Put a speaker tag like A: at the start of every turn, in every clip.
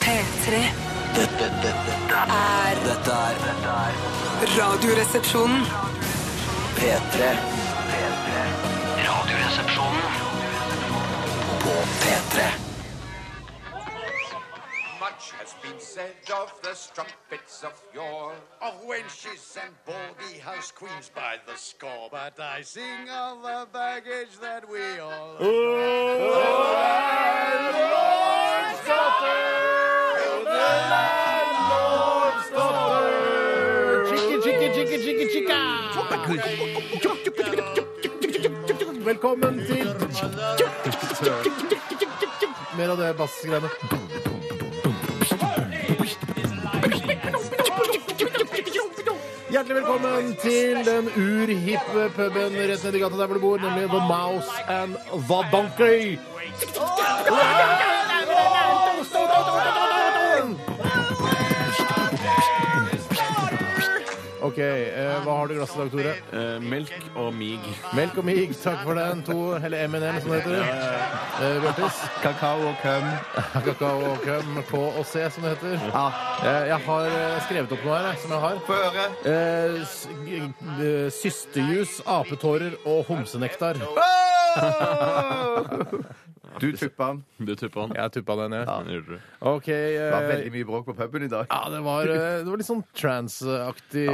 A: P3
B: Dette, dette, dette,
A: er
B: dette er dette er
A: Radioresepsjonen.
B: P3. P3. Radioresepsjonen på P3.
C: Much has been said of the strumpets of yore, of wenches and baldy house queens by the score. But I sing of the baggage that we all.
D: Chicka, chicka, chicka, chicka, chicka. Velkommen til Mer av det bassgreiene. Hjertelig velkommen til den urhippe puben rett nedi gata der hvor du bor, nemlig The Mouse and The Donkey. OK, eh, hva har du i glasset i dag, Tore?
E: Eh, melk og mig.
D: Melk og mig, takk for den. To, eller M&M, som det heter. Eh, Bjørtis.
F: Kakao og køm.
D: Kakao og køm, K og C, som det heter.
F: Ja.
D: Eh, Jeg har eh, skrevet opp noe her, jeg, som jeg har.
F: Få høre.
D: Eh, s- g- eh, Systejus, apetårer og homsenektar.
F: Du tuppa den.
E: Du tuppa den.
D: Jeg tuppa den, jeg.
E: Den gjorde du.
D: OK.
F: Det var
D: eh,
F: veldig mye bråk på puben i dag.
D: Ja, det var, eh, det var litt sånn trans-aktig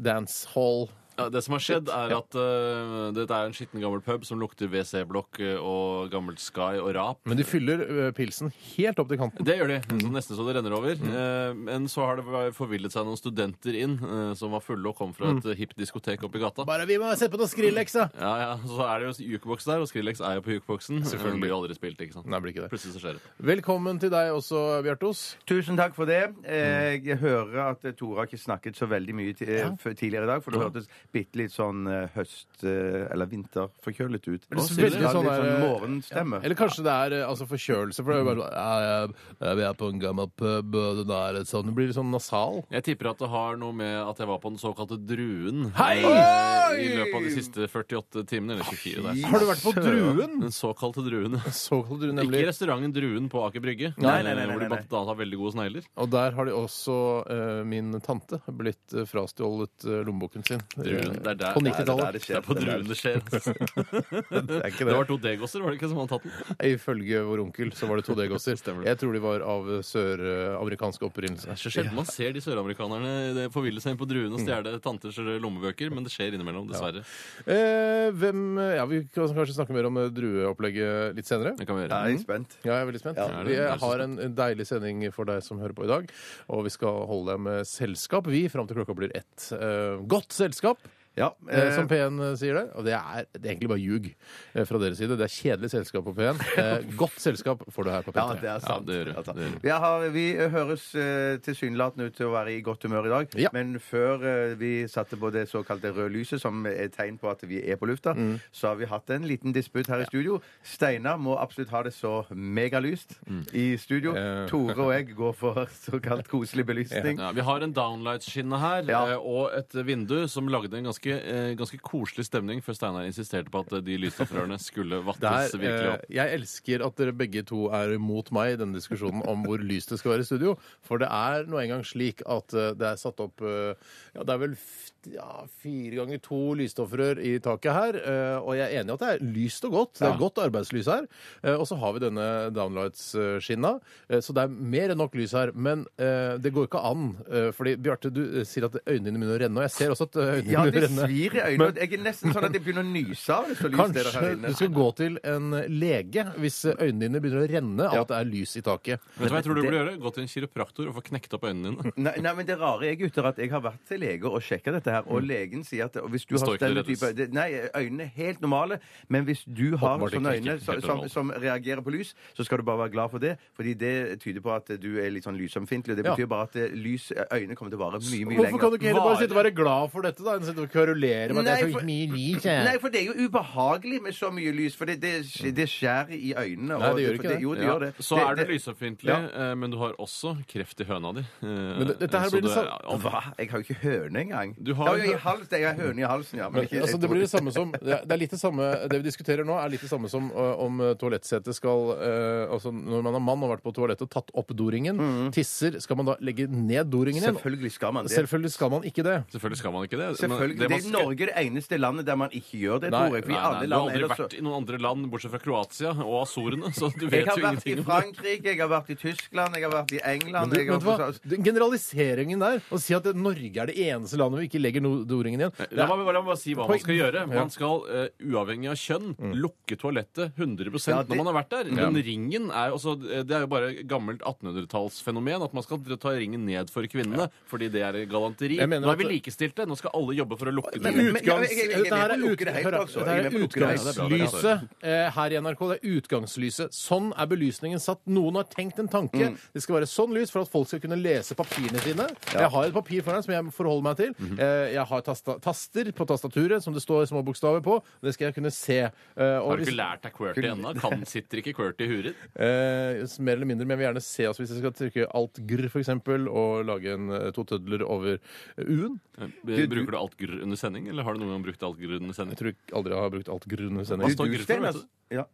D: dancehall.
E: Ja, det som har skjedd, er at eh, dette er en skitten gammel pub som lukter WC-blokk eh, og gammelt Sky og rap.
D: Men de fyller eh, pilsen helt opp til kanten.
E: Det gjør de. Så nesten så det renner over. Eh, Men så har det vært- forvillet seg noen studenter inn eh, som var fulle og kom fra et eh, hipt diskotek oppi gata.
D: Bare vi må sette på noe Skrillex, da!
E: Ja, ja, Så er det jo jukeboks der, og Skrillex er jo på jukeboksen. Selvfølgelig. Den blir jo aldri spilt, ikke sant?
D: Nei, det blir ikke det.
E: Plutselig så skjer det.
D: Velkommen til deg også, Bjartos.
F: Tusen takk for det. Eh, Jeg hører at Tore har ikke snakket så veldig mye ti- eh, før tidligere i dag, for det hørtes bitte litt sånn eh, høst- eh, eller vinterforkjølet ut.
D: det er
F: Å,
D: veldig
F: sier du? Ja,
D: sånn
F: litt
D: der,
F: sånn
D: eh,
F: morgenstemme.
D: Eller kanskje det er eh, altså, forkjølelse. For det er jo bare sånn, ja, ja, Vi er på en gammel pub, og den er sånn Det blir litt sånn nasal.
E: Jeg tipper at det har noe med at jeg var på den såkalte Druen
D: Hei!
E: eh, i løpet av de siste 48 timene. Eller 24 der.
D: Har du vært på Druen?
E: Den såkalte druen.
D: Såkalt Druen,
E: Ikke
D: nemlig.
E: restauranten Druen på Aker Brygge, eh,
F: Nei, nei, nei, nei,
E: hvor de
F: nei.
E: blant annet har veldig gode snegler.
D: Og der har de også eh, min tante blitt eh, frastjålet eh, lommeboken sin.
E: Druen,
D: Eh,
E: det er der-
D: på
F: Det er der
D: 90-tallet.
F: det
E: Det
F: skjer.
E: er på
F: Det er
E: Druen
F: der
E: det skjer. altså.
F: det er ikke
E: Det
F: det.
E: var to degosser, var det ikke, som hadde tatt den?
D: Ifølge vår onkel så var det to degosser.
E: Stemmer det.
D: Jeg tror de var av eh, søramerikansk opprinnelse.
E: Det er så sjelden man ser de søramerikanerne det forville seg inn på Druen og stjele tanters lommebøker, men det skjer innimellom, dessverre.
D: Eh, hvem Ja, vi kan kanskje snakke mer om eh, drueopplegget litt senere.
E: Det kan vi
F: Ja,
E: gjøre.
F: Jeg er spent.
D: Ja, jeg er veldig spent. vi
E: er det. Jeg er så
D: har en en deilig sending for deg som hører på i dag. Og vi skal holde deg med selskap, vi, fram til klokka blir ett. Eh, godt selskap,
F: Ja,
D: eh,
F: eh,
D: som P1 sier det. Og det er, det er egentlig bare ljug eh, fra deres side. Det er kjedelig selskap på P1. Eh, godt selskap får du her på
F: Ja,
D: P3.
F: det er sant.
E: det gjør du.
F: er sant.
E: Det gjør du.
F: Vi, har, vi høres eh, tilsynelatende ut til å være i godt humør i dag,
D: Ja.
F: men før eh, vi satte på det såkalte røde lyset, som er et tegn på at vi er på lufta,
E: Mm.
F: så har vi hatt en liten disputt her i studio. Steinar må absolutt ha det så megalyst
E: Mm.
F: i studio.
D: Eh.
F: Tore og jeg går for såkalt koselig belysning.
E: Ja, vi har en downlight-skinne her
F: Ja.
E: eh, og et vindu som lagde en ganske, eh, ganske koselig stemning før Steinar insisterte på at eh, de lysstoffrørene skulle vattes
D: Det
E: virkelig
D: er,
E: opp.
D: eh, jeg elsker at dere begge to er mot meg i denne diskusjonen om hvor lyst det skal være i studio. For det er nå engang slik at eh, det er satt opp eh, ja, det er vel f- ja, fire ganger to lysstoffrør i taket her. eh, Og jeg er enig i at det er lyst og godt. Det er godt arbeidslys her. Eh, Og så har vi denne downlights-skinna, eh, så det er mer enn nok lys her. Men eh, det går ikke an. eh, Fordi Bjarte, du eh, sier at øynene dine begynner å renne, og jeg ser også at eh, øynene
F: Ja,
D: begynner
F: det
D: å renne.
F: svir i øynene. Jeg er nesten sånn at jeg begynner å nyse av det. Så lyst er det her
D: Kanskje
F: inne.
D: du skal gå til en lege hvis øynene dine begynner å renne av at det er lys i taket.
E: Vet du hva jeg tror du
F: det-
E: burde gjøre? Gå til en kiropraktor og få knekt opp øynene dine.
F: Nei, nei, men det rare er gutter, at jeg har vært til lege og sjekka dette her, og legen sier at hvis du
E: Det
F: har
E: står ikke
F: denne
E: det
F: type
E: rettes.
F: det, Nei, øynene er helt normale, men hvis du har
E: Åpenbart
F: sånne
E: ikke,
F: øyne
E: ikke
F: som,
E: helt
F: som,
E: normalt.
F: som reagerer på lys, så skal du bare være glad for det, fordi det tyder på at du er litt sånn lysømfintlig, og det
D: Ja.
F: betyr bare at eh, lys, øynene kommer til å vare mye, mye
D: Hvorfor
F: lenger.
D: kan du ikke heller bare
F: Vare.
D: sitte og være glad for dette, da? enn å sitte og kverulere med at det er så mye lys her.
F: nei, for det er jo ubehagelig med så mye lys. For det, det, det skjærer i øynene.
D: Nei,
F: og
D: det gjør
F: for
D: ikke det.
F: Jo, det
E: Ja,
F: gjør det.
E: Så
F: Det-
E: er du
F: det-
E: lysoppfinnelig, eh, men du har også kreft i høna di. Eh, Men
D: det- dette her blir det sånn-
F: Hva? Jeg har jo ikke høne engang.
E: Du har-
F: ja, jo, i hals, jeg har høne i halsen, ja. Men
D: Men,
F: ikke, jeg
D: altså, det
F: tror-
D: blir det samme som Det er- det er litt det samme Det vi diskuterer nå, er litt det samme som ø, om ø, toalettsetet skal ø, Altså når man er mann og har vært på toalettet og tatt opp doringen, tisser, skal man da legge ned doringen igjen?
F: Mm. Selvfølgelig skal man det.
D: Selvfølgelig skal man ikke det.
E: Selvfølgelig skal man ikke det. men
F: Selvfølgelig.
E: det
F: Det,
E: man
F: er
E: skal-
F: Norge det eneste landet der man ikke gjør det,
D: Nei,
F: tror jeg. For i
E: Nei,
F: alle
E: nei, du har
F: land
E: aldri
F: ellers så-
E: vært i noen andre land bortsett fra Kroatia og Azorene, så du
F: Jeg
E: vet
F: har
E: jo
F: vært i
E: ingenting om det.
F: Frankrike, jeg har vært i Tyskland, jeg har vært i England
D: Men du,
F: jeg har
D: vet du hva? Den Generaliseringen der, å si at det- Norge er det eneste landet hvor vi ikke legger no doringen igjen det
E: La
D: er,
E: meg, la meg bare si hva man skal gjøre. Man skal, eh, uavhengig av kjønn, lukke toalettet 100
F: Mm. Ja, det-
E: når man har vært der. Men ringen er, jo også, det er jo bare gammelt 1800-tallsfenomen at man skal ta ringen ned for kvinnene fordi det er galanteri.
D: Jeg mener
E: Nå er vi
D: at-
E: likestilte. Nå skal alle jobbe for å lukke
F: Men-
E: den.
F: men-
D: Utgangs,
F: jeg- jeg- jeg- jeg-
D: dette her
F: jeg- jeg-
D: er,
F: jeg-
D: ut,
F: jeg- jeg-
D: hør, da.
F: jeg- jeg-
D: dette her er
F: jeg- jeg-
D: utgangslyset eh, her i NRK. Det er utgangslyset. Sånn er belysningen satt. Noen har tenkt en tanke. Det skal være sånn lys for at folk skal kunne lese papirene sine. Jeg har et papir foran som jeg forholder meg til. Eh, Jeg har tasta, taster på tastaturet som det står små bokstaver på. Det skal jeg kunne se. Eh, og
E: Har du
D: hvis-
E: ikke lært deg QWERTY ennå? Kan- Sitter ikke QWERTY i huet ditt?
D: Eh, mer eller mindre, men jeg vil gjerne se altså, hvis jeg skal trykke alt grr, for eksempel, og lage en, eh, to tødler over eh, u-en.
E: Bruker du alt grr under sending, eller har du noen gang brukt alt grr under sending?
D: Jeg tror jeg aldri jeg har brukt alt grr under
E: Hva
D: sending.
E: står
F: Du,
E: grr for?
F: Steinar,
E: vet du?
F: ja.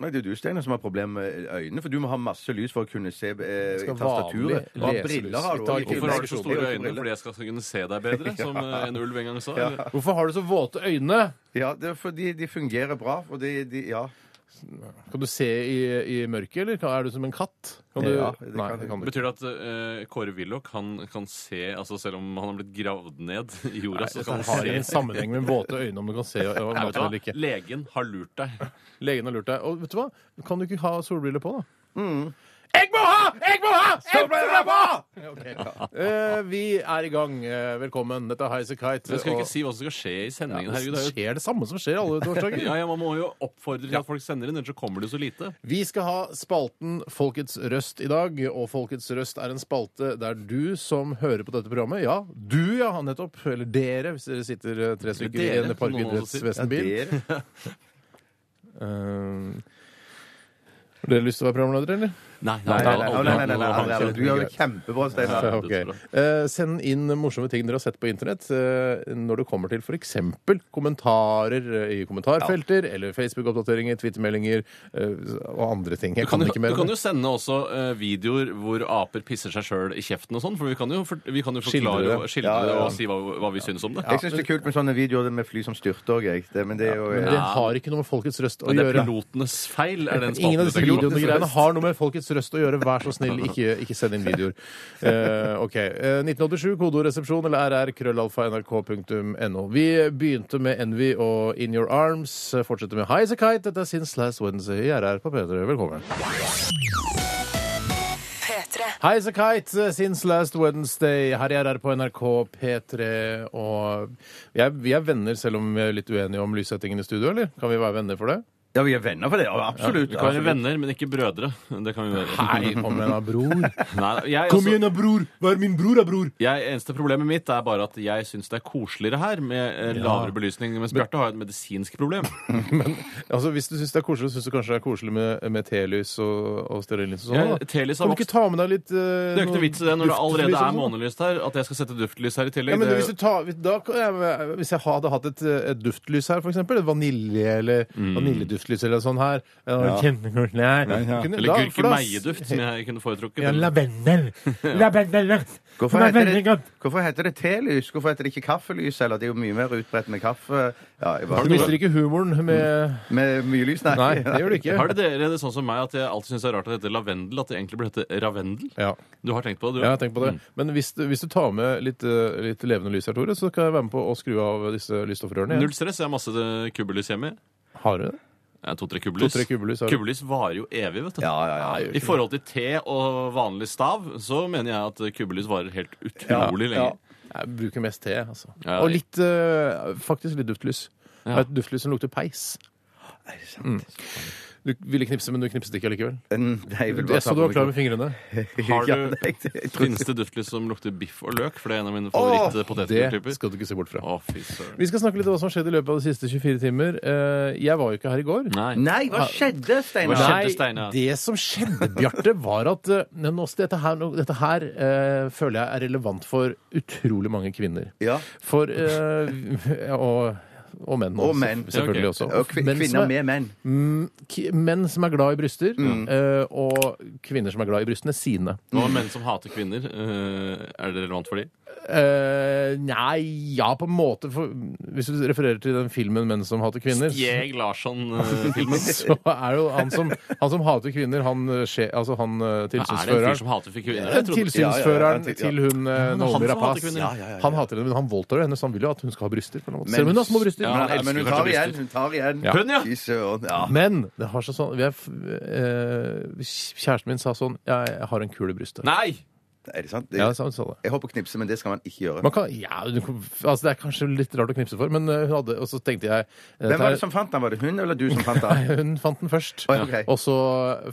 F: Nei, det er du, Steinar, som har problemer med øynene. For du må ha masse lys for å kunne se eh,
D: skal
F: tastaturet. Og
D: vanlig
F: ha
D: leselys.
F: briller har
D: Vi
F: du
D: tar
F: også.
D: ikke-
E: Hvorfor har
F: Det
E: du så
F: er jo
E: store
F: ikke
E: øyne?
F: briller.
E: Fordi jeg skal kunne se deg bedre, som eh, en ulv en gang sa? eller?
D: Hvorfor har du så våte øyne?
F: Ja, det er fordi de fungerer bra. Og de, de, ja.
D: Kan du se i, i mørket, eller er du som en katt? Kan du...
F: Ja, det kan
D: Nei,
F: jeg.
D: det kan du ikke.
E: Betyr det at eh, Kåre Willoch han kan se altså Selv om han har blitt gravd ned i jorda, så kan
D: Han
E: han
D: har en
E: se
D: sammenheng med våte øyne, om du kan se og- og
E: Nei,
D: mørkt
E: vet du hva?
D: eller ikke.
E: Legen har lurt deg.
D: Legen har lurt deg. Og vet du hva? Kan du ikke ha solbriller på, da? Jeg må ha! Jeg må ha! Mm. Solbriller på! Ja, ok. Eh, vi er i gang. Eh, velkommen. Dette er Highasakite. Kite.
E: Jeg skal ikke si hva som skal skje i sendingen.
D: det
E: Herregud, det er jo
D: skjer det samme som skjer alle torsdager.
E: ja, ja, Man må jo oppfordre til at folk sender inn, ellers så kommer det så lite.
D: Vi skal ha spalten Folkets røst i dag, og Folkets røst er en spalte der du som hører på dette programmet Ja, du, ja, nettopp. Eller dere, hvis dere sitter eh, tre stykker i
E: Dere,
D: en
E: som noen også sier.
D: parkidrettsvesenbil.
F: Det er-
D: Eh, Har dere lyst til å være programleder, eller?
E: Nei,
F: Nei, nei, nei, nei, nei, nei, nei, nei. Du gjør det kjempebra, Steinar.
E: Ja.
D: Ok.
E: det tror
D: Eh, send inn morsomme ting dere har sett på internett eh, når det kommer til f.eks. kommentarer eh, i kommentarfelter eller Facebook-oppdateringer, Twitter-meldinger eh, og andre ting. Jeg
E: Du kan,
D: kan,
E: jo,
D: ikke mer.
E: du
D: om
E: kan
D: det.
E: jo sende også eh, videoer hvor aper pisser seg sjøl i kjeften og sånn, for vi kan jo, for, vi kan jo
D: Skildre det.
E: forklare og
F: Ja,
E: skildre
F: ja, ja.
E: det og si hva, hva vi syns om det.
F: Jeg syns det er kult med sånne videoer med fly som styrter og jeg. Det, men det er jo
D: Men
F: eh,
D: det har ikke noe med folkets røst å
E: Det er
D: gjøre.
E: pilotenes feil, er den
D: Ingen av
E: spalten.
D: disse
E: heter.
D: videoene og
E: Pilotenes
D: greiene
E: røst.
D: har noe med folkets røst å gjøre. Vær så snill, ikke, ikke send inn videoer. Eh, OK. Eh, 1987, kodoresepsjon eller rr, krøllalfa, nrk.no. Vi begynte med Envy og In Your Arms. Fortsetter med High as a Kite. Dette er Since Last Wednesday i RR på P3. Velkommen.
A: P3.
D: High as a Kite, eh, Since Last Wednesday. Her i RR på NRK P3. Og vi er, vi er venner, selv om vi er litt uenige om lyssettingen i studio, eller? Kan vi være venner for det?
F: Ja, vi er venner for det. ja, Absolutt.
E: Vi kan være
F: absolutt.
E: venner, men ikke brødre. Det kan vi være.
D: Nei, kom igjen da, bror.
E: Nei, jeg,
D: Kom igjen
E: altså,
D: da, bror! Vær min bror da, bror!
E: jeg, eneste problemet mitt er bare at jeg syns det er koseligere her med eh, lavere belysning, mens Bjarte har et medisinsk problem.
D: Men altså, hvis du syns det er koselig, syns du kanskje det er koselig med, med telys og, og stearinlys og sånn?
E: Ja,
D: da?
E: telys har
D: kan du ikke
E: vokst.
D: ta med deg litt eh,
E: Det er jo ikke noe vits i det når det
D: duftlys og
E: allerede er
D: sånn, da?
E: månelyst her, at jeg skal sette duftlys her i
D: Ja,
E: tillegg.
D: men
E: det-
D: hvis, du tar, hvis- da, kan jeg- hvis jeg hadde hatt et, eh, et duftlys her, for eksempel, et vanilje- eller
E: Mm.
D: vaniljeduftlys eller sånn her ja. Kjempekoselig her. Kunne- da-
E: eller
D: for da-
E: gurkemeieduft, som jeg kunne foretrukket.
D: Ja, lavendel. Lavendellukt.
F: Hvorfor
D: Den er
F: heter,
D: veldig
F: det,
D: godt.
F: hvorfor heter det telys? Hvorfor heter det ikke kaffelys? Eller det er jo mye mer utbredt med kaffe. Ja, jeg
D: Du
F: bare,
D: mister ikke humoren med
F: med mye lys, nei.
D: Nei, det gjør du ikke.
E: Mm. Har det dere det sånn som meg at jeg alltid syns det er rart at det heter lavendel, at det egentlig burde hete ravendel?
D: Ja.
E: Du har tenkt på det, du?
D: Ja, tenk på det. Men hvis du, hvis du tar med litt, eh, litt levende lys her, Tore, så kan jeg være med på å skru av disse lysstoffrørene. igjen.
E: Null stress. Jeg har masse eh, kubbelys hjemme.
D: Har du det?
E: Ja, To-tre kubbelys.
D: To-tre kubbelys har du.
E: kubbelys varer jo evig, vet du.
F: Ja, ja, ja.
E: I forhold til te og vanlig stav, så mener jeg at kubbelys varer helt utrolig
F: Ja,
E: lenge.
D: Jeg bruker mest te, altså.
E: Ja,
D: og litt, eh, faktisk litt duftlys.
E: Ja.
D: Jeg har Et duftlys som lukter peis. Mm. Du ville knipse, men du knipset ikke allikevel.
F: Nei, jeg vil bare
D: Jeg så
F: ta
D: du var
F: på
D: klar
F: meg-
D: med fingrene.
E: Har
F: Ja,
E: du-
F: nei, jeg tror-
E: Finnes det duftlys som lukter biff og løk? For det er en av mine
D: Det
E: favorittpotetgulltyper.
D: skal du ikke se bort fra.
E: Å, fy søren.
D: Vi skal snakke litt om hva som har skjedd i løpet av de siste 24 timer. Eh, Jeg var jo ikke her i går.
E: Nei.
F: Nei, hva skjedde, Steinar?
E: Hva skjedde?
D: Nei,
E: Steinar?
D: det som skjedde, Bjarte, var at eh, men også dette her, nå- dette her eh, føler jeg er relevant for utrolig mange kvinner.
F: Ja.
D: For eh, og, og menn.
F: Og
D: også,
F: menn.
D: Selvfølgelig
E: Ja, ok.
D: også.
F: Og kvin-
D: Menn som
F: kvinner
D: er-
F: med menn.
D: Mm, ki- menn som er glad i bryster,
F: Mm.
D: eh, og kvinner som er glad i brystene sine.
E: Og menn som hater kvinner, eh, er det relevant for de?
D: Eh, nei, ja, på en måte. For, hvis du refererer til den filmen 'Menn som hater kvinner',
E: Jeg Larsson-filmen.
D: så er jo han som, han som hater kvinner, han, eh, skje- altså han eh,
E: er det en fyr
D: tilsynsføreren.
E: som hater kvinner?
D: Eh,
E: Jeg trodde
D: Tilsynsføreren
F: Ja, ja, ja,
D: til hun eh,
E: han som
D: Naomi
E: hater
D: Rapace.
E: kvinner. Ja,
D: Han hater henne, men han voldtar jo henne, så han vil jo at hun skal ha bryster. På en måte. Selv om hun har små bryster.
E: Ja,
F: Men,
E: han elsker
F: men hun
E: kanskje
F: tar igjen.
E: bryster.
F: Hun tar igjen.
D: Ja.
E: Hun, ja.
F: Fy søren. Ja.
D: Men det har seg sånn vi er, f- eh, Kjæresten min sa sånn Jeg, jeg har en kul i brystet.
E: Nei!
F: Er det sant?
D: Ja, sa hun sa det.
F: Jeg håper knipse, men det skal man ikke gjøre.
D: Man kan, ja, du, altså det er kanskje litt rart å knipse for, men eh, hun hadde Og så tenkte jeg eh,
F: Hvem var
D: dette
F: det som fant den? Var det hun eller du som fant den?
D: er- Hun fant den først,
F: Å, ja, ok.
D: og så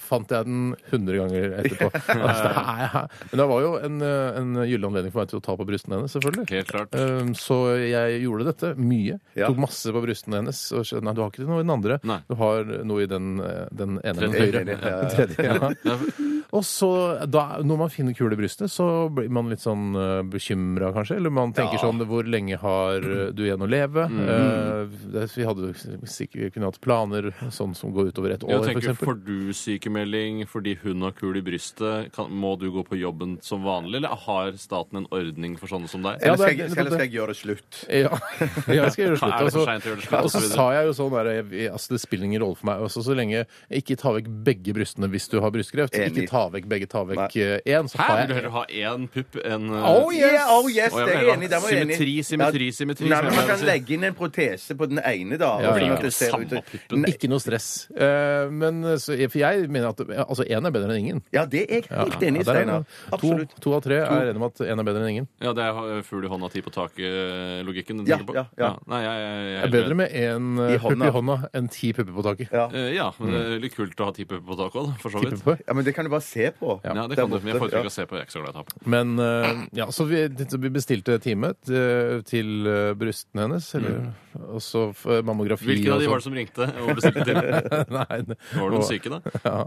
D: fant jeg den 100 ganger etterpå. Altså, det er, men det var jo en, eh, en gyllen anledning for meg til å ta på brystene hennes, selvfølgelig.
E: Helt klart.
D: Um, Så jeg gjorde dette mye.
F: Ja.
D: Tok masse på brystene hennes. Og skjønte, nei, du har ikke noe i den andre.
E: Nei.
D: Du har noe i den, eh, den ene den
E: Tredje.
F: Ja,
D: høyre.
F: ja, ja.
D: Den Tredje, ja. Og så, da, når man finner kule i brystet, så blir man litt sånn uh, bekymra, kanskje. Eller man tenker sånn Hvor lenge har eh, du igjen å leve?
E: Mm.
D: Eh, det, vi hadde jo sikkert kunne hatt planer sånn som går utover et
E: Jeg
D: år, for
E: tenker,
D: eksempel.
E: Får du sykemelding fordi hun har kul i brystet? Kan, må du gå på jobben som vanlig, eller har staten en ordning for sånne som deg?
D: Ja,
F: Eller
D: det er-
F: skal jeg, skal, eller skal jeg gjøre det slutt?
D: Ja, jeg skal gjøre slutt.
E: Er det for
D: altså.
E: sent å gjøre det slutt,
D: Og så
E: og så
D: sa jeg jo sånn der, jeg, altså Det spiller ingen rolle for meg. Også, så lenge jeg ikke ta vekk begge brystene hvis du har brystkreft.
F: Enig.
D: Ikke ta vekk begge, ta
F: Nei.
D: vekk eh, én. Så
E: Her
D: har
E: vil du
D: jeg
E: heller ha én pupp enn eh,
D: Oh, yes!
F: Yeah, oh yes,
E: Å, jeg
F: det er
E: mener,
F: jeg enig i. Der var jeg enig.
E: Symmetri, symmetri,
F: Ja,
E: symmetri.
F: Nei,
E: som
F: men Man
E: jeg pleier å
F: kan
E: si.
F: legge inn en protese på den ene, da.
D: Ja,
F: sånn
D: ja.
F: at det ser ut-
E: Samme puppen.
F: Nei,
D: ikke noe stress. Eh, men, så, for jeg mener at altså, én er bedre enn ingen.
F: Ja, det er jeg helt enig i,
D: Ja, der er
F: Steinar.
D: det. to,
F: Absolutt.
D: to av tre er enig om at én er bedre enn ingen.
E: Ja, det er eh, fugl i hånda, ti på eh, taket-logikken.
F: Ja, ja, ja.
E: Nei, jeg, jeg, jeg,
D: Det er bedre med én eh,
F: I
D: pupp
F: hånda.
D: i hånda enn ti pupper på taket.
F: Ja.
E: Eh, Ja, men det er litt kult å ha ti pupper på taket òg, for så
D: Mm. Ti
E: vidt.
D: pupper.
F: ja, men det kan du bare se på.
E: Ja,
F: Der
E: det kan du, men jeg
F: borte,
E: foretrekker
F: ja.
E: å se på. Jeg er ikke så glad i tap.
D: Men eh, ja, så vi, vi bestilte time til, til eh, brystene hennes. Eller, Og så eh, mammografi.
E: Mm. Hvilken av de
D: og
E: var det som ringte og bestilte til?
D: sånn. Nei, det-
E: Var det noen syke, da?
D: Ja.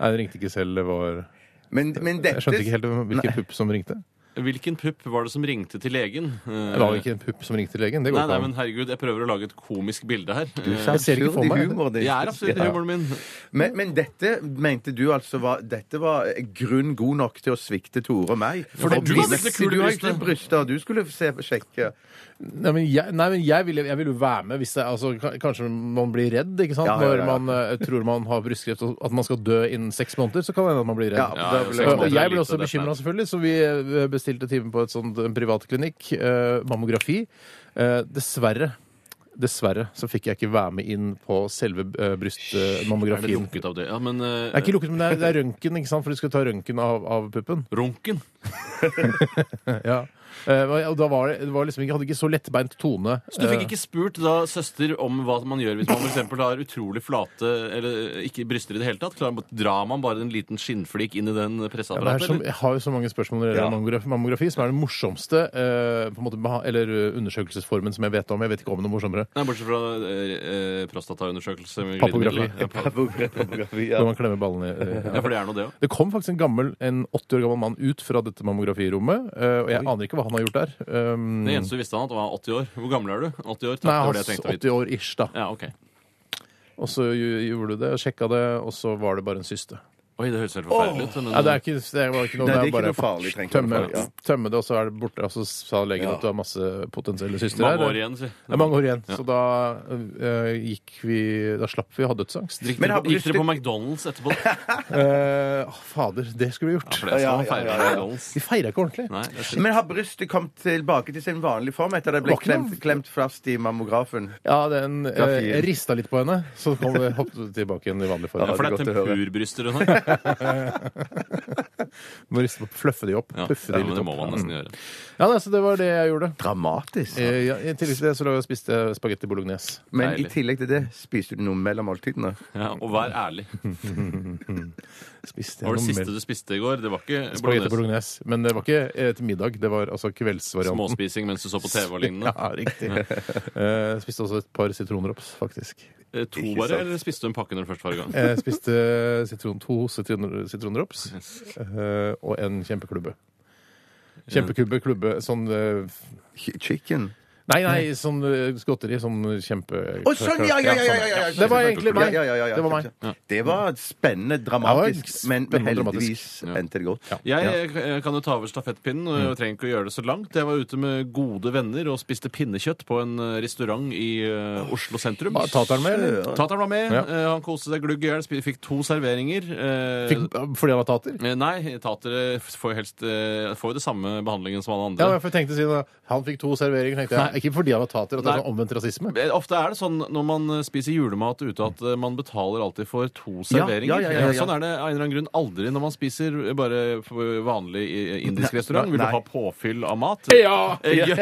D: Nei, den ringte ikke selv. Det var
F: Men, men dette
D: Jeg skjønte ikke helt hvilken pupp som ringte.
E: Hvilken pupp var det som ringte til legen? Eh,
D: Det var jo ikke en pupp som ringte til legen. Det går
E: Nei, nei,
D: ikke
E: men
D: an.
E: herregud, jeg prøver å lage et komisk bilde her. Eh,
D: Jeg ser ikke
F: Absurd
D: for
F: i
D: meg det.
F: humor, det.
E: Jeg er absolutt i
F: Ja.
E: humoren min.
F: Men, men dette mente du altså var Dette var grunn god nok til å svikte Tore og meg?
E: For det-
F: Og
E: du har
F: mine-
E: ikke kule
F: du har
E: bryster.
F: ikke bryster, og du skulle se, sjekke.
D: Nei, men jeg, nei, men jeg ville vil jo være med hvis det altså, ka- Kanskje man blir redd, ikke sant?
F: Ja, ja, ja, ja.
D: Når man eh, tror man har brystkreft og at man skal dø innen seks måneder, så kan det hende at man blir redd.
F: Ja,
E: Ja,
F: da
E: jo,
F: ble-
E: seks
D: Eh,
E: måneder
D: og jeg
E: er
D: ble
E: lite,
D: også
E: det er
D: bekymra,
E: sant.
D: selvfølgelig, så vi eh, bestilte time på et sånt, en privat klinikk. eh, mammografi. Eh, dessverre. Dessverre så fikk jeg ikke være med inn på selve eh,
E: Er det
D: brystmammografien.
E: lunket av det? Ja, men eh,
D: Det er ikke lukket, men det er, det er røntgen, ikke sant? For du skal ta røntgen av, av puppen.
E: Runken?
D: Ja. Eh, og da var det, det var liksom ikke, hadde ikke så lettbeint tone. eh,
E: Så du fikk ikke spurt da søster om hva man gjør hvis man for eksempel har utrolig flate eller ikke bryster i det hele tatt? Klarer, drar man bare en liten skinnflik inn i den
D: Ja, det er
E: presseapparatet?
D: som,
E: eller?
D: jeg har jo så mange spørsmål når det gjelder
F: Ja.
D: mammografi, mammografi, som er den morsomste eh, på en måte, beha- eller eh, undersøkelsesformen som jeg vet om. Jeg vet ikke om noe morsommere.
E: Nei, bortsett fra eh, eh, prostataundersøkelse. med
D: Papografi.
E: glidemiddel, da. Ja, pap-
D: Når man klemmer ballene i eh,
E: ja, for det er nå det òg.
D: Det kom faktisk en gammel, en 80 år gammel mann ut fra dette mammografirommet, eh, og jeg aner ikke hva han har gjort der. Um,
E: Det
D: nei,
E: eneste du visste han at var 80 år. Hvor gammel er du? 80 år? Takk, det
D: han
E: var det
D: var
E: jeg tenkte å vite.
D: 80 år ish, da.
E: Ja, ok.
D: Og så gj- gjorde du det, sjekka det, og så var det bare en syste.
E: Oi, det høres helt forferdelig ut. men-
D: Nei, det er ikke, det var ikke noe,
F: Nei, det er ikke
D: det er bare
F: noe farlig, trenger ikke
D: tømme,
F: noe farlig, ja.
D: tømme det, og så er det borte. Og så sa legen at du har masse potensielle systre
E: Mange år igjen, si.
D: Det er mange år igjen. Så da eh, gikk vi Da slapp vi å ha dødsangst.
E: Gikk
F: Men
E: dere
F: har
E: på- gikk dere
F: brystet-
E: på McDonald's etterpå?
D: Eh, å, fader, det skulle vi gjort.
E: For det skal
F: Ja,
E: man
F: ja, ja,
E: feire
F: ja,
E: på
F: ja.
E: McDonald's.
D: Vi feira ikke ordentlig.
E: Nei, det er
F: Men har brystet kommet tilbake til sin vanlige form etter det ble
D: Var ikke noe-
F: klemt, klemt fast i mammografen?
D: Ja, den
F: Ja, fy.
D: eh, rista litt på henne, så kom det, hoppet det tilbake igjen i vanlig form.
E: sånn. Ja, for
F: det er godt
E: det er
F: å høre.
E: tempurbryster hun har.
D: Må riste på, fluffe de opp.
E: Ja,
D: puffe
E: ja,
D: de
E: men
D: litt
E: det må man
D: opp.
E: nesten gjøre.
D: Ja, nei, så det var det jeg gjorde.
F: Dramatisk.
D: Eh, Ja, I tillegg til det så lå jeg og spiste spagetti bolognese.
F: Men
E: Deilig.
F: i tillegg til det, spiste du noe mellom måltidene?
E: Ja, og vær ærlig.
D: Spiste
E: Hva var det
D: noe
E: siste
D: mer-
E: du spiste i går? Det var ikke
D: Spagetti
E: bolognese.
D: bolognese. Men det var ikke eh, til middag. Det var altså kveldsvarianten.
E: Småspising mens du så på TV og lignende.
D: Ja, riktig. Eh, spiste også et par sitronrops, faktisk.
E: Eh, To
F: Ikke
E: bare,
F: sant. Eh,
E: eller spiste du en pakke når du først var i gang?
D: Jeg spiste sitron, to sitron, sitronrops eh, og en kjempeklubbe. Kjempekubbe, klubbe, sånn eh,
F: Ch- Chicken?
D: Nei, nei, sånn eh, godteri. Sånn kjempe...
F: Å, sånn! Ja, ja, ja! ja, ja, ja.
D: Det var egentlig meg.
F: Ja, ja, ja, ja.
D: Det var meg.
F: Det var spennende,
D: Det var
F: dramatisk,
D: spennende,
F: men heldigvis
D: dramatisk.
E: Ja.
F: endte det godt.
E: Jeg, eh, kan jo ta over stafettpinnen. og
F: Mm.
E: Jeg trenger ikke å gjøre det så langt. Jeg var ute med gode venner og spiste pinnekjøtt på en eh, restaurant i eh, Oslo sentrum.
D: Var Tateren sånn. med, eller?
E: Tateren var med.
D: Ja.
E: eh, Han koste seg glugg i hjel. spi- Fikk to serveringer. eh,
D: Fikk, fordi han var tater?
E: eh, Nei, tatere får jo helst eh, får jo det samme behandlingen som alle andre.
D: Ja, for jeg tenkte siden Han fikk to serveringer, tenkte jeg. Ikke fordi han var tater, at det
E: Nei.
D: er sånn omvendt rasisme.
E: Eh, Ofte er det sånn når man eh, spiser julemat ute at eh, man betaler alltid for to
F: Ja,
E: serveringer.
F: ja, ja, ja,
E: Eh,
F: ja.
E: Sånn er det av en eller annen grunn aldri når man spiser eh, bare på vanlig i- indisk restaurant. Vil du
F: nei.
E: ha påfyll av mat?
D: Ja!
E: Eh, ja,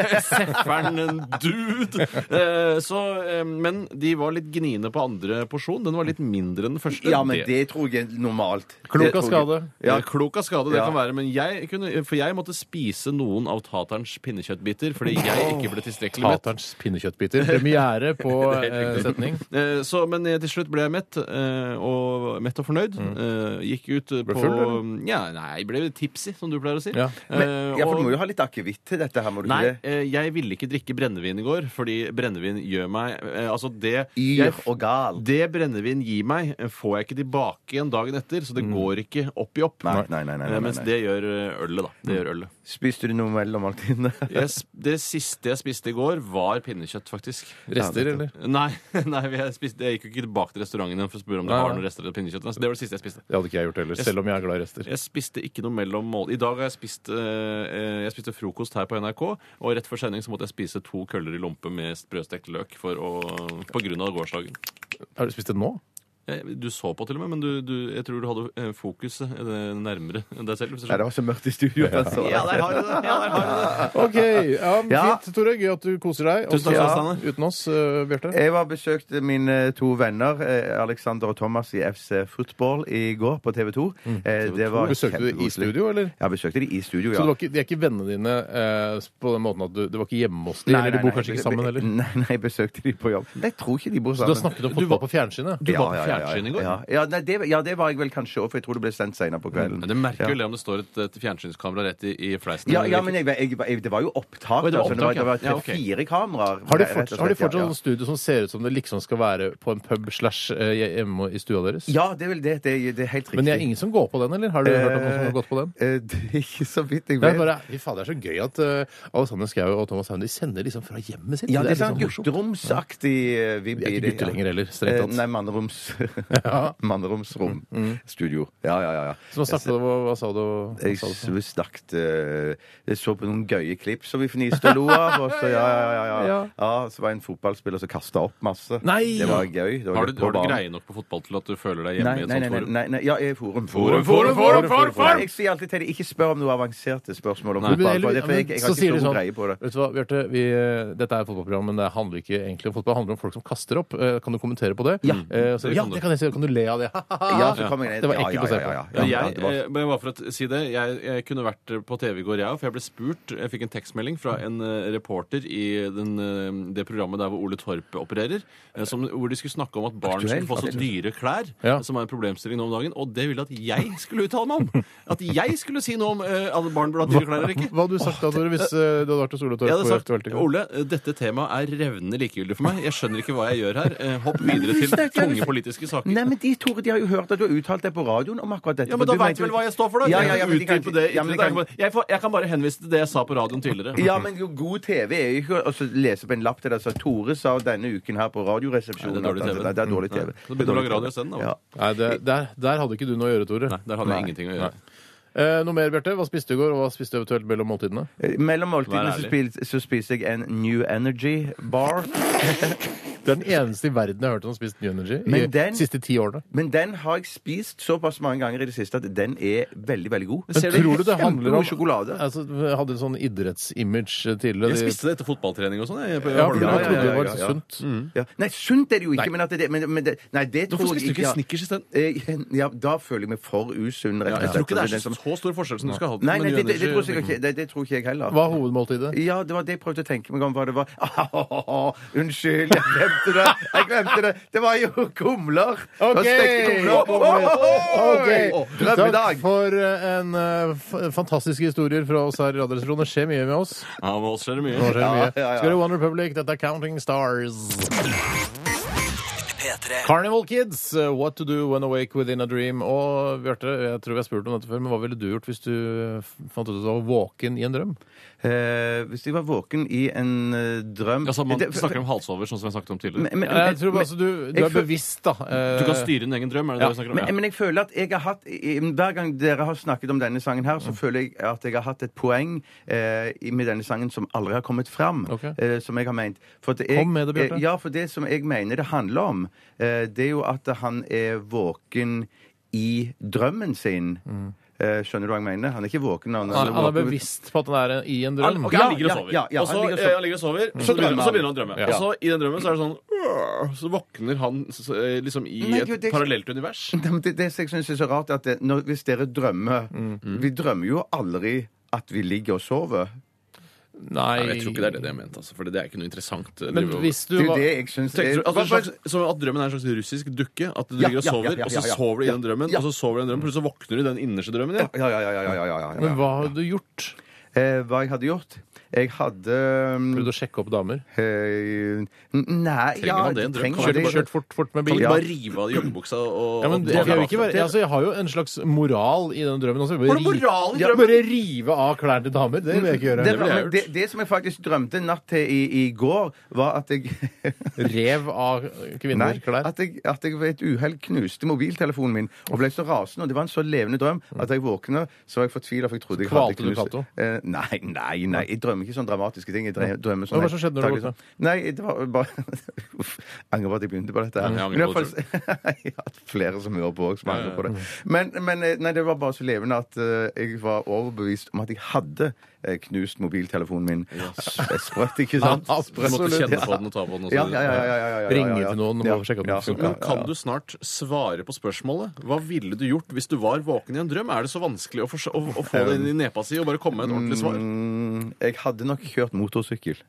E: Seffer'n dude! Eh, Så, eh, men de var litt gniende på andre porsjon. Den var litt mindre enn den første.
F: Ja, men det tror jeg er normalt.
D: Klok
F: Det tror
D: av
F: jeg-
D: skade.
E: Ja. Eh, Klok av skade, det
F: Ja.
E: kan være. Men jeg kunne, for jeg måtte spise noen av taterens pinnekjøttbiter fordi jeg ikke ble tilstrekkelig mett.
D: Taterens pinnekjøttbiter. Premiere på
E: Det er helt
D: eh,
E: riktig.
D: setning.
E: Eh, Så, men eh, til slutt ble jeg mett, eh, og, mett og fornøyd.
F: Mm.
E: Eh, Gikk ut eh,
D: Ble
E: på
D: full, eller?
E: ja, Nei, ble tipsy, som du pleier å si.
D: Ja.
E: Eh,
F: Men, ja, for du
E: og-
F: må jo ha litt akevitt til dette her, må du
E: Nei,
F: ikke det?
E: eh, jeg ville ikke drikke brennevin i går, fordi brennevin gjør meg eh, Altså, det
F: Yr
E: jeg,
F: og gal.
E: det brennevin gir meg, eh, får jeg ikke tilbake igjen dagen etter, så det går ikke opp i opp.
F: Mm. Nei, nei, nei, nei, nei,
E: Eh, Mens
F: nei. Mm.
E: det gjør eh, ølet, da. Det gjør ølet.
F: Spiste du noe mellom måltidene?
E: Jeg, s- det siste jeg spiste i går, var pinnekjøtt, faktisk.
D: Rester, eller?
E: Nei, nei jeg, spiste, jeg gikk jo ikke tilbake til restauranten igjen for å spørre om det
D: Nei,
E: var
D: nei.
E: noen rester av pinnekjøtt. Altså, Det var det siste jeg spiste.
D: Det hadde ikke jeg gjort heller, selv om jeg er glad i rester.
E: Jeg spiste ikke noe mellom mål. I dag har jeg spist, eh, eh, jeg spiste frokost her på NRK, og rett før sending så måtte jeg spise to køller i lompe med sprøstekt løk for å, på grunn av gårsdagen.
D: Har du spist det nå?
E: Eh, Du så på til og med, men du, du, jeg tror du hadde eh, fokuset eh, nærmere deg selv. Hvis du
F: Nei, det
E: skjønner.
F: var så mørkt i studio. altså.
E: Ja, der har du det! Ja, der har du det.
D: OK. Ja,
F: Ja.
D: Fint, Tore. Gøy at du koser deg.
E: Tusen takk,
D: Også-
E: Steiner.
D: Uten oss, uh, Bjarte.
F: Jeg var besøkt mine to venner, eh, Alexander og Thomas, i FC Football i går på TV 2.
D: Mm,
F: Det var
D: Besøkte du det i
F: kjempekoselig.
D: studio, eller?
F: Ja, besøkte de i studio, ja.
D: Så det var ikke, de er ikke vennene dine eh, på den måten at du, det var ikke hjemme hos dem?
F: Nei,
D: Eller
F: nei,
D: de bor
F: nei.
D: kanskje ikke sammen heller?
F: Nei, nei, besøkte de på jobb. Jeg tror ikke de bor
D: Du har
F: sammen.
D: snakket om fotball på fjernsynet?
E: Du var på fjernsyn i går?
F: Ja, ja, nei, det, ja, det var jeg vel kanskje òg, for jeg tror det ble sendt seinere på kvelden.
E: Men Du merker jo det om det står et, et fjernsynskamera rett i, i fleisen.
F: Ja, ja, men jeg, jeg, jeg, det var jo opptak.
E: Oi, det var
F: altså, det var,
E: opptak, ja.
F: det var
E: Ja, ok.
F: fire kameraer.
D: Har de
F: rett og
D: fortsatt,
F: slett,
D: har de
F: ja,
D: fortsatt
F: ja.
D: sånn studio som ser ut som det liksom skal være på en pub slash eh, hjemme i stua deres?
F: Ja, det er vel det. Det, er- det er helt riktig.
D: Men det er ingen som går på den, eller? Har du hørt om noen som har gått på den?
F: Eh, eh, Det er ikke så vidt jeg
D: Det er
F: vet.
D: bare, fy faen, det er så gøy at uh, Alexander Schou og Thomas Haun de sender liksom fra hjemmet sitt.
F: Ja, det er
D: liksom
F: sånn gutteromsaktig eh, vibb
D: Vi er
F: i
D: ikke
F: det,
D: gutter
F: ja.
D: lenger heller, strengt
F: Eh,
D: tatt. Mm,
F: Nei, manneroms. Manneromsrom. Studio. Ja, ja, ja. ja.
D: Så nå snakket du, hva, hva sa du? Hva
F: Jeg
D: sa du?
F: s- vi snakket eh, Jeg så på noen gøye klipp som vi fniste og lo av. Og så, ja, ja, ja, ja.
D: Ja.
F: ja. så var det en fotballspiller som kasta opp masse.
D: Nei!
F: Det var gøy. Det var
E: Har
F: litt
E: du,
F: på
E: har du
F: banen.
E: greie nok på fotball til at du føler deg hjemme
F: Nei,
E: i et
F: nei,
E: sånt
F: nei, nei,
E: forum?
F: nei, nei, ja, i forum.
E: Forum, forum, forum, forum, forum.
F: Jeg sier alltid til dem ikke spør om noe avanserte spørsmål om
D: Men
F: fotball.
D: eller-
F: For det, for jeg, jeg
D: så
F: har
D: sier
F: ikke
D: de
F: så
D: sånn,
F: god greie på det.
D: Vet du hva, Bjarte, vi, eh, dette er et fotballprogram, men det handler ikke egentlig om fotball. Det handler om folk som kaster opp. Eh, Kan du kommentere på det?
F: Ja.
D: Eh, så,
E: Det
D: ja,
E: kan du.
D: det kan jeg si. Kan du le av det?
F: Ja, så kommer jeg ned.
D: Ah, Det var
F: Ja,
D: ekkelt
F: ja,
D: å se
F: ja,
D: på.
F: ja, ja.
E: Ja, jeg,
F: det var-
E: eh, men bare for å si det, jeg, jeg kunne vært på TV i går, jeg òg. For jeg ble spurt Jeg fikk en tekstmelding fra en eh, reporter i den, eh, det programmet der hvor Ole Torp opererer, eh, som, hvor de skulle snakke om at barn
F: Aktuelt,
E: skulle få så dyre klær,
D: Ja.
E: som er en problemstilling nå om dagen. Og det ville at jeg skulle uttale meg om! At jeg skulle si noe om eh, at barn burde ha dyre klær eller ikke.
D: Hva hadde du sagt da, Tore, hvis eh, du hadde vært hos Ole Torp?
E: Jeg hadde
D: på
E: sagt
D: Aktuelt i går?
E: Ole, dette temaet er revnende likegyldig for meg. Jeg skjønner ikke hva jeg gjør her. Eh, Hopp videre til
F: Nei, men-
E: tunge politiske saker.
F: Nei, men de Tore, de har jo hørt at du har uttalt deg på radioen om akkurat dette.
E: Ja,
F: for
E: men Da
F: du
E: veit
F: mente-
E: vel hva jeg står for, da.
F: Ja, ja, ja,
E: Jeg
F: men de kan
E: utdyper
F: ikke-
E: det
F: ja, men de
E: ytterligere.
F: kan-
E: jeg, får, jeg kan bare henvise til det jeg sa på radioen tidligere.
F: Ja, men jo, god TV er jo ikke å så lese på en lapp til deg så Tore sa denne uken her på Radioresepsjonen
E: Nei, det er dårlig
F: at- Nei, det er dårlig TV.
E: TV. Nei, så begynner du å lage radio isteden, da.
F: Ja.
D: Nei, det, der, der hadde ikke du noe å gjøre, Tore.
E: Nei, der hadde
F: Nei.
E: jeg ingenting å gjøre.
D: Eh, noe mer, Bjarte? Hva spiste du i går, og hva spiste du eventuelt mellom måltidene?
F: Eh, Mellom måltidene
E: Vær
F: så,
E: ærlig.
F: spil, så spiser jeg en New Energy Bar.
D: Du er den eneste i verden jeg har hørt som har spist New Energy i
F: Men den-
D: de siste ti årene.
F: Men den har jeg spist såpass mange ganger i det siste at den er veldig, veldig god.
D: Men tror du det handler om
F: Kjempegod sjokolade.
D: Altså, jeg hadde en sånn idrettsimage eh,
E: Jeg
D: tidligere.
E: spiste det etter fotballtrening og sånn. jeg, på
D: ja, for
E: Holmlia.
D: jeg
F: Ja, ja,
D: trodde det
F: ja,
D: var
F: ja, ja.
D: sunt.
F: Ja. Nei, sunt er det jo ikke,
D: Nei.
F: men at det, men, men det Nei, det tror
E: Hvorfor
F: jeg
E: spiste du
F: ikke.
E: ikke Snickers isteden?
F: Eh, Ja, da føler jeg meg for usunn, rett
E: Ja,
F: og slett.
E: jeg tror ikke det er
F: Den som-
E: så så stor forskjell som du skal ha
F: Nei, nei det,
E: med
F: det, det,
E: New
F: tror
E: Energy.
F: jeg ikke, det, det tror ikke jeg heller.
D: Hva er hovedmåltidet?
F: Ja, det var det jeg prøvde å tenke meg om hva det var. Ah, unnskyld, jeg glemte det! Jeg glemte Det Det var jo kumler! Det var
D: Ok!
F: Stekte kumler.
D: Ok. Takk
F: Drømmedag!
D: for eh, en eh, f- fantastiske historier fra oss her i Radioresepsjonen. Det skjer mye med oss.
E: Ja, men også skjer
D: Nå
E: det mye.
D: skjer det mye.
F: Ja, ja, ja.
D: Skal du One Republic? Dette er Counting Stars.
B: P3.
D: Carnival Kids, uh, What to do when awake within a dream. Og Bjarte, jeg tror vi har spurt om dette før, men hva ville du gjort hvis du uh, fant ut at du var våken i en drøm?
F: Eh, hvis jeg var våken i en eh, drøm
E: Altså, man
F: Det-
E: snakker om halsover, sånn som jeg snakket om tidligere.
F: Men- men-
D: Jeg tror
F: men-
D: altså, du, du
F: jeg
D: er
F: føl-
D: bevisst, da. eh,
E: Du kan styre din egen drøm, er det det vi snakker om?
F: Men, men jeg føler at jeg har hatt i- Hver gang dere har snakket om denne sangen her, så
D: Mm.
F: føler jeg at jeg har hatt et poeng eh, i- med denne sangen som aldri har kommet fram.
D: Ok.
F: Eh, som jeg har ment. For at jeg,
D: Kom med det, Bjarte.
F: eh, Ja, for det som jeg mener det handler om, eh, det er jo at han er våken i drømmen sin. Eh, skjønner du hva jeg mener? Han er ikke våken. Han,
D: Mm. Han, han er bevisst på at han er i en
E: Han,
D: drøm.
E: Ah, ok, han
F: Ja,
E: ligger og
F: ja,
E: sover.
F: ja, ja,
E: og så
F: han ligger og sover.
E: eh, han ligger og sover,
F: drømmer
E: så
F: han.
E: begynner, så begynner han å drømme.
D: Ja.
E: Og så i den drømmen så er det sånn «Åh», Så våkner han s- eh, liksom i
F: Nei,
E: et
F: jo, det-
E: parallelt univers.
F: Det, det, det som jeg syns er så rart, er at det, når, hvis dere drømmer
D: Mm.
F: Vi drømmer jo aldri at vi ligger og sover.
D: Nei,
E: Nei, jeg tror ikke det er det jeg mente, altså, for det er ikke noe interessant. eh,
D: Men
E: drive-
D: hvis du
F: Det er jo
D: var
F: det jeg syns
E: Tenker
F: er-
E: du- altså, en slags, som at drømmen er en slags russisk dukke. At du
F: Eh, Ja,
E: ligger og
F: ja,
E: sover,
F: ja, ja,
E: og så
F: ja, ja.
E: sover du i den drømmen,
F: Ja.
E: og så sover du i den drømmen, plutselig så våkner du i den innerste drømmen. Ja.
F: Ja, ja, ja. ja, ja, ja, ja, ja.
D: Men hva hadde du gjort?
F: Eh, hva jeg hadde gjort? Jeg hadde um,
D: Prøvd å sjekke opp damer?
F: eh, n- Nei
E: Trenger man det, en drøm? Kan
D: Kjørt,
E: det-
D: kjørt fort, fort med
E: Kan
D: bil?
E: du ikke
F: Ja.
E: bare rive av joggebuksa og
D: Ja, men
E: og
D: det, jeg,
E: bade
D: vil ikke være,
E: bakfra?
D: altså, jeg har jo en slags moral i den drømmen også. Bare
E: Har
D: ri-
E: du moral i
D: Ja,
E: drømmen?
D: Bare rive av klær til damer. Det vil jeg
F: Det,
D: ikke gjøre.
E: ville jeg
F: men det, det som jeg faktisk drømte natt til i, i går, var at jeg
D: Rev av
F: Nei,
D: kvinner klær.
F: at jeg, at jeg ved et uhell knuste mobiltelefonen min og ble så rasende. Og det var en så levende drøm
E: Mm.
F: at da jeg våkna, så var jeg fortvila. For jeg trodde jeg hadde
D: kvalte du
F: knust-
D: Cato?
F: Eh, nei, nei, nei. Jeg drømmer ikke sånne dramatiske ting. Jeg
E: Mm.
F: dre- drømmer
D: Hva
F: sånn
D: var det som skjedde når du
F: daglig- Nei, det var bare Uff. Angrer på at jeg begynte på dette her.
E: jeg angrer
F: Men i
E: på
F: hvert fall-
E: det,
F: jeg har hatt flere som hører på òg, som
E: Ja, Mm. ja,
F: angrer på det. Men, men eh, nei, det var bare så levende at eh, jeg var overbevist om at jeg hadde eh, knust mobiltelefonen min. Sprøtt, ikke sant?
D: Ja,
E: Du måtte
D: absolutt.
E: kjenne på den og ta på den. og så
F: Ja, ja,
E: videre.
F: ja, ja, ja, ja, ja,
D: Ringe
F: ja, ja.
D: til noen og
F: Ja,
D: sjekke at den
F: ja,
D: funker.
F: ja,
E: Men
F: ja.
E: kan du snart svare på spørsmålet? Hva ville du gjort hvis du var våken i en drøm? Er det så vanskelig å, forse- å, å få det inn i nepa si og bare komme med et ordentlig svar?
F: Mm, jeg hadde nok kjørt motorsykkel.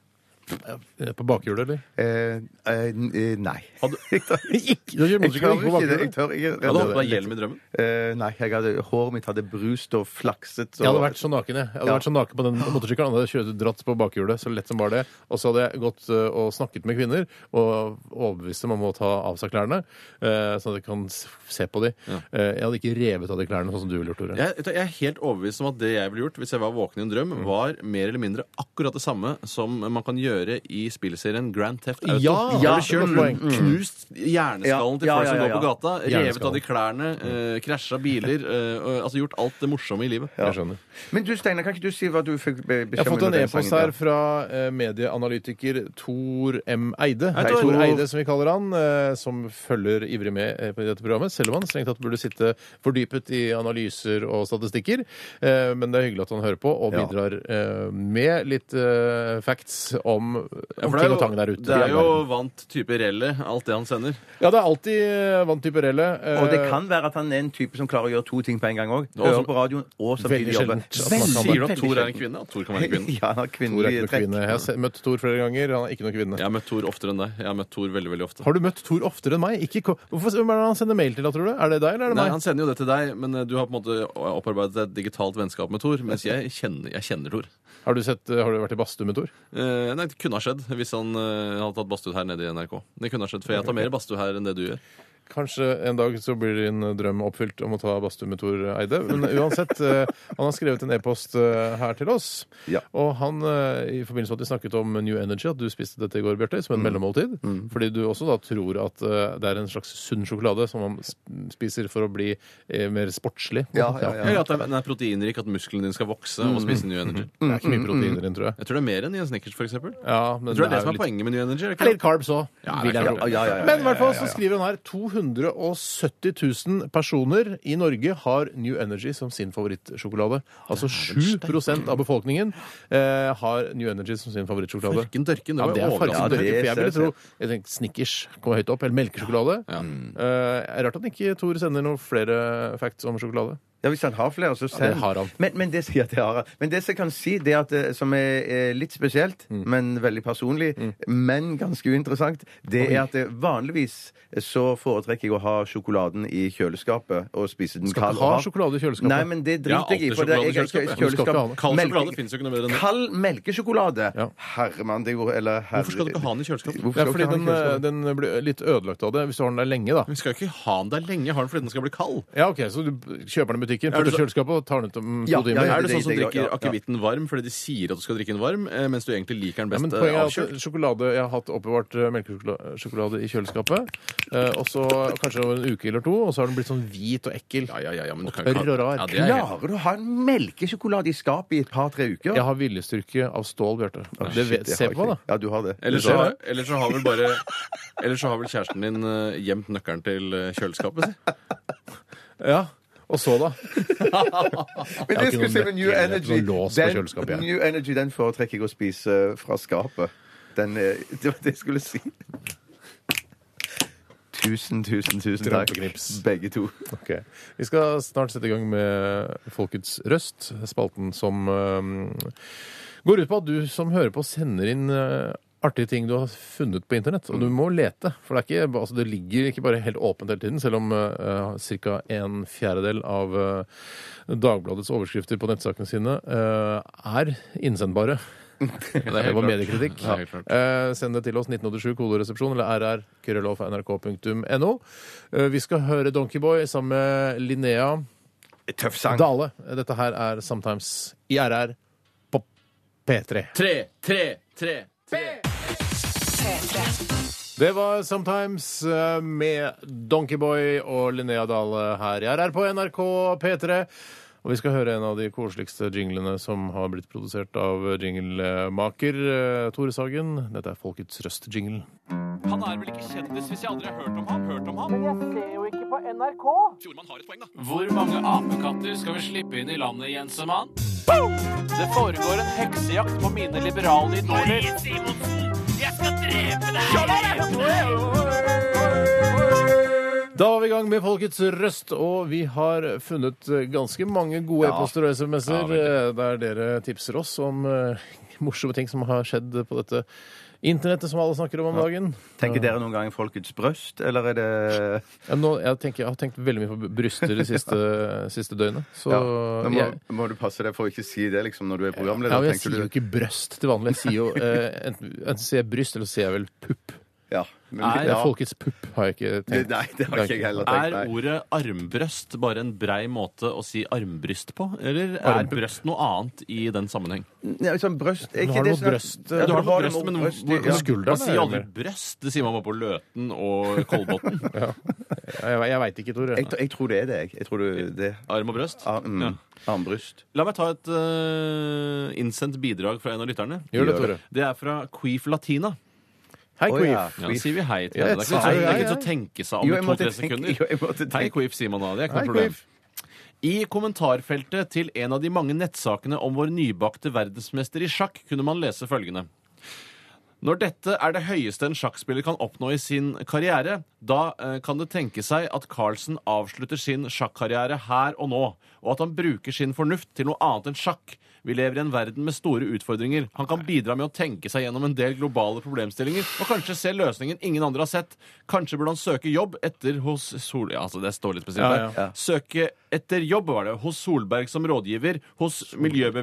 D: På bakhjulet, eller?
F: Eh, eh, n- eh, nei. Jeg tør
D: Ikke, du kjører
F: ikke
D: motorsykkel ikke på
F: det. Jeg
D: bakhjulet.
F: tør ikke
E: Ja, da hadde du deg hjelm i drømmen.
F: Eh, nei, jeg hadde, håret mitt hadde brust og flakset.
D: Jeg hadde
F: Og,
D: vært så naken jeg. Jeg hadde
F: Ja.
D: vært så naken på den motorsykkelen. Jeg hadde kjørt dratt på bakhjulet så lett som bare det. Og så hadde jeg gått ø, og snakket med kvinner og overbevist dem om å ta av seg klærne, ø, sånn at jeg kan s- se på dem. Jeg hadde ikke revet av de klærne, sånn som du ville gjort, Tore.
E: Jeg, vet du, jeg er helt overbevist om at det jeg ville gjort hvis jeg var våken i en drøm, var mer eller mindre akkurat det samme som man kan gjøre i spillserien Grand Theft Auto.
D: Ja,
E: Da har
D: ja,
E: du kjørt,
D: godt poeng.
E: knust hjerneskallen til
F: Ja, ja,
E: folk som
F: ja,
E: går
F: ja.
E: på gata, revet
D: Hjerneskallen.
E: av de klærne, eh, krasja biler, eh, og- altså gjort alt det morsomme i livet.
D: Jeg skjønner.
F: Men du, Steinar, kan ikke du si hva du fikk be- beskjed
D: Jeg har fått en
F: under den
D: e-post
F: sangen?
D: her fra eh, medieanalytiker Tor M. Eide.
E: Hei, Tor.
D: Tor Eide, som vi kaller han, eh, som følger ivrig med eh, på dette programmet. Selv om han strengt tatt burde sitte fordypet i analyser og statistikker. Eh, Men det er hyggelig at han hører på og
F: Ja.
D: bidrar eh, med litt eh, facts om,
E: Ja,
D: om
E: for det er
D: ting og
E: jo-
D: tang der ute.
E: Det er jo vant type relle, alt det han sender.
D: Ja, det er alltid eh, vant type relle. eh,
F: Og det kan være at han er en type som klarer å gjøre to ting på en gang òg.
E: også-
F: Høre på radioen og samtidig
D: Veldig
F: jobbe.
D: sjeldent at man kan
E: Sier du at
F: veldig
E: Thor er en
F: sjeldent.
E: kvinne? At Thor kan være en kvinne?
F: Ja, han har
D: Tor Eh, er ikke
F: kvinnelige
D: noe
F: trekk.
D: kvinne. Jeg har se- møtt Tor flere ganger. Han er ikke noen kvinne.
E: Jeg har møtt Thor oftere enn deg. Jeg har møtt Thor veldig, veldig ofte.
D: Har du møtt Tor oftere enn meg? Ikke, ko- Hvorfor, hvem er det han sender mail til, da, tror du? Er det deg, eller er det
E: Nei,
D: meg?
E: Han sender jo det til deg, men eh, du har på en måte opparbeidet deg et digitalt vennskap med Thor. Mens jeg kjenner, jeg kjenner Thor.
D: Har du, sett, har du vært i badstue med Tor?
E: Eh, nei, Det kunne ha skjedd hvis han eh, hadde tatt badstue her nede i NRK. Det kunne ha skjedd, For jeg tar mer badstue her enn det du gjør.
D: Kanskje en dag så blir din eh, drøm oppfylt om å ta badstue med Tor Eide. Men uansett, eh, han har skrevet en e-post eh, her til oss.
F: Ja.
D: Og han, eh, i forbindelse med at vi snakket om New Energy, at du spiste dette i går, Bjarte, som en
F: Mm.
D: mellommåltid. Fordi du også da tror at eh, det er en slags sunn sjokolade som man sp- spiser for å bli eh, mer sportslig.
F: Ja, ja, ja.
E: Eller at den er proteinrik, at musklene dine skal vokse og spise New Energy.
D: Det er ikke
F: Mm,
D: mye proteiner i den, tror jeg.
E: Jeg tror det er mer enn i en Snickers, f.eks. Jeg
D: Mm. Ja, men
E: tror det er det
D: jo
E: som er poenget med New Energy. er det
D: Det er
E: ikke
D: litt carbs òg,
E: Ja,
D: vil
E: det
D: jeg
E: er klart.
D: tro.
F: Ja, ja, ja, ja,
D: Men i hvert fall så skriver hun her 270 000 personer i Norge har New Energy som sin favorittsjokolade. Altså 7 av befolkningen eh, har New Energy som sin favorittsjokolade.
E: Farken dørken, det
D: Ja,
E: var
D: det er
F: Ja,
D: farken
E: overraskende.
F: det
D: dørken, for jeg ville
F: ser
D: tro
F: jeg.
D: jeg tenker, Snickers kommer høyt opp, eller melkesjokolade.
E: Ja.
D: Eh, rart at ikke Tor sender noen flere facts om sjokolade.
F: Ja, Hvis han har flere, så send.
D: har han.
F: Men, men, det, ja, det har han. men det som jeg kan si, det er at, eh, som er eh, litt spesielt, men veldig personlig, men ganske uinteressant, det er at eh, vanligvis eh, så foretrekker jeg å ha sjokoladen i kjøleskapet og spise den
D: Skal
F: kald.
D: ikke ha
F: og hard.
D: sjokolade i kjøleskapet.
F: Nei, men det
E: Ja,
F: driter jeg i.
E: alltid
F: for det er- jeg- jeg-
E: sjokolade i kjøleskapet.
D: Du skal ikke ha det.
E: Kald
F: melke-
E: sjokolade finnes jo ikke noe bedre enn det.
F: Kald melkesjokolade.
D: Ja.
F: Herremann, det går Eller herre...
E: Hvorfor skal du ikke ha den i kjøleskapet?
F: Hvorfor
D: Det
F: skal
D: er
F: du
D: fordi
F: ikke ha den i
D: den, eh,
F: kjøleskapet?
D: den blir litt ødelagt av det hvis du har den der lenge, da.
E: Vi skal jo ikke ha den der lenge. Har den fordi den skal bli kald?
D: Ja, ok, Så du kjøper den i butikken,
E: Er det
D: putter den i kjøleskapet og tar den ut om to
F: Ja,
D: timer?
F: ja, ja,
E: Er det
F: det-
E: sånn som
F: det- ja,
E: drikker
F: ja.
E: akevitten varm fordi de sier at du skal drikke den varm, eh, mens du egentlig liker den
D: Ja, men
E: best eh,
D: poenget er
E: avkjølt?
D: at sjokolade, Jeg har hatt oppbevart eh, melkesjokolade i kjøleskapet. eh, Og så kanskje over en uke eller to, og så har den blitt sånn hvit og ekkel.
E: Ja, ja, ja, ja, men du kan jo
D: Tørr og
E: ikke ha-
D: rar.
E: Ja, det er helt-
F: Klarer du å ha en melkesjokolade i skapet i et par-tre uker?
D: Jeg har viljestyrke av stål, Bjarte. Det
F: Shit,
D: vet-
F: jeg
D: Se
F: har
D: på meg,
F: ikke-
D: da.
F: Ja, du har det.
E: Eller
F: Du
E: så,
F: har det.
E: eller så har vel bare Eller så har vel kjæresten din eh, gjemt nøkkelen til eh, kjøleskapet, si.
D: Ja, Og så, da?
F: Men
D: Jeg har
F: det
D: ikke
F: skulle si
D: noe
F: med New
D: nøkkel, jeg har ikke
F: Energy
D: noe lås på kjøleskapet, jeg.
F: den, New Energy, den foretrekker jeg å spise eh, fra skapet. Den, eh, det var det jeg skulle si. Tusen, tusen, tusen takk.
D: Trampeknips.
F: Begge to.
D: Ok. Vi skal snart sette i gang med Folkets røst, spalten som eh, går ut på at du som hører på, sender inn eh, artige ting du har funnet på internett.
E: Mm.
D: Og du må lete, for det, er ikke, ba- altså, det ligger ikke bare helt åpent hele tiden, selv om ca. en fjerdedel av eh, Dagbladets overskrifter på nettsakene sine eh, er innsendbare.
E: Det
D: Det
E: er helt
D: var
E: klart.
D: mediekritikk.
E: Ja, helt klart.
D: Eh, send det til oss 1987 kodoresepsjon eller rr.krølloff.nrk.no. Eh, vi skal høre Donkeyboy sammen med Linnea
F: Tøff sang.
D: Dale. Dette her er Sometimes i RR på P3.
E: Tre, tre, tre.
D: Det var Sometimes eh, med Donkeyboy og Linnea Dale her i RR på NRK P3. Og vi skal høre en av de koseligste jinglene som har blitt produsert av jinglemaker eh, Tore Sagen. Dette er Folkets Røst-jinglen.
A: Han er vel ikke kjendis hvis jeg aldri har hørt om ham? Hørt om ham? Men jeg ser jo ikke på NRK. Fjordmann har et poeng, da. Hvor mange apekatter skal vi slippe inn i landet, Jensemann? Det foregår en heksejakt på mine liberale idoler. Marie Simonsen, jeg skal drepe deg!
D: Da var vi i gang med Folkets røst, og vi har funnet ganske mange gode e-poster og SMS-er eh, der dere tipser oss om eh, morsomme ting som har skjedd på dette internettet som alle snakker om om dagen.
F: Tenker dere noen gang folkets brøst, eller er det
D: Ja, nå, jeg, tenker, jeg har tenkt veldig mye på bryster det siste, siste døgnet, så
F: ja. Nå må,
D: jeg,
F: må du passe deg for å ikke si det liksom, når du er programleder.
D: ja, men jeg
F: tenker
D: sier jo
F: du.
D: ikke brøst til vanlig. Jeg sier jo eh, enten, enten sier jeg bryst, eller så sier jeg vel pupp.
F: Ja, men,
E: Nei,
D: Det
F: ja.
D: er Folkets pupp, har jeg ikke
F: Det,
D: tenkt.
F: nei, det har ikke jeg heller tenkt.
E: Er
F: Nei.
E: ordet armbrøst bare en brei måte å si armbryst på? Eller er
D: Armpupp.
E: brøst noe annet i den sammenheng?
F: Nei, sånn brøst er ikke
D: Nå har du
F: det
D: noe
F: sånn-
D: brøst.
F: Ja,
E: Du har
F: du
E: noe
F: har
E: brøst,
F: noe
E: men
F: brøst i-
E: hvor,
F: ja.
D: skulderen
E: man sier
D: er
E: aldri
D: det
E: brøst. Det sier man bare på Løten og Kolbotn.
D: Jeg, jeg veit ikke, Tore.
F: Jeg, jeg tror det er det, jeg. jeg tror du, det.
E: Arm og brøst.
F: Ar- mm,
E: Ja.
F: Armbryst.
E: La meg ta et eh, innsendt bidrag fra en av lytterne.
D: Gjør det, Tore.
E: Det er fra Queef Latina.
D: Hei,
F: Å, ja.
D: Queef.
E: Ja,
F: Queef.
E: sier vi hei til
D: Ja,
E: henne. Det er ikke,
D: sa
E: det
D: du
E: er
D: hei,
E: ikke
D: hei.
E: til å tenke seg
F: Jo,
E: om i
F: jeg måtte
E: to-tre
F: tenke-
E: sekunder.
F: jo, jeg måtte
E: Hei,
F: tenke.
E: Queef, sier man da. Det er ikke
D: Hei,
E: noe problem.
D: Queef.
E: I kommentarfeltet til en av de mange nettsakene om vår nybakte verdensmester i sjakk kunne man lese følgende. Når dette er det høyeste en sjakkspiller kan oppnå i sin karriere, da eh, kan det tenke seg at Carlsen avslutter sin sjakkarriere her og nå, og at han bruker sin fornuft til noe annet enn sjakk. Vi lever i en verden med store utfordringer. Han kan bidra med å tenke seg gjennom en del globale problemstillinger, og kanskje se løsningen ingen andre har sett. Kanskje burde han søke jobb etter hos Sol... Ja, altså, det står litt spesielt
D: Ja,
E: der.
D: ja.
E: Søke etter jobb, var det, hos Solberg som rådgiver, hos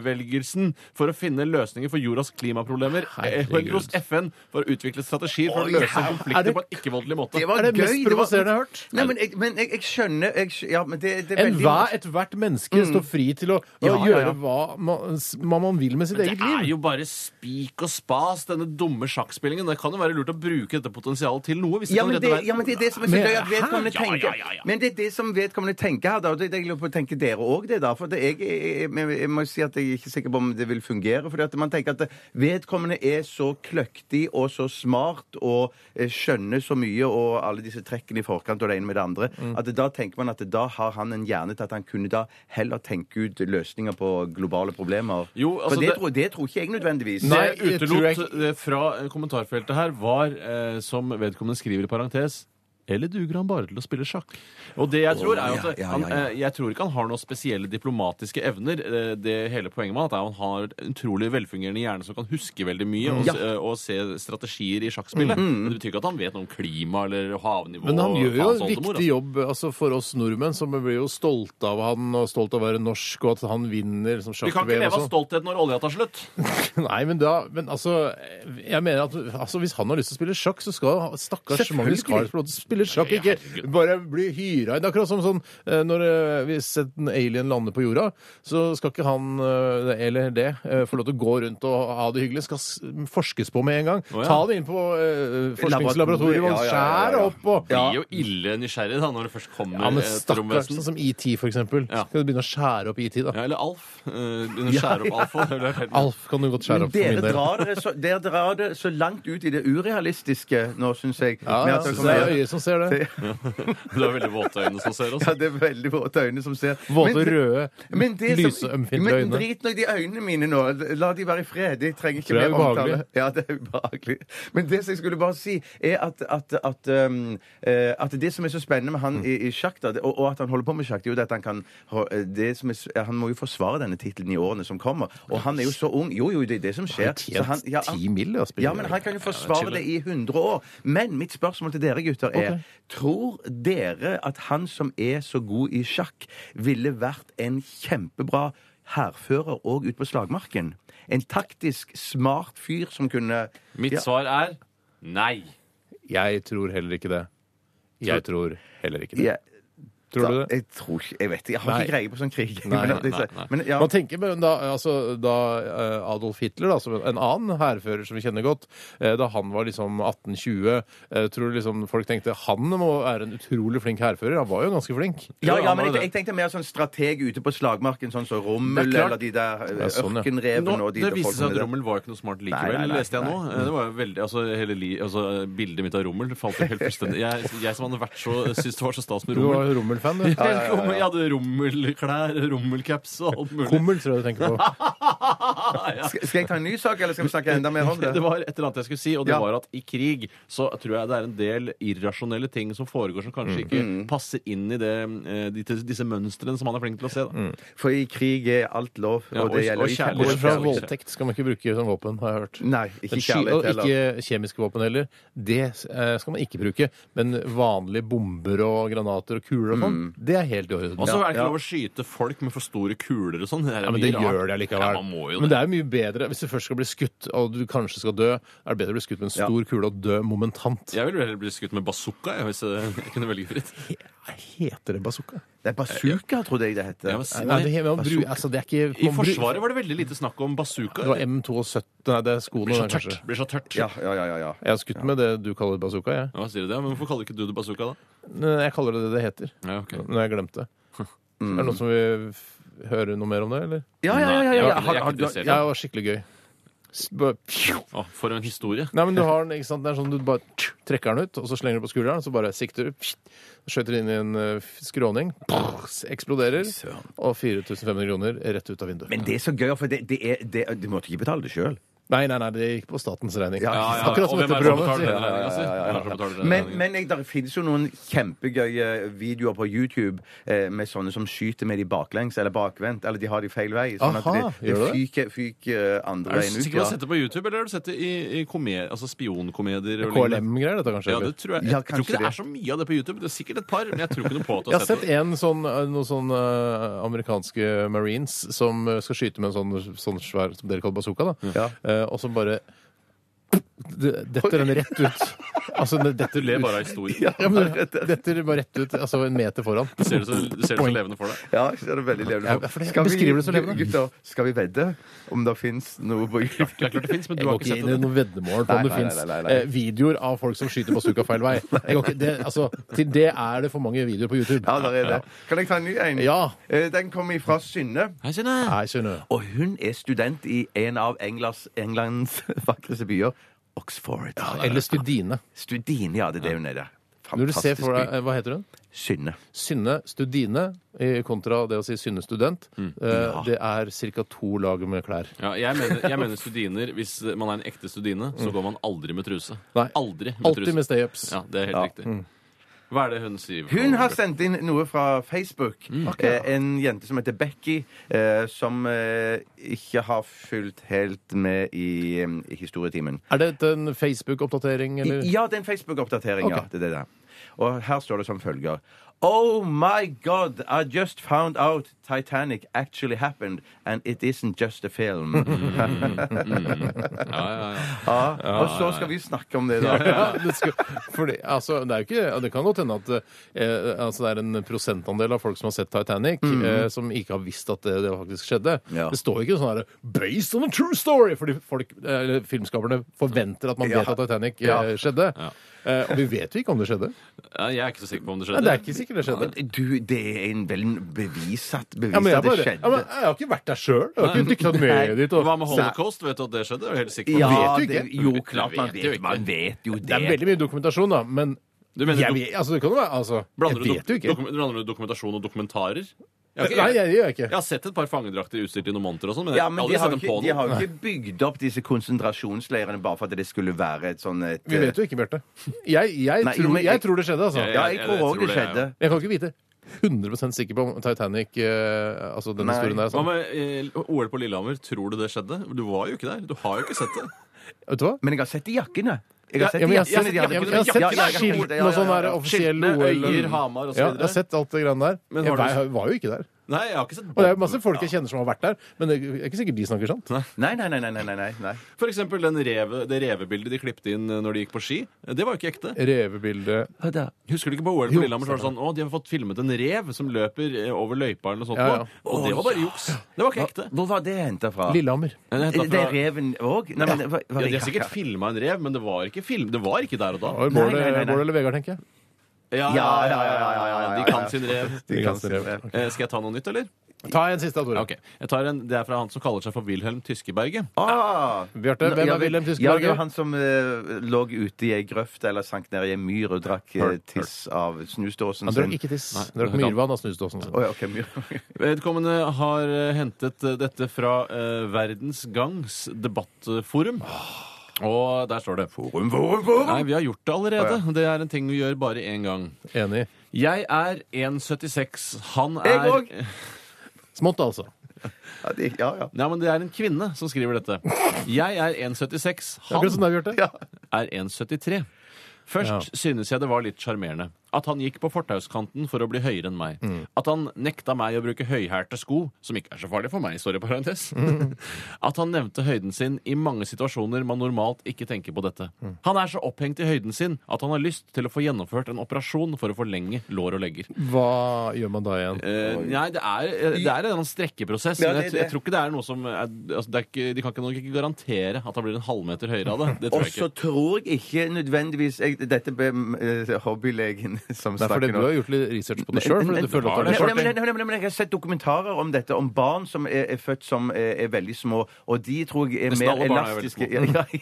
E: miljøbevelgelsen for å finne løsninger for jordas klimaproblemer, eh,
D: Herregud.
E: hos FN for å utvikle strategier for å løse konflikter
D: Er det-
E: på en ikke-voldelig måte.
F: Det var
D: Er er det mest
F: var-
D: provoserende jeg har hørt.
F: Nei, men jeg, men jeg, jeg skjønner jeg, skj- ja, men det, det er veldig
D: Enhver, ethvert menneske
E: Mm.
D: står fri til å, å
F: Ja, ja,
D: gjøre
F: ja.
D: Hva, man, s- hva man vil med sitt
E: Det
D: eget liv.
E: er jo bare spik og spas, denne dumme sjakkspillingen. Det kan jo være lurt å bruke dette potensialet til noe. hvis det
F: Ja
E: kan
F: men
E: redde
F: det,
E: verden.
F: ja, men det er det som er så
D: Men-
F: gøy at vedkommende
E: Hæ? Ja,
F: tenker.
E: ja, ja, ja.
F: Men det er det som vedkommende tenker her, da. Og det, det jeg lurer på, tenker dere òg det, da? For det, jeg, jeg, jeg, jeg må si at jeg er ikke sikker på om det vil fungere. fordi at man tenker at vedkommende er så kløktig og så smart og eh, skjønner så mye og alle disse trekkene i forkant og det ene med det andre,
E: Mm.
F: at da tenker man at da har han en hjerne til at han kunne da heller tenke ut løsninger på globale problemer.
E: Jo,
F: For
E: altså
F: det,
E: det-
F: tror, det tror ikke jeg nødvendigvis.
E: Det
D: Nei,
E: jeg
D: jeg tror
E: utelot
D: jeg-
E: eh, fra eh, kommentarfeltet her, var, eh, som vedkommende skriver i parentes eller duger han bare til å spille sjakk? Og det Jeg tror er jo
F: ja,
E: at
F: ja,
E: han,
F: ja, ja.
E: eh, jeg tror ikke han har noen spesielle diplomatiske evner. Eh, Det hele poenget med han er at han har et utrolig velfungerende hjerne som kan huske veldig mye og,
D: Mm.
F: Ja.
E: se, eh, og se strategier i sjakkspillet.
F: Mm.
E: Men Det betyr ikke at han vet noe om klima eller havnivå.
D: Men han
E: og
D: gjør jo
E: faens
D: en
E: oldemor,
D: viktig jobb altså for oss nordmenn, som blir jo stolte av han og stolt av å være norsk, og at han vinner som
E: Vi kan ikke
D: sjakk-VM og
E: leve
D: sånn.
E: av stolthet når olja tar slutt.
D: Nei, men da Men altså, jeg mener at altså, hvis han har lyst til å spille sjakk, så skal stakkars
F: Selvfølgelig.
D: Magnus Carlsen få lov til å spille sjakk,
E: Ja, ja,
D: ikke bare bli hyra inn. Akkurat som sånn eh, når eh, hvis en alien lander på jorda, så skal ikke han eh, eller det eh, få lov til å gå rundt og ha det hyggelig. Skal s- forskes på med en gang.
E: ja.
D: Ta det inn på eh, forskningslaboratoriet og
F: Ja, ja, ja, ja,
D: skjær
F: ja.
D: opp og
E: Blir jo ille nysgjerrig da når det først kommer eh,
D: Ja, men
E: et
D: stakkars,
E: romvesen.
D: sånn som ET, for eksempel.
E: Ja.
D: Skal du begynne å skjære opp ET, da?
E: Ja, eller Alf. Eh, Begynner å skjære opp Alf. og det blir helt-
D: Alf kan du godt skjære
F: Men
D: opp for
F: dere
D: min del.
F: drar, dere så, dere drar det så langt ut i det urealistiske nå, syns jeg.
D: Ja,
F: med
D: ja,
F: at dere
D: så det er
F: kommer-
D: øyet som ser det.
E: Det er veldig våte øyne som ser oss.
F: ja, det er veldig våte øyne som ser.
D: Våte,
F: Men-
D: røde,
F: men det som-
D: lyse, ømfintlige
F: Men
D: øyne.
F: drit nå i de øynene mine nå. La de være i fred. Jeg trenger ikke
D: For det er
F: mer
D: ubehagelig.
F: omtale. Ja, det er ubehagelig. Men det som jeg skulle bare si, er at, at, at, um, eh, at det som er så spennende med han i, i sjakk, da, det- og, og at han holder på med sjakk, det er jo det at han kan ha- eh, det som er, s- Han må jo forsvare denne tittelen i årene som kommer. Og han er jo så ung. Jo, jo, det er det som skjer. Så han- ja, han-
D: Ti mil, ja, spiller
F: ja, men Han kan jo forsvare
E: chiller.
F: det i 100 år. Men mitt spørsmål til dere gutter er Tror dere at han som er så god i sjakk, ville vært en kjempebra hærfører òg ute på slagmarken? En taktisk smart fyr som kunne
E: Mitt
F: Ja.
E: svar er nei.
D: Jeg tror heller ikke det. Jeg tror heller ikke det.
F: Ja,
D: Tror du
F: da-
D: det?
F: Jeg tror ikke Jeg vet ikke. Jeg har
D: Nei.
F: ikke greie på sånn krig.
D: Nei,
F: men,
E: nei, nei.
F: men ja,
D: Man tenker men da, altså, da eh, Adolf Hitler, da, som en annen hærfører som vi kjenner godt, eh, da han var liksom 1820, eh, tror du liksom folk tenkte han må være en utrolig flink hærfører? Han var jo ganske flink.
F: ja, ja,
E: han
F: men
E: var
F: jeg, jeg
E: det.
F: tenkte mer sånn strateg ute på slagmarken, sånn som
E: Det er
F: Rommel
E: klart.
F: eller de der
D: Ja, sånn, ja.
F: ørkenrevene
E: Nå,
F: og de
E: det
F: der
E: viste
F: folkene
E: seg at
F: der.
E: Rommel var ikke noe smart
F: Nei,
E: likevel.
F: nei, nei,
E: leste jeg nå. Eh, Det var jo veldig, altså, hele li, altså, bildet mitt av Rommel falt jo helt fullstendig Jeg, jeg som hadde vært så, syntes det var så stas med
D: Du var
E: Rommel.
D: Rommel-fan, du.
E: Velkommen. Jeg hadde Rommel-klær, Rommel-caps og alt mulig.
D: Kommel, tror jeg du tenker på.
E: ja.
F: Skal, skal jeg ta en ny sak, eller skal vi snakke enda mer om det?
E: Det var et eller annet jeg skulle si, og det
F: Ja.
E: var at i krig så tror jeg det er en del irrasjonelle ting som foregår som kanskje
F: Mm.
E: ikke passer inn i det, eh, de- disse mønstrene som han er flink til å se. Da.
F: For i krig er alt lov,
E: Ja,
F: og
E: og-
F: det gjelder
E: og
F: ikke-
E: kjærlighet.
D: Bortsett fra
E: Kjærlighet.
D: voldtekt skal man ikke bruke som våpen, har jeg hørt.
F: Nei, ikke
D: Men sky-
F: kjærlighet
D: og
F: heller.
D: ikke kjemiske våpen heller. Det eh, skal man ikke bruke. Men vanlige bomber og granater og kuler og sånn,
F: Mm.
D: det er helt i orden.
E: Og så er det ikke
F: ja.
E: lov å skyte folk med for store kuler og sånn. er
D: Ja, men
E: mye
D: det
E: rart.
D: gjør det allikevel.
E: Ja, man må jo
D: men det
E: det.
D: er jo mye bedre hvis du først skal bli skutt og du kanskje skal dø. Er det bedre å bli skutt med en
F: Ja.
D: stor kule og dø momentant?
E: Jeg ville heller blitt skutt med bazooka jeg, hvis jeg jeg kunne velge fritt.
D: Heter det bazooka?
F: Det er bazooka, trodde jeg det het.
E: Ja, men si-
D: Nei,
E: nei.
D: det, man bru, altså, det er ikke
E: I
D: man bru-
E: Forsvaret var det veldig lite snakk om bazooka.
D: Det var M72 Nei, det er skoene,
E: blir så
D: det,
E: tørt.
D: kanskje.
E: Blir så tørt.
F: Ja, ja, ja, ja, ja.
D: Jeg har skutt med det du kaller bazooka, jeg.
E: Ja, sier du det? Men hvorfor kaller ikke du det bazooka, da?
D: Nei, Jeg kaller det det det heter.
E: Ja, ok.
D: Men jeg glemte det. Er det noen som vil f- høre noe mer om det, eller?
F: Ja, ja, ja, ja,
E: Nei, jeg
F: ja.
E: er ikke-
F: Har-
E: jeg er
F: har
E: ikke
F: du-
E: interessert.
D: Ja, det var skikkelig gøy. S- bare-
E: Å, for en historie.
D: Nei, men du har den, ikke sant? Det er sånn du bare trekker den ut, og så slenger du på skulderen, så bare sikter du, skjøter inn i en eh, skråning, eksploderer, og 4500 kroner rett ut av vinduet.
F: Men det er så gøy, for det, det er det, Du måtte ikke betale det sjøl.
D: Nei, nei, nei, det gikk på statens regning.
F: Ja, ja, ja.
D: Akkurat som
E: Og hvem
D: dette
E: er det som
D: programmet.
E: betaler
D: sier jeg.
E: den regninga si? Hvem er det som betaler den
F: Men,
E: regningen?
F: men jeg, der finnes jo noen kjempegøye videoer på YouTube eh, med sånne som skyter med de baklengs eller bakvendt, eller de har de feil vei. Sånn
D: Aha,
F: at de, de
D: gjør du
F: fyker, fyker eh, andre
E: Er du
F: veien ut.
E: sikker på å sette det på YouTube, eller har du sett det i, i komed, altså spionkomedier? og lignende?
D: KLM-greier, dette kanskje?
E: Ja,
D: eller?
E: det tror jeg.
F: Ja,
E: Jeg tror
F: kanskje
E: ikke det
F: det.
E: er så mye av det på YouTube. Det er sikkert et par, men jeg tror ikke noe på at du
D: Jeg
E: har
D: har
E: sett
D: sett
E: det.
D: en sånn, eh, noen sånn eh, amerikanske marines som eh, skal skyte med en sånn, sånn svær som dere kaller bazooka, da.
F: Ja.
D: Eh, og som bare det detter den rett ut. Altså, det detter
E: Du ler bare av historien.
D: Ja, men det detter bare rett ut. Altså en meter foran.
E: Du ser det så, du ser det så levende for deg.
F: Ja, så er det veldig levende.
D: Ja, for det-
F: Skal vi-
D: beskriver det så levende.
F: Gutter, skal vi vedde om det fins noe på
E: Det er klart det fins, men du
D: Jeg
E: har
D: går
E: ikke
D: ikke
E: sett
D: inn i
E: det.
D: noe veddemål på
F: Nei,
D: om det
F: nei,
D: fins
F: nei, nei, nei.
D: eh, videoer av folk som skyter bazooka feil vei. Jeg går ikke, det, altså, til det er det for mange videoer på YouTube.
F: Ja, der er det. Kan jeg ta en ny en?
D: Ja.
F: Eh, Den kommer fra Synne.
E: Hei, Synne.
D: Nei, skjønner du.
F: Og hun er student i en av Englands, Englands vakreste byer, Oxford.
D: Eller Studine.
F: Studine, ja, det er det hun er der.
D: Når du ser
F: Fantastisk
D: for deg,
F: by.
D: eh, Hva heter hun?
F: Synne.
D: Synne Studine eh, kontra det å si Synne student. Eh, Det er ca. to lag med klær.
E: Ja, jeg, mener, jeg mener studiner. Hvis man er en ekte studine, så går man aldri med truse.
D: Mm. Nei.
E: Aldri med
D: Alltid med Mm.
E: truse.
D: stay-ups.
E: Ja, det er helt riktig. Hva er det hun sier?
F: Hun har sendt inn noe fra Facebook. Eh, en jente som heter Becky, eh, som eh, ikke har fulgt helt med i, eh, i historietimen.
D: Er det en Facebook-oppdatering, eller?
F: Ja, det er en Facebook-oppdatering, ja.
D: Ok.
F: Det er det der. Og her står det som følger. Oh my god, I just found out Titanic actually happened, and it isn't just a film.
E: Ja, ja, ja.
F: ja, og så skal vi snakke om det, da.
D: Ja, det, skal, fordi, altså, det, er jo ikke, det kan godt hende at eh, altså, det er en prosentandel av folk som har sett Titanic, eh, som ikke har visst at det, det faktisk skjedde.
F: Ja.
D: Det står jo ikke sånn her 'based on a true story', fordi folk, eh, eller filmskaperne forventer at man
F: Ja.
D: vet at Titanic eh,
F: Ja.
D: skjedde. Eh, og vi vet jo ikke om det skjedde.
E: Ja, Jeg er ikke så sikker på om det
D: Nei,
E: skjedde.
D: det er ikke sikkert det skjedde.
F: Du, det er en vel bevisat bevis
D: Ja, men jeg,
F: at det
D: bare, ja, men
F: skjedde.
D: jeg har ikke vært der sjøl. Jeg har ikke dykta ned dit. Og,
E: Hva med holocaust? Vet du at det skjedde? Er du helt sikker på
F: Ja,
E: det?
D: Vet du
F: det,
D: ikke?
F: jo, klart man
E: Jeg vet jo
F: vet,
E: ikke.
F: man vet jo det.
D: det er veldig mye dokumentasjon, da, men
E: Du mener
D: jeg,
E: dok-
D: vet- altså, det kan jo være altså, Jeg
E: Blander du,
D: vet jo
E: dok-
D: ikke.
E: dokum- blander du dokumentasjon og dokumentarer? Jeg har ikke-
D: Nei, jeg gjør ikke.
E: Jeg har sett et par fangedrakter utstyrt i noen monter og sånn, men jeg
F: Ja,
E: har
F: men
E: aldri
F: de har,
E: sett dem
F: ikke,
E: på
F: de har
E: noen.
F: jo ikke bygd opp disse konsentrasjonsleirene bare for at det skulle være et sånn et,
D: Vi vet jo ikke, Bjarte. Jeg, jeg,
F: Nei,
D: tror,
F: men jeg-
D: jeg tror det skjedde, altså.
E: Jeg-
F: Ja, jeg
E: jeg- jeg
F: tror òg
E: tror
F: det
E: det, jeg
F: skjedde.
D: Jeg kan ikke vite 100 sikker på om Titanic eh, Altså den
F: Nei.
D: historien der. er
E: Hva
D: sann.
E: med eh, OL på Lillehammer? Tror du det skjedde? Du var jo ikke der. Du har jo ikke sett det.
D: Vet du hva?
F: Men jeg har sett de jakkene. Jeg har
D: Ja,
F: sett de
D: ja, men jeg har
F: jakkene
D: sett-
F: de hadde
D: jeg-
F: på
D: jeg
F: seg.
D: har sett
F: Ja, ja, jeg har
D: skiltene
F: sett det, ja,
D: og sånn
F: ja,
D: der
F: ja.
D: offisielle
E: Skiltene,
D: OL
E: Øyer, Hamar og så
D: Ja,
E: videre.
D: jeg har sett alt det greiene der.
E: Men
D: Jeg,
E: har du-
D: var- var jo ikke der.
E: Nei, jeg har ikke sett
D: Og det er jo masse folk jeg kjenner som har vært der, men det er ikke sikkert de snakker sant.
F: Nei, nei, nei. nei, nei, nei, nei.
E: For eksempel den reve, det revebildet de klippte inn eh, når de gikk på ski. Det var jo ikke ekte.
D: Revebildet
E: Husker du ikke på OL på Lillehammer? Så var det sånn, å, de har fått filmet en rev som løper eh, over løypa eller noe sånt.
D: Ja,
E: nå».
D: ja.
E: Og det var bare juks. Det var ikke ekte.
F: Hvor var det henta fra?
D: Lillehammer.
E: Men
F: Er
E: det
F: Det
E: hentet
F: det
E: fra-
F: reven òg? Nei, men hva- hva
E: Ja,
F: er
E: de
F: det
E: har sikkert
F: jakka?
E: filma en rev, men det var ikke film. Det var ikke der og da.
D: Det var
F: Nei,
D: Bård
F: nei, nei, nei.
D: Bård eller Vegard, tenker jeg.
E: Ja, ja, ja, ja, ja, ja, De kan sin rev.
F: De kan se-
D: Ganske rev.
E: Eh, Skal jeg ta noe nytt, eller?
D: Ta en siste, da, Tore.
E: Ok, jeg tar en, Det er fra han som kaller seg for Wilhelm Tyskeberget.
F: Ah!
D: Bjarte, hvem
F: Ja,
D: er Wilhelm
F: Ja, det
D: Tyskeberger?
F: var han som eh, lå ute i ei grøft eller sank ned i ei myr og drakk eh, tiss av snusdåsen
D: Han drakk
F: sin.
D: ikke tiss.
E: Nei,
D: Han drakk
E: det kan-
D: myrvann av snusdåsen sin.
F: Å ja, ok, myr.
E: Vedkommende har eh, hentet eh, dette fra eh, Verdens Gangs debattforum. Og der står det
F: Vorum, vorum, vorum.
E: Nei, vi har gjort det allerede. Det er en ting vi gjør bare én gang.
D: Enig.
E: Jeg er 1,76. Han er
F: Jeg òg.
D: Smått, altså.
F: Ja, de- ja, ja.
E: Nei, men det er en kvinne som skriver dette. Jeg er 1,76. Han
D: Akkurat som deg, Bjarte.
F: Ja.
E: er 1,73. Først synes jeg det var litt sjarmerende at han gikk på fortauskanten for å bli høyere enn meg.
F: Mm.
E: At han nekta meg å bruke høyhælte sko, som ikke er så farlig for meg, står det i parentes.
F: Mm.
E: At han nevnte høyden sin i mange situasjoner man normalt ikke tenker på dette.
F: Mm.
E: Han er så opphengt i høyden sin at han har lyst til å få gjennomført en operasjon for å forlenge lår og legger.
D: Hva gjør man da igjen?
E: Eh, nei, det er, eh, det er en eller annen strekkeprosess.
F: Ja,
E: men
F: det
E: jeg,
F: er det.
E: jeg tror ikke det er noe som er, altså, det er ikke, De kan ikke, nok ikke garantere at han blir en halvmeter høyere av det. Det
F: Og
E: tror jeg ikke.
F: så tror jeg ikke nødvendigvis jeg, Dette ble eh, hobbylegen som
D: Det er fordi
F: snakker
D: du
F: nå.
D: har gjort litt research på det sjøl.
F: Men-
D: Du føler at
F: Nei,
D: det er
F: nei, men- nei, men- men Jeg har sett dokumentarer om dette, om barn som er, er født som er, er veldig små. Og de tror jeg er
E: Nesten
F: mer
E: alle barn er veldig
F: elastiske. Ja, ja, ja.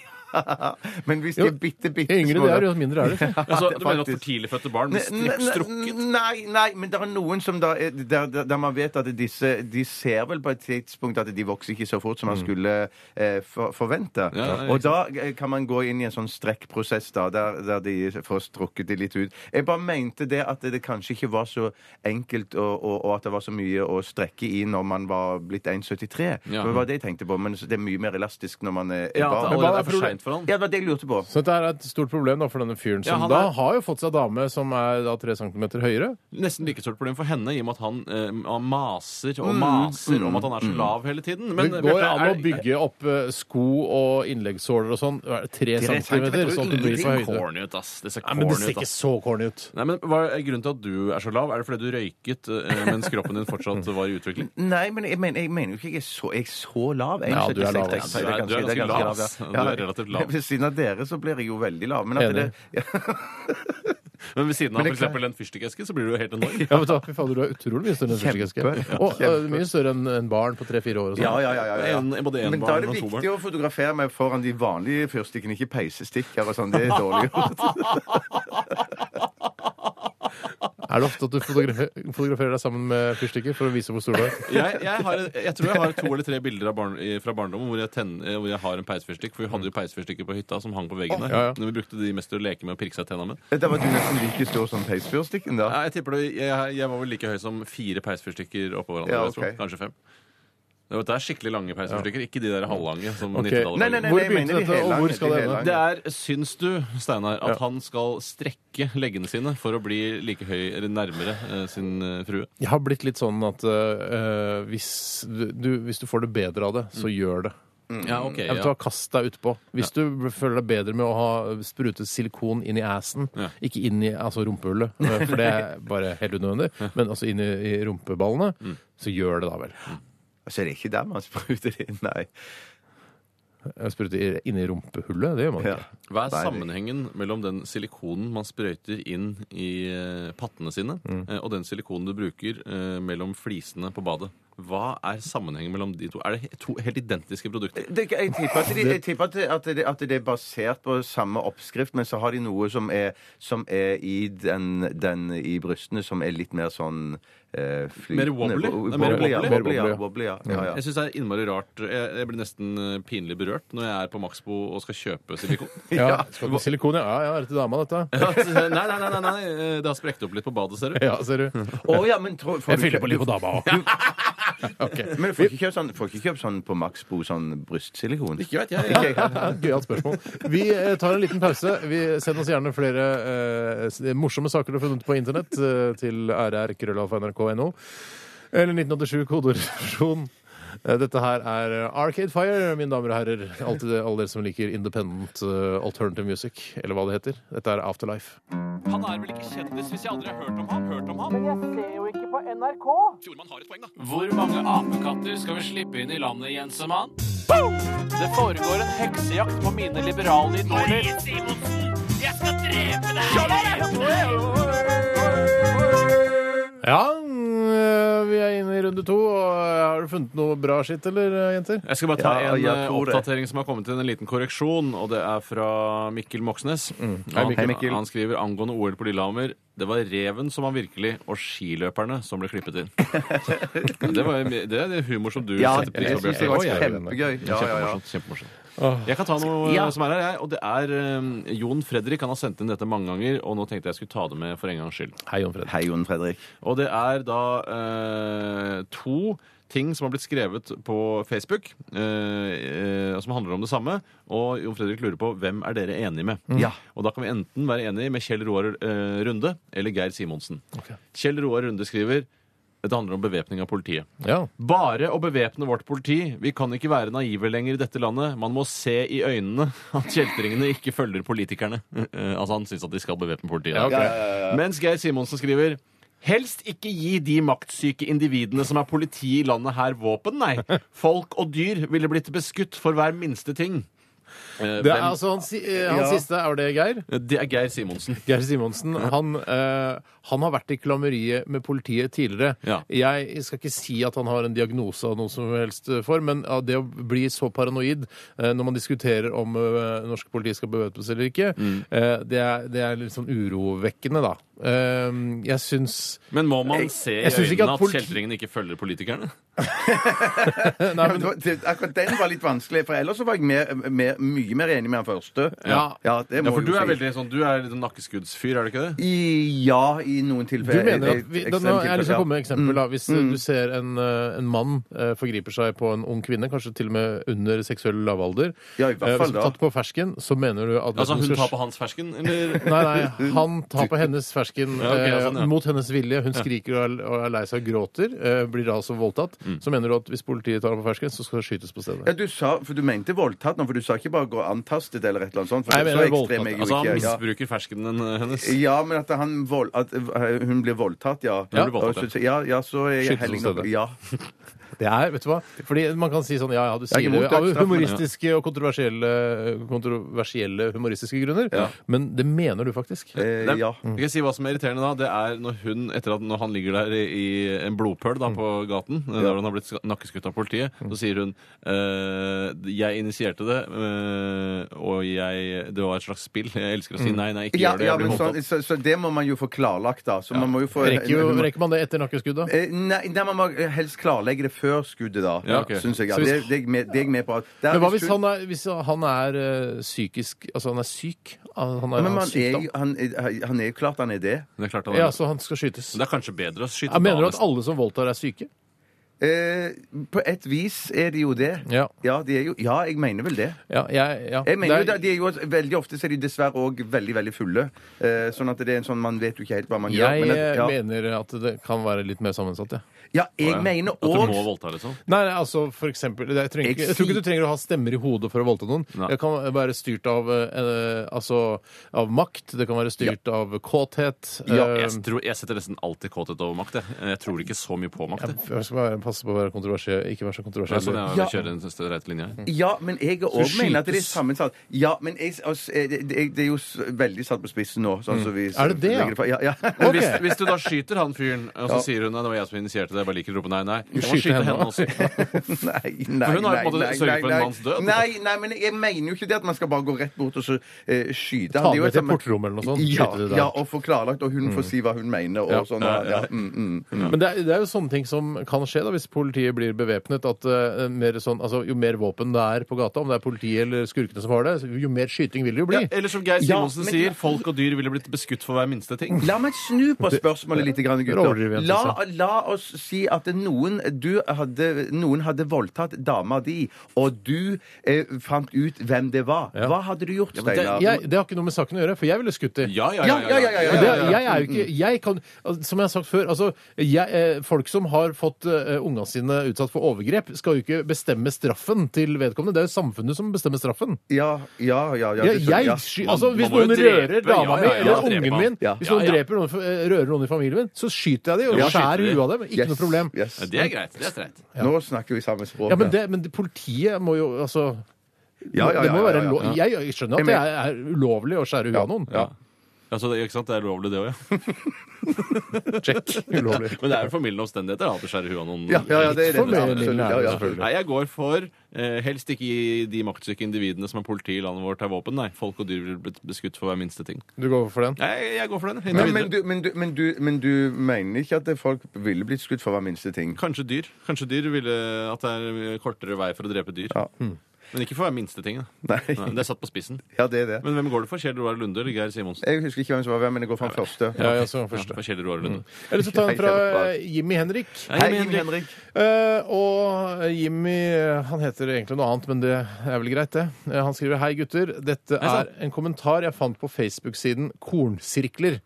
F: Men hvis de
D: Jo,
F: er bitte, bitte
D: Yngre
F: små
D: de er,
F: da-
D: jo mindre er det.
E: Altså,
F: det
E: du mener at
F: faktisk-
E: for tidlig fødte barn blir
F: Ne-
E: strik- strukket?
F: ne- Nei, nei, men det er noen som da er, der, der, der man vet at disse De ser vel på et tidspunkt at de vokser ikke så fort som man skulle eh, for, forvente.
E: Mm. Ja, ja,
F: og da eh, kan man gå inn i en sånn strekkprosess da, der, der de får strukket de litt ut. Jeg bare mente det at det kanskje ikke var så enkelt, og, og, og at det var så mye å strekke i når man var blitt 1,73.
E: Ja.
F: Det var det jeg tenkte på, men det er mye mer elastisk når man er, er
E: Ja, at det
F: barn.
D: hva
E: allerede er
D: er
E: for
D: proble-
E: sent litt for han.
F: Ja, det var det jeg lurte på.
D: Så dette er et stort problem da, for denne fyren som
E: Ja, han
D: da
E: er-
D: har jo fått seg dame som er da tre centimeter høyere.
E: Nesten like stort problem for henne, i og med at han, eh, han maser
D: Mm,
E: og maser om at han er så lav hele tiden. Men
D: det mm. går
E: Bjarte,
D: an å
E: er-
D: bygge opp eh, sko og innleggssåler og sånn eh, tre centimeter, sånn at du blir for
E: ser
D: høyde.
E: corny ut, ass. Det ser
D: Nei, men det
E: corny
D: ser
E: ut,
D: ikke
E: ass.
D: så corny ut.
E: Nei, men Hva er grunnen til at du er så lav? Er det fordi du røyket eh, mens kroppen din fortsatt var i utvikling?
F: Nei, men jeg mener, jeg mener jo ikke jeg er så, jeg er så lav. Jeg
D: Ja,
F: synes
D: du er
F: jeg-
D: lav,
F: jeg-
D: ass.
F: jeg- jeg- jeg- jeg-
E: Du er
F: jeg- jeg-
E: ganske
F: jeg-
E: lav, ass.
F: ja.
E: Du er relativt lav.
F: Ved siden av dere så blir jeg jo veldig lav. Men at
D: Enig.
F: det, ja,
E: Men ved siden av
F: Men det
E: for eksempel en fyrstikkeske, så blir du jo helt enorm.
D: Ja, vet du, hva, fy fader, du er utrolig mye større enn fyrstikkeske. Og eh, mye større enn en barn på tre-fire år. og sånn.
F: ja, ja, ja, ja.
E: En- både en
F: Men da
E: barn
F: er det
E: og to
F: viktig å fotografere meg foran de vanlige fyrstikkene, ikke peisestikker og sånn. Det er dårlig gjort.
D: Er det ofte at du fotografer, fotograferer deg sammen med fyrstikker for å vise hvor stor du er?
E: Jeg, jeg, har, jeg tror jeg har to eller tre bilder av barn, i- fra barndommen hvor jeg, tenn- eh, hvor jeg har en peisfyrstikk. For vi hadde jo peisfyrstikker på hytta som hang på veggen der.
D: Mm. Ja, ja.
E: Men vi brukte de mest til å leke med og pirke seg i tenna med.
F: Da var du nesten like stor som peisfyrstikken, da.
E: Nei, Jeg tipper det, jeg, jeg var vel like høy som fire peisfyrstikker oppå hverandre.
F: Ja,
E: vil jeg
F: ok.
E: tro. Kanskje fem. Det var- det er skikkelig lange peisfyrstikker, ikke de der halvlange. som
D: Ok.
E: 90-tallet
F: Nei, nei, nei,
D: Hvor
F: jeg
D: begynte
F: mener de
D: dette, og
F: hele
D: hvor
F: lange,
D: skal
F: de
D: det
F: hele lange.
D: ende?
E: Det er, syns du, Steinar, at
D: Ja.
E: han skal strekke leggene sine for å bli like høy eller nærmere eh, sin eh, frue?
D: Jeg har blitt litt sånn at eh, hvis, du, hvis du får det bedre av det, så gjør det.
F: Mm.
E: Ja, ok.
D: Jeg vet hva, Kast deg utpå. Hvis du føler deg bedre med å ha sprutet silikon inn i assen,
E: Ja.
D: ikke inn i altså rumpehullet, eh, for det er bare helt unødvendig, men altså inn i, i rumpeballene, så gjør det da vel.
F: Så Altså, er det ikke der man spruter det inn, nei.
D: Eh, Sprute i- inn i rumpehullet, det gjør man
F: Ja.
D: ikke.
F: Nei,
E: Hva er
F: det-
E: sammenhengen mellom den silikonen man sprøyter inn i eh, pattene sine,
F: Mm.
E: eh, og den silikonen du bruker eh, mellom flisene på badet? Hva er sammenhengen mellom de to? Er det he- to helt identiske produkter?
F: Det, jeg tipper, at, de, jeg tipper at, det, at, det, at det er basert på samme oppskrift, men så har de noe som er, som er i den, den i brystene som er litt mer sånn eh, flytende.
E: Mer wobbly?
F: Wo-
E: Det er mer
F: wobbly, ja,
E: wobbly?
F: wobbly, ja,
D: Mer wobbly, ja.
F: wobbly, ja. ja, ja.
E: Jeg syns det er innmari rart. Jeg, jeg blir nesten eh, pinlig berørt når jeg er på Maxbo og skal kjøpe silikon.
D: Ja, skal du ha silikon, ja. Ja, ja, er det til dama, dette?
E: Ja, så- nei, nei, nei, nei, nei, eh, det har sprukket opp litt på badet, ser du.
D: Ja, ser du.
F: Å, ja, men tror- får
D: Jeg
F: du
D: fyller på litt på
F: du-
D: dama òg.
F: Men du får ikke kjøpt sånn, får ikke kjøpt sånn på Maxbo sånn brystsilikon?
E: Ikke vet jeg.
F: Ikke-
D: Gøyalt spørsmål. Vi eh, tar en liten pause. Vi Send oss gjerne flere eh, s- morsomme saker du har funnet på internett eh, til rr.krøllalfa.nrk.no. Eller 1987 kodeordsjon. Dette her er eh, Arcade Fire, mine damer og herrer. Alltid, alle dere som liker independent eh, alternative music, eller hva det heter. Dette er Afterlife.
A: Han er vel ikke kjendis hvis jeg aldri har hørt om ham? Hørt om ham? jeg ser jo ikke på NRK. Fjordmann har et poeng, da.
G: Hvor mange apekatter skal vi slippe inn i landet, Jensemann? Det foregår en heksejakt på mine liberale idoler.
D: Ja, eh, vi er inne i runde to. og Har du funnet noe bra skitt, eller, eh, jenter?
E: Jeg skal bare ta
F: Ja,
E: en
F: jeg
E: eh,
F: tror det.
E: oppdatering som har kommet inn, en liten korreksjon, og det er fra Mikkel Moxnes.
D: Hei, Mikkel.
E: Han,
F: Hei, Mikkel.
E: han skriver angående OL på Lillehammer det var reven som var virkelig, og skiløperne som ble klippet inn. det, var, det er det humor som du
F: Ja,
E: setter pris
F: jeg
E: på,
F: syns det
E: Bjarte.
F: var
D: Oi, jeg er enig.
F: kjempegøy. Ja, ja, ja.
E: Kjempemorsomt. kjempemorsomt. Jeg kan ta noe eh, som er her, jeg. Og det er eh, Jon Fredrik. Han har sendt inn dette mange ganger, og nå tenkte jeg skulle ta det med for en gangs skyld.
D: Hei, Jon Fred.
F: Hei, Jon Fredrik.
E: Og det er da eh, to ting som har blitt skrevet på Facebook, eh, eh, som handler om det samme. Og Jon Fredrik lurer på hvem er dere enige med.
F: Ja.
E: Og da kan vi enten være enige med Kjell Roar eh, Runde eller Geir Simonsen.
D: Ok.
E: Kjell Roar Runde skriver det handler om bevæpning av politiet.
D: Ja.
E: Bare å bevæpne vårt politi. Vi kan ikke være naive lenger i dette landet. Man må se i øynene at kjeltringene ikke følger politikerne. Eh, altså Han syns at de skal bevæpne politiet.
D: Ja, ok.
E: Mens Geir Simonsen skriver Helst ikke gi de maktsyke individene som er politi i landet her våpen, nei. Folk og dyr ville blitt beskutt for hver minste ting. Eh,
D: Det er
E: hvem-
D: altså han, si- eh, han siste. Er det Geir?
E: det er Geir Simonsen.
D: Geir Simonsen han, eh, han har vært i klammeriet med politiet tidligere.
E: Ja.
D: Jeg skal ikke si at han har en diagnose av noe som helst eh, for, men av det å bli så paranoid eh, når man diskuterer om eh, norsk politi skal bevæpnes eller ikke, eh, det, er, det er litt sånn urovekkende, da. Eh, jeg syns
E: Men må man se i
D: jeg synes ikke at
E: øynene at
D: politi-
E: kjeltringene ikke følger politikerne?
F: Ja, men det var- det, akkurat den var litt vanskelig, for ellers så var jeg mer, mer, mye mer enig med han første.
E: Ja.
F: det
E: Ja,
F: må
E: for
F: jeg
E: du
F: jo
E: er
F: si.
E: veldig sånn, du er litt sånn nakkeskuddsfyr, er du ikke det?
F: I, ja, i noen
D: Du
F: tilfeller.
D: mener at
F: Et-
D: vi,
F: et
D: da, nå, Jeg liksom har lyst til å
F: ekstremt Mm.
D: komme med et eksempel. Da. Hvis eh, du ser en, eh, en mann eh, forgriper seg på en ung kvinne, kanskje til og med under seksuell lavalder
F: Ja, i hvert
D: eh,
F: fall
D: Hvis du
F: da.
D: er tatt på fersken, så mener du at
E: Altså,
D: hvis
E: hun
D: du skal-
E: tar på hans fersken, eller?
D: Nei, nei, han tar på hennes fersken
E: Ja, ok, ja,
D: eh,
E: sånn, ja.
D: mot hennes vilje. Hun skriker og er, og er lei seg og gråter. Eh, blir altså voldtatt. Så mener du at hvis politiet tar ham på fersken, så skal det skytes på stedet.
F: Mm. Ja, du, sa, for du mente voldtatt nå, for du sa ikke bare gå antastet eller et eller annet sånt. For
D: Nei, jeg
F: så
D: mener
F: ekstrem er jeg jo
E: Altså, han
F: ikke, ja.
E: misbruker ferskenen hennes.
F: Ja, men at, han vold, at eh, hun blir voldtatt, ja.
E: Ja, hun blir voldtatt,
F: Og så- ja, ja, så er jeg
D: Skytes
F: hellig
D: på
F: nok.
D: stedet.
F: Ja.
D: Det er, vet du hva? Fordi man kan si sånn Ja, ja, du
F: er
D: sier
F: ikke
D: det
F: mot
D: av
F: dødsstraff, men-
D: humoristiske og kontroversielle, kontroversielle humoristiske grunner,
F: Ja.
D: men det mener du faktisk.
F: Eh,
E: Nei,
F: ja.
E: Jeg kan si hva som er irriterende da Det er når hun, etter at når han ligger der i, i en blodpøl da, på
F: Mm.
E: gaten eh, Der han har blitt ska- nakkeskutt av politiet Så sier hun eh, Jeg initierte det eh, Og jeg, det var et slags spill Jeg elsker å si nei, nei, ikke
F: Mm. Ja,
E: gjør det
F: ja,
E: Jeg blir
F: men
E: holdt
F: sånn,
E: opp
F: så, så det må man jo få klarlagt, da. Så man må jo få
D: Rekker, jo, rekker man det etter nakkeskuddet?
F: Eh, Nei, nei, man må helst klarlegge det før skuddet, da.
E: Ja, ok.
F: Syns jeg. Ja.
D: Så hvis-
F: Det, det, er jeg med- det er jeg med på. Det er
D: Men hva
F: hvis
D: hvis
F: hun-
D: han er, hvis han er eh, psykisk Altså, han er syk? Ah, Han han er,
F: Men
D: han
F: man
D: har
F: er,
D: sykdom?
F: jo- han, er- han er jo klart han er det.
E: Det er klart han
D: Ja,
E: er-
D: så han skal skytes.
E: Men det er kanskje bedre å skyte
D: Ja, mener du
E: da,
D: at alle som voldtar, er syke?
F: Eh, på et vis er de jo det.
D: Ja.
F: Ja, de er jo, ja jeg mener vel det.
D: Ja, jeg, ja.
F: Jeg mener jo
D: Det er-
F: det, de er jo, veldig Ofte så er de dessverre òg veldig veldig fulle. Eh, sånn at det er en sånn man vet jo ikke helt hva man gjør.
D: Jeg
F: men at, ja.
D: mener at det kan være litt mer sammensatt, jeg. Ja.
F: ja, jeg mener
E: At du må
F: òg
E: voldta liksom
D: Nei, nei, altså for eksempel jeg, trenger, ikke-
F: Jeg
D: jeg tror
F: sier-
D: ikke du trenger å ha stemmer i hodet for å voldta noen.
E: Nei.
D: Det kan være styrt av, eh, altså, av makt, det kan være styrt av kåthet
F: Ja,
D: eh,
E: jeg, tror, jeg setter nesten alltid kåthet over makt jeg. Jeg tror ikke så mye på makt jeg.
D: Jeg skal være, passe på å være kontroversiell, ikke være så
E: Det er sånn
D: kontroversiell.
E: jeg
F: Ja.
E: kjører en streit linje her.
F: Ja, men jeg òg mener at det er
D: skytes.
F: sammensatt. Ja, men jeg, altså, eh, det, det det er jo s- veldig satt på spissen nå. Sånn som vi,
D: Mm. Er det det, ja?
F: legger fra- ja, ja.
E: Men
D: Ok.
E: hvis, hvis du da skyter han fyren, og
F: Ja.
E: så sier hun at det var jeg som initierte det, jeg bare liker å rope nei, nei. Du må
D: skyter
E: skyte
D: henne
E: henne også.
F: Nei, nei,
E: For hun har
F: nei,
E: jo på en måte
F: nei,
E: sørget for en
F: nei,
E: manns død.
F: Nei, nei, men jeg mener jo ikke det at man skal bare gå rett bort og så eh, skyte.
D: Ta
F: Det er jo
D: med
F: et
D: til
F: sammen-
D: portrommet eller noe sånt.
F: Ja,
D: Skyte det der. Mm.
F: ja, og få klarlagt, og hun får si hva hun mener. Og
D: Ja.
F: sånn, ja, ja. Mm, mm, mm.
D: Men det er, det er jo sånne ting som kan skje da, hvis politiet blir bevæpnet. At eh, mer sånn, altså, jo mer våpen det er på gata, om det er politiet eller skurkene som har det, jo mer skyting vil det jo bli.
E: Ja, eller som Geir
F: Ja,
E: Simonsen
F: men-
E: sier, folk og dyr ville blitt beskutt for hver minste ting.
F: La meg snu på spørsmålet litt, grann,
D: overdriver
F: gutter.
D: jeg,
F: La,
D: synes
F: la oss si at noen, du hadde, noen hadde voldtatt dama di, og du eh, fant ut hvem det var.
D: Ja.
F: Hva hadde du gjort,
E: Ja, men det-
F: Steinar?
D: Jeg, det har ikke noe med saken å gjøre, for jeg ville skutt dem.
E: Ja, ja, ja.
F: Ja, ja, ja, ja, ja,
D: Men
F: ja,
D: det, jeg er jo ikke jeg kan, altså, Som jeg har sagt før, altså, jeg, eh, folk som har fått eh, ungene sine utsatt for overgrep, skal jo ikke bestemme straffen til vedkommende. Det er jo samfunnet som bestemmer straffen.
F: Ja, ja, ja. ja,
D: Jeg,
F: du skjønner,
D: jeg,
F: ja.
D: sky-
E: Man-
D: altså,
E: man
D: hvis
E: må jo
D: noen
E: drepe,
D: rører dama
E: ja,
D: mi
E: ja, ja,
D: eller
E: drepe
D: ungen
E: han.
D: min,
F: Ja.
D: hvis
E: Ja,
D: noen
E: ja.
D: dreper noen, eh, rører noen i familien min, så skyter jeg dem
E: Ja,
D: og skjærer
E: skyter de.
D: huet av dem. Ikke noe problem.
F: Yes.
E: Ja, Det er greit. Det er streit.
F: Nå snakker vi samme språk.
D: Ja, men, det, men det- politiet må jo altså
F: Ja, ja,
D: Det
F: ja,
D: må jo
F: ja,
D: være
F: ja.
D: lov... Jeg, jeg skjønner at det er, er ulovlig å skjære huet av noen.
E: Ja. Altså, det, ikke sant? Det er ulovlig, det òg, ja.
D: Check. Ulovlig.
E: Men det er jo formildende omstendigheter da, at du skjærer huet av noen.
F: Ja, ja, ja, det er det.
D: Formidling er det,
F: Absolutt, ja, ja.
D: selvfølgelig.
E: Nei, jeg går for eh, helst ikke gi de maktsyke individene som er politi i landet vårt, er våpen. Nei, folk og dyr ville blitt beskutt for hver minste ting.
D: Du går for den?
E: Jeg, jeg går for den.
F: Men,
E: Individer.
F: men, du, men, du, men, du, men du mener ikke at folk ville blitt skutt for hver minste ting?
E: Kanskje dyr. Kanskje dyr ville at det er kortere vei for å drepe dyr.
F: Ja.
E: Men ikke for hver minste ting. Da.
F: Nei.
E: Nei, det er satt på spissen.
F: Mm. Ja, det er det.
E: Men hvem går det for? Kjell Roar Lunde eller Geir Simonsen?
F: Jeg husker ikke hvem som var hvem, men jeg går fra den første.
D: Ja, jeg så den
E: Ja,
D: første.
E: for Kjell Roar Lunde.
D: Eller så ta en fra eh, Jimmy Henrik.
E: Hei,
F: Jim
E: Henrik.
D: Eh, og Jimmy eh, Han heter egentlig noe annet, men det er vel greit, det. Eh, han skriver Hei, gutter. Dette
E: sann.
D: er en kommentar jeg fant på Facebook-siden Kornsirkler.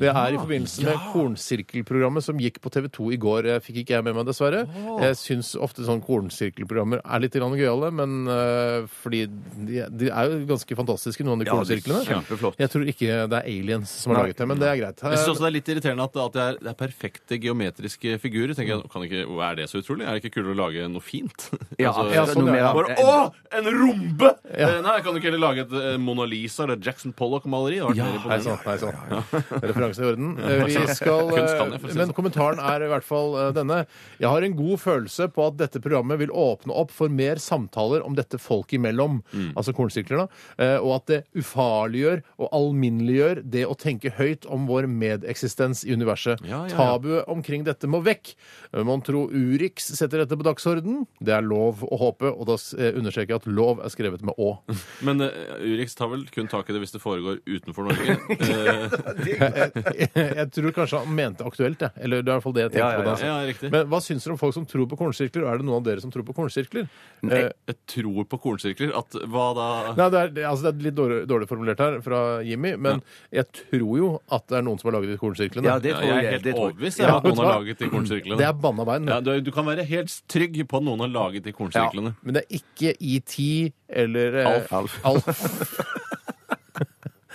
D: Det er i forbindelse med Kornsirkelprogrammet som gikk på TV2 i går. Eh, fikk ikke jeg med meg, dessverre. Jeg syns ofte sånne kornsirkelprogrammer er litt grann gøyale, men eh, fordi de, de er jo ganske fantastiske, noen av de
F: Ja, det er
D: kornsirklene.
F: kjempeflott.
D: Jeg tror ikke det er aliens som har
F: Nei.
D: laget det, men det er greit. Eh,
E: Jeg synes også Det er litt irriterende at, at det, er, det er perfekte geometriske figurer. Tenker jeg, kan ikke, Er det så utrolig? Er det ikke kulere å lage noe fint?
F: Ja,
E: Altså,
D: ja, sånn,
F: noe mer
D: ja.
F: av-
E: bare, Å, en rombe! Eh, Nei, kan du ikke heller lage et eh, Mona Lisa eller Jackson Pollock-maleri? Det hadde vært mer
D: Nei,
E: imponerende.
D: sånn, nei, sånn. Referanse i orden. Eh, Vi skal,
E: Kunst kan jeg, for å si det sånn.
D: eh, men kommentaren er i hvert fall eh, denne. Jeg har en god følelse på at dette programmet vil åpne opp for mer samtaler om dette dette folk imellom,
E: Mm.
D: altså kornsirkler, da, eh, og at det ufarliggjør og alminneliggjør det å tenke høyt om vår medeksistens i universet.
E: Ja, ja, ja.
D: Tabuet omkring dette må vekk. Eh, Mon tro Urix setter dette på dagsorden. Det er lov å håpe, og da s- eh, understreker jeg at lov er skrevet med å.
E: Men eh, Urix tar vel kun tak i det hvis det foregår utenfor Norge. Eh,
D: jeg, jeg tror kanskje han mente aktuelt, jeg. Eller det er i hvert fall det jeg tenkte
F: Ja, ja,
D: på. da, altså.
E: ja, riktig.
D: Men hva syns dere om folk som tror på kornsirkler? Er det noen av dere som tror på kornsirkler? Nei,
E: jeg tror på kornsirkler. At hva da?
D: Nei det, er, det- altså, det er litt dårlig, dårlig formulert her fra Jimmy, men jeg tror jo at det er noen som har laget de kornsirklene.
F: Ja, det
E: Ja,
F: tror
E: jeg
F: jeg.
E: er helt
F: det tror jeg.
E: overbevist om
D: Ja,
E: at noen
D: vet du
E: har
D: hva?
E: laget de kornsirklene.
D: Det er banna veien.
E: Ja,
D: det.
E: du, du kan være helt trygg på at noen har laget de kornsirklene.
D: Men det er ikke ET eller eh,
E: Alf.
D: Alf.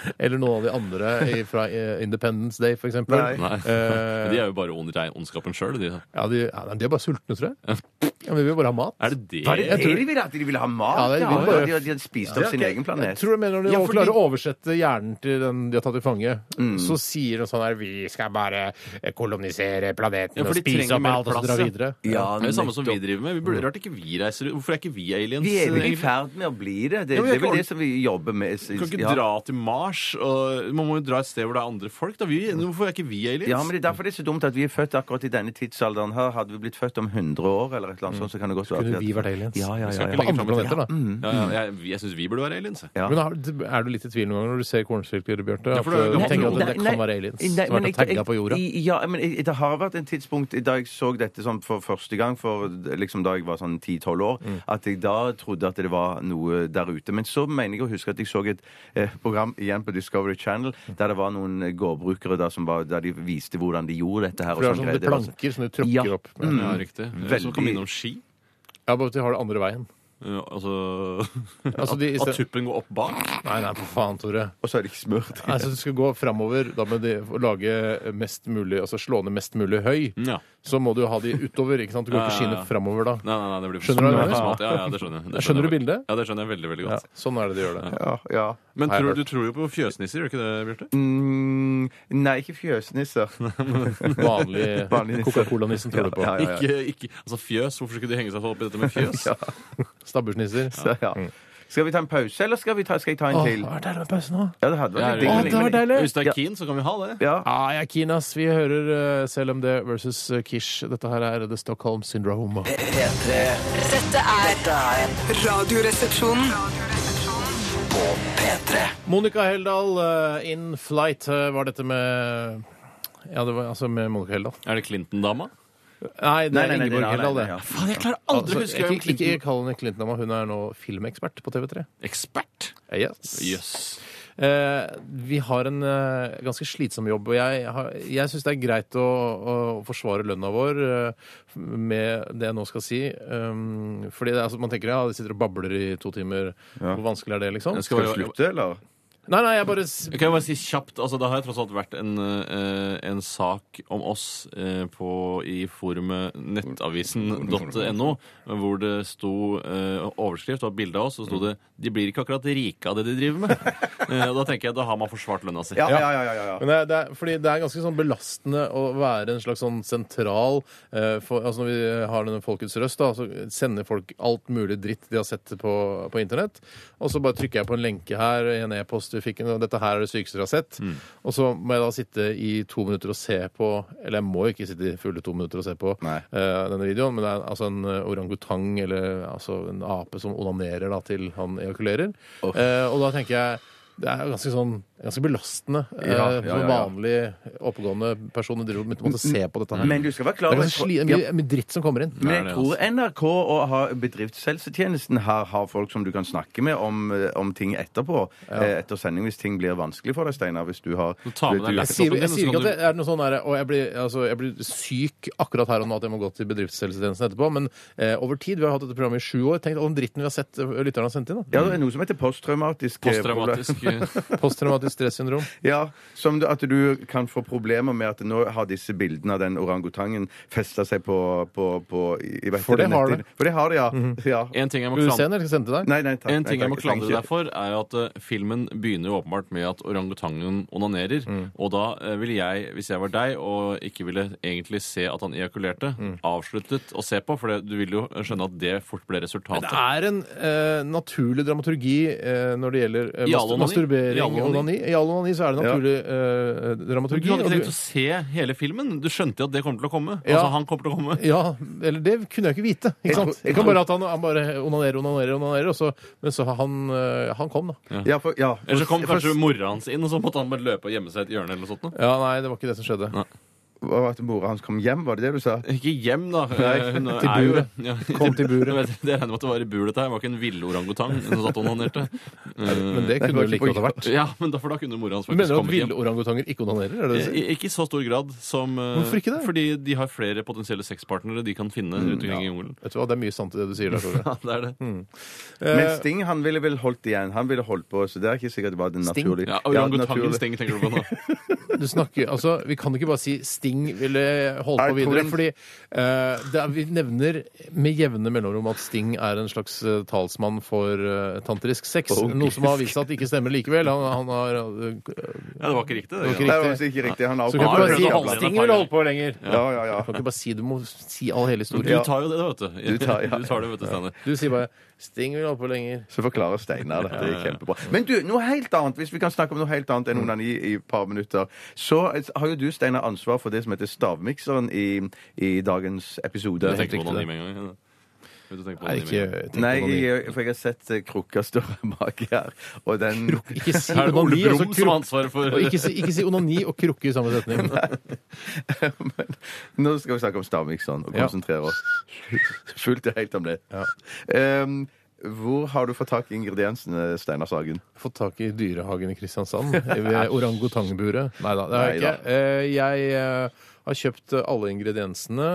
D: eller noen av de andre i- fra eh, Independence Day, for eksempel.
F: Nei.
E: Nei.
D: Eh,
E: De er jo bare ond, rein ondskapen sjøl, de.
D: ja, de, ja, de er bare sultne, tror jeg. Ja, men vi vil bare ha mat.
E: Er det det?
F: Var det det de ville? At de ville ha mat?
D: Ja, det er
F: Ja,
D: vildt, bare-
F: de, de hadde spist opp sin egen
D: Jeg
F: planet.
D: tror du mener når de
E: Ja, fordi- Mm.
D: klarer å oversette hjernen til den de har tatt i fange, så sier de sånn her Vi skal bare eh, kolonisere planeten
E: Ja, for
D: og
E: de
D: spise
E: trenger
D: opp
E: mer
D: alt og så
E: plass,
D: dra
E: ja.
D: videre.
F: Ja,
E: det er jo samme som vi
F: nettopp.
E: driver med. Vi burde Rart ikke vi reiser Hvorfor er ikke vi aliens?
F: Vi er vel i
E: egentlig?
F: ferd med å bli det. Det,
E: Ja, men
F: det
E: jeg
F: er vel
E: kan-
F: det som vi jobber med.
E: Vi kan ikke
F: Ja.
E: dra til Mars. Og man må jo dra et sted hvor det er andre folk. Da. Vi, hvorfor er ikke vi aliens?
F: Ja, men Det er derfor det er så dumt at vi er født akkurat i denne tidsalderen. her. Hadde vi blitt født om 100 år, eller et eller annet sånt, så kan det godt være
D: Kunne
F: at-
D: vi vært aliens?
F: Ja, ja,
E: Vi
F: ja, Mm.
E: skal ikke
F: ja.
D: På
E: lenger
D: andre
E: fram i tid.
D: planeter, da.
E: Ja, ja, jeg jeg syns vi burde være aliens. jeg.
F: Ja.
D: Men har- er du litt i tvil noen ganger når du ser kornfilker, Bjarte?
E: Ja,
D: At
E: for det er
D: du
E: gammel
D: tenker
E: tro.
D: at det kan være aliens som har vært tagga på jorda?
F: I, ja, men jeg, det har vært en tidspunkt da jeg så dette sånn for første gang, for liksom da jeg var sånn 10-12 år,
D: Mm.
F: at jeg da trodde at det var noe der ute. Men så mener jeg å huske at jeg så et eh, program igjen på Discovery Channel
D: Mm.
F: der det var noen gårdbrukere da som var, der de viste hvordan de gjorde dette her.
D: For det er
F: og sånn
D: sånn
F: greier.
D: det
F: Det var sånn-
D: planker som du tråkker
F: Ja.
D: opp. Men,
E: Ja, Mm. riktig. Som kan
F: Mm. Veldig.
E: minne om ski.
D: ja, bare at de har det andre veien.
E: Ja, altså
D: Altså, de, i
E: At
D: sted...
E: tuppen går opp bak.
D: Nei, nei, for faen, Tore.
F: Og så er det ikke smurt.
D: Nei, så du skal gå framover da med det, å lage mest mulig, altså slå ned mest mulig høy.
E: Ja.
D: Så må du ha de utover, ikke sant? Du går ikke
E: Ja, ja,
D: skiene
E: ja.
D: framover da.
E: Nei, nei, nei, det blir
D: Skjønner du hva jeg
E: det blir
D: mener?
E: smalt. Ja, ja, det skjønner jeg. Det
D: Skjønner du
E: jeg.
D: bildet?
E: Ja, det skjønner jeg veldig, veldig
D: Ja,
E: godt.
D: sånn er det de gjør det.
F: Ja, ja.
E: Men
D: Nei, jeg
E: tror,
D: har
E: du tror jo på fjøsnisser, gjør du ikke det, Bjarte?
F: Mm, nei, ikke fjøsnisser.
D: Vanlig,
F: Vanlig nisse.
D: Coca-Cola-nissen tror du på.
F: Ja, ja, ja.
E: Ikke, ikke, altså fjøs, hvorfor skulle de henge seg så opp i dette med fjøs?
F: Ja.
D: Stabbursnisser.
F: Så, ja. Skal vi ta en pause, eller skal, vi ta, skal jeg ta en til?
D: Mm. Åh, hva er det med pausen nå?
F: Ja, det hadde
E: Ja,
F: vært
E: det-
F: litt
D: Å,
F: deilig,
D: det var
F: men-
D: deilig!
E: Hvis du er
F: Ja.
E: keen, så kan vi ha det.
F: Ja.
D: Ah, jeg er keen, ass. Vi hører eh, CLMD versus eh, Kish. Dette her er The Stockholm Syndrome.
B: P3
H: Dette er Radioresepsjonen.
B: på P3.
D: Monica Heldal, eh, In Flight, eh, var dette med Ja, det var altså med Monica Heldal.
E: Er det Clinton-dama?
D: Nei, det
F: Nei,
D: er
F: nei, nei,
D: Ingeborg
F: nei, nei,
D: Heldal, det.
F: nei, ja.
E: Faen, jeg klarer aldri å
D: Altså,
E: huske hvem
D: ikke, ikke
E: Clinton
D: kall henne Clinton-dama, hun er nå filmekspert på TV3.
E: Ekspert?
D: Yes.
E: Jøss.
D: Eh, vi har en eh, ganske slitsom jobb, og jeg, har- jeg syns det er greit å, å forsvare lønna vår eh, med det jeg nå skal si. Um, fordi det er, altså, man tenker ja, de sitter og babler i to timer. Hvor vanskelig er det, liksom?
E: Jeg
F: Skal vi
E: bare-
F: slutte, eller?
D: Nei, nei, jeg bare s-
E: Jeg kan jo bare si kjapt, altså Det har tross alt vært en, eh, en sak om oss eh, på, i forumet nettavisen.no, hvor det sto eh, overskrift og bilde av oss, og så sto
F: Mm.
E: det 'De blir ikke akkurat rike av det de driver med'. Eh, og Da tenker jeg, da har man forsvart lønna si.
F: Ja, ja, ja. ja, ja.
D: Men det, er- det er, fordi det er ganske sånn belastende å være en slags sånn sentral eh, for, altså Når vi har denne Folkets røst, da, så sender folk alt mulig dritt de har sett på, på internett. Og så bare trykker jeg på en lenke her i en e-post du fikk, og dette her er det sykeste dere har sett.
F: Mm.
D: Og så må jeg da sitte i to minutter og se på Eller jeg må jo ikke sitte i fulle to minutter og se på
F: Nei.
D: eh, denne videoen, men det er altså en eh, orangutang eller altså en ape som onanerer da, til han ejakulerer. Eh, og da tenker jeg det er jo ganske, sånn, ganske belastende eh,
F: Ja, ja, ja,
D: for
F: ja.
D: vanlig oppegående personer driver med å måtte se på dette her.
F: Men du skal være klar
D: det er
F: over-
D: ganske sli,
F: Ja.
D: mye, mye dritt som kommer inn.
F: Men
E: det
F: jeg
E: er
F: tror
D: altså.
F: NRK og har- bedriftshelsetjenesten her har folk som du kan snakke med om, eh, om ting etterpå. eh, Etter sending, hvis ting blir vanskelig for deg, Steinar. Hvis du har
E: Så ta med deg
F: du-
D: Jeg sier, jeg
E: så
D: sier ikke
E: kan
D: at det er noe sånn der, og jeg blir, altså, jeg blir syk akkurat her og nå at jeg må gå til bedriftshelsetjenesten etterpå, men eh, over tid, vi har hatt dette programmet i sju år, tenk all den dritten vi har sett eh, lytterne har sendt inn. Da.
F: Ja, det er noe som heter posttraumatisk eh, problem.
E: Posttraumatisk ikke
D: Posttraumatisk stressyndrom.
F: Ja, som du, at du kan få problemer med at nå har disse bildene av den orangutangen festa seg på, på, på jeg vet
D: For det har
F: nettiden.
D: det. Mhm.
F: For det har det, ja. ja.
E: En ting jeg må
D: Skal du se
E: klandre-
D: den, eller skal jeg sende til deg?
F: Nei, nei, takk.
E: En ting
F: nei,
E: jeg må
F: takk,
E: klandre
F: trenger
E: deg for, er jo at eh, filmen begynner jo åpenbart med at orangutangen onanerer.
D: Mm.
E: Og da eh, ville jeg, hvis jeg var deg og ikke ville egentlig se at han ejakulerte,
D: Mm.
E: avsluttet å se på, for det, du vil jo skjønne at det fort ble resultatet.
D: Det er en eh, naturlig dramaturgi eh, når det gjelder eh,
E: I all
D: mas-
E: onani. I
D: masturbering
E: all
D: og
E: onani.
D: onani. I all onani så er det
F: Ja.
D: naturlig eh,
E: Men
D: dramaturgi.
E: Du hadde
D: og du-
E: ikke tenkt å se hele filmen. Du skjønte jo at det kom til å komme.
D: Ja.
E: Altså, han kom til å komme.
D: ja, eller det kunne jeg ikke vite. Ikke sant?
F: jeg
D: Jeg kan bare at han, han bare onanerer, onanerer, onanerer, og så, men så har han, eh, han kom, da.
F: Ja, for, ja.
E: Eller så kom
F: For-
E: kanskje mora hans inn, og så måtte han bare løpe og gjemme seg i et hjørne. eller noe sånt. nå.
D: Ja, nei, det var ikke det som skjedde.
F: for- At mora hans kom hjem, var det det du sa?
E: Ikke hjem, da. Eh,
F: Nei,
E: Hun er
D: til
E: jo-
D: buret.
E: Ja.
D: Kom til buret.
E: Jeg vet, Det regner med at det var i buret dette her. Det var ikke en villorangutang som satt og onanerte. Eh,
D: Men det kunne
F: var ikke
D: det like godt ha
F: på-
D: vært.
E: Ja, men da, for da kunne mora hans
D: Mener
E: faktisk
D: du at
E: kommet hjem.
D: villorangutanger ikke onanerer? Er det det du
E: I-
D: sier?
E: i- Ikke i så stor grad som eh,
D: Hvorfor ikke det? Mm,
E: Fordi de har flere potensielle sexpartnere de kan finne rundt omkring i jungelen.
D: Vet du hva, Det er mye sant i det du sier der, Tore.
E: Ja, det er det.
D: Mm.
F: Men Sting han ville vel holdt igjen. Han ville holdt på, så det er ikke sikkert det var den
D: Sting?
F: naturlige.
E: Ja,
F: naturlig.
E: Orangutangen Sting tenker du på nå.
D: Du snakker, altså, Vi kan ikke bare si Sting ville holdt på
F: Nei,
D: videre.
F: Tore-
D: fordi eh, det er, Vi nevner med jevne mellomrom at Sting er en slags eh, talsmann for eh, tantrisk sex.
F: Oh,
D: Noe som har vist seg at det ikke stemmer likevel. Han, han har eh,
E: Ja, det var ikke riktig.
D: Det var ikke
F: Nei,
E: ja.
F: det var ikke riktig. Han har
D: Så kan
E: har
D: du bare
E: prøvd
D: si
E: å holde
D: at
E: igjen
D: Sting
E: et par
D: ville holdt på lenger.
F: Ja, ja, ja.
D: Du kan ikke bare si Du må si all hele
E: Du
D: historien.
E: tar jo det, da, vet du.
F: Du tar- ja.
E: du tar det, vet du, Steiner.
D: Du sier bare Sting ville holdt på lenger.
F: Så forklarer Steinar dette. Det er kjempebra. Men du, noe helt annet, hvis vi kan snakke om noe helt annet enn onani i et par minutter, så har jo du, Steinar, ansvar for det som heter stavmikseren i, i dagens episode.
E: Jeg tenkte
D: riktig,
E: på onani med en gang. ja. Vet du, tenk på
D: Nei,
E: onani med en gang.
D: ikke tenk
F: Nei,
D: på noe.
F: jeg, for jeg har sett eh, krukka større bak her, og den
D: Ikke si
E: Er det Ole
D: onani og så
E: Brumm som har
D: krukk.
E: ansvaret for
D: Og Ikke si, ikke si onani og krukke i samme setning.
F: Men Nå skal vi snakke om stavmikseren og
D: Ja.
F: konsentrere oss fullt og helt om det. Ehm, hvor har du fått tak i ingrediensene, Steinar Sagen?
D: fått tak i dyrehagen i Kristiansand. Ved orangutangburet. Nei da, det har jeg
F: Neida.
D: ikke. Eh, Jeg eh, har kjøpt alle ingrediensene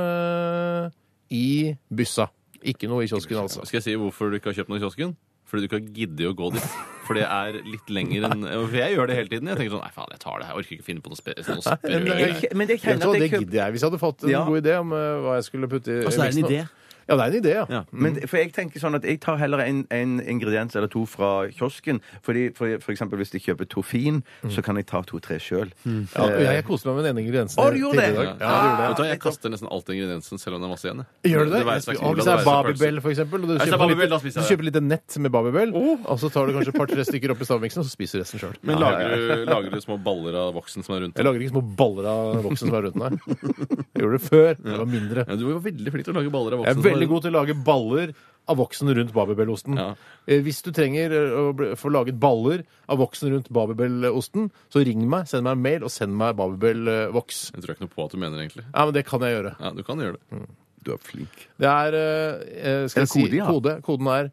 D: i byssa. Ikke noe i kiosken, altså.
E: Skal jeg si hvorfor du ikke har kjøpt noe i kiosken? Fordi du ikke har giddet å gå dit. For det er litt lenger enn For jeg gjør det hele tiden. Jeg tenker sånn Nei, faen, jeg tar det her. Jeg orker ikke finne på noe, spe, noe sprø greier.
F: Men det
D: Vet du hva, det gidder jeg. Hvis jeg hadde fått en
F: Ja.
D: god idé om eh, hva jeg skulle putte i
E: Altså, det er en
D: miksen,
E: idé.
D: Ja, det er en idé, ja.
E: Ja.
F: Men det- for jeg tenker sånn at jeg tar heller en, en ingrediens eller to fra kiosken. Fordi for, for eksempel hvis jeg kjøper toffin,
D: Mm.
F: så kan jeg ta to-tre sjøl.
D: ja. og
E: Eh,
D: Jeg koste meg med den ene ingrediensen.
F: Å, du gjorde
D: tidligere i
F: det?
D: dag.
E: Ja, Vet du hva, Jeg kaster nesten alt ingrediensen, selv om det er masse igjen. jeg.
D: Gjør du det?
E: Det være seg
D: Og Hvis
E: cola,
D: det
E: det
D: er
E: være seg
D: Babybel, for eksempel, og du
E: Hvis det er
D: kjøper,
E: Babybel, da
D: litt, du
E: spiser jeg det. Oh.
D: kjøper litt nett med Babybel, og så tar du kanskje et par-tre stykker opp i stavmiksen, og så spiser du resten sjøl.
E: Men lager du, lager du små baller av voksen som er rundt?
D: Jeg lager ikke små baller av voksen som er rundt meg. Jeg gjorde det før. Det var mindre.
E: Ja, du var veldig flink til å lage baller av
D: Jeg
E: voksen.
D: er veldig god til å lage baller av voksen rundt Babebelosten.
E: Ja.
D: Eh, Hvis du trenger eh, å bli- få laget baller av voksen rundt Babebelosten, så ring meg, send meg en mail, og send meg Babebel-voks.
E: Jeg tror ikke noe på at du mener egentlig.
D: Ja, men det kan jeg gjøre.
E: Ja, du kan gjøre det.
F: Du er flink.
D: Det er eh, eh, Skal
F: Er det
D: jeg si
F: kode, ja?
D: kode? Koden er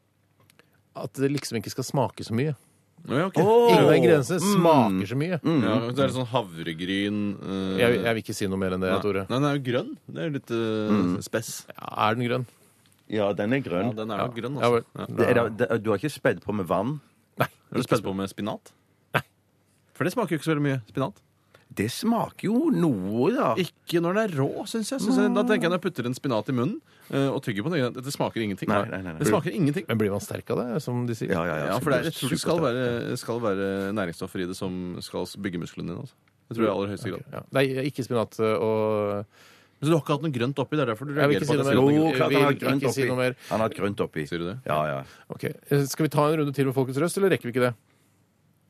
D: at det liksom ikke skal smake så mye.
E: Ja, ok.
D: Ingen ingredienser
F: Mm.
D: smaker så mye.
E: Ja, det er litt sånn havregryn eh,
D: Jeg, jeg vil ikke si noe mer enn det, Tore. Mm.
E: Nei, den er jo grønn. Det er jo litt eh, spess.
D: Ja, Er den grønn?
F: Ja, den er grønn.
E: Ja, den er jo grønn,
D: Ja, vel.
E: altså. Ja.
F: Det er, da- det- du har ikke spedd på med vann?
E: Har du spist på med spinat? Nei. For det smaker jo ikke så veldig mye spinat.
F: Det smaker jo noe, da.
E: Ikke når den er rå, syns jeg. Synes jeg. Da tenker jeg når jeg putter en spinat i munnen eh, og tygger på den, dette smaker ingenting.
F: Nei, nei, nei, nei.
E: Det smaker ingenting.
D: Men blir man sterk av det, som de sier?
F: Ja, ja, ja.
E: Ja, for det er, jeg tror det skal være, skal være næringsstoffer i det som skal bygge musklene dine. Altså. Det tror jeg i aller høyeste grad.
D: Ja. Nei, ikke spinat eh, og
E: Men så du har ikke hatt noe grønt oppi? Det er derfor du
D: Jeg vil ikke si
E: reagerer
D: noe
F: Jo,
D: mer.
E: på at jeg sier noe grønt.
F: klart han
D: Jeg
F: har
D: vil
F: grønt
D: ikke si
F: oppi.
D: noe mer.
F: Han har grønt oppi.
E: Sier du det?
F: Ja, ja.
D: Ok, eh, Skal vi ta en runde til med Folkets Røst, eller rekker vi ikke det?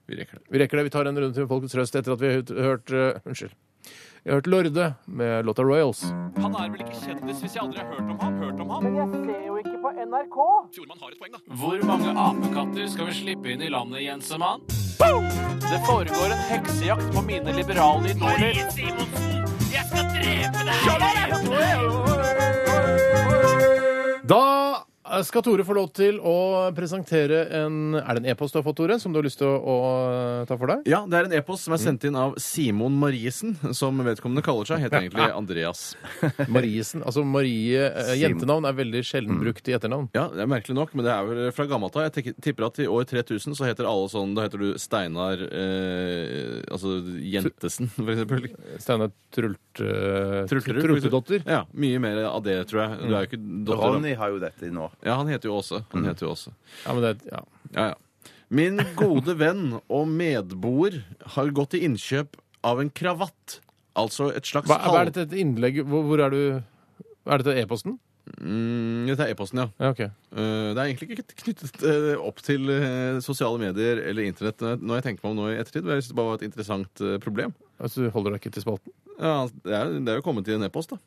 E: Vi rekker det.
D: Vi rekker det, vi tar en runde til med Folkets Røst etter at vi har hørt- hørt eh, Unnskyld. Vi har hørt Lorde med låta Royals.
G: Han er vel ikke kjendis hvis jeg aldri har hørt om ham? Hørt om ham? Fjordmann har et poeng, da.
A: Hvor mange apekatter skal vi slippe inn i landet, Jensemann? Det foregår en heksejakt på mine liberale idoler.
D: Da eh, eh, skal Tore få lov til å presentere en Er det en e-post du har fått, Tore, som du har lyst til å, å eh, ta for deg?
E: Ja, det er en e-post som er sendt inn av Simon Mariesen, som vedkommende kaller seg. Heter egentlig Andreas.
D: Mariesen. Altså Marie eh, Jentenavn er veldig
E: Mm.
D: sjelden brukt i etternavn.
E: Ja, det er merkelig nok, men det er vel fra gammelt av. Jeg tenker- tipper at i år 3000 så heter alle sånn Da heter du Steinar eh, Altså Jentesen, for eksempel.
D: Steinar Trult... eh,
E: Trulterud, for eksempel.
D: Trultedotter.
E: Ja, mye mer av det, tror jeg. Du er jo ikke dotter.
F: Ronny har jo dette nå.
E: Ja, han heter jo Åse.
D: Mm.
E: Han heter jo Åse.
D: Ja, men det er ja.
E: Ja, ja. Min gode venn og medboer har gått til innkjøp av en kravatt. Altså et slags
D: hva, hva
E: halv-
D: er dette et innlegg Hvor, hvor er du Er dette e-posten?
E: Mm, Dette er e-posten, ja.
D: Ja, ok.
E: Eh, Det er egentlig ikke knyttet eh, opp til eh, sosiale medier eller internett. eh, Når jeg tenker meg om nå i ettertid, men jeg synes det bare var et interessant eh, problem.
D: Altså, du holder deg ikke til spalten?
E: Ja, det er, det er jo kommet til en e-post, da.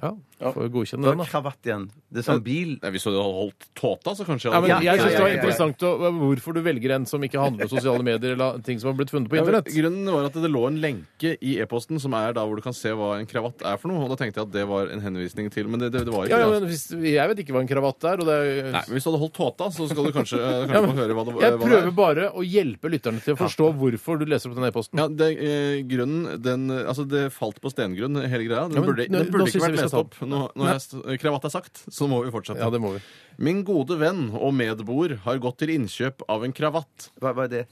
D: Ja, får godkjenne
F: Det
D: den,
F: var
D: da.
F: kravatt igjen. Det er sånn bil.
E: Nei, Hvis du hadde holdt tåta, så kanskje
D: Ja, men
E: hadde-
D: jeg synes det
F: ja,
D: var
F: ja, ja.
D: interessant å, hvorfor du velger en som ikke handler om sosiale medier eller ting som har blitt funnet på
E: Ja, men
D: internett.
E: Grunnen var at det lå en lenke i e-posten som er da hvor du kan se hva en kravatt er for noe. Og da tenkte jeg at det var en henvisning til Men det, det, det var ikke
D: Ja, ja,
E: det. altså.
D: men hvis, Jeg vet ikke hva en kravatt er. Og det er
E: Nei, men Hvis du hadde holdt tåta, så skal du kanskje, eh, kanskje
D: Ja, men
E: få høre hva det,
D: jeg
E: hva det
D: prøver
E: er.
D: bare å hjelpe lytterne til å forstå hvorfor du leser opp den e-posten.
E: Ja, det, eh, grunnen, den, eh, altså det falt på stengrunn, hele greia. Den
D: Ja, men
E: burde,
D: nå- nå
E: den burde
D: synes
E: ikke
D: jeg
E: vært
D: vi
E: lest
D: skal
E: opp. Nå, når jeg, st- kravatt er sagt, så må vi fortsette.
D: Ja, det må vi.
E: Min gode venn og medboer har gått til innkjøp av en kravatt.
F: Hva var det?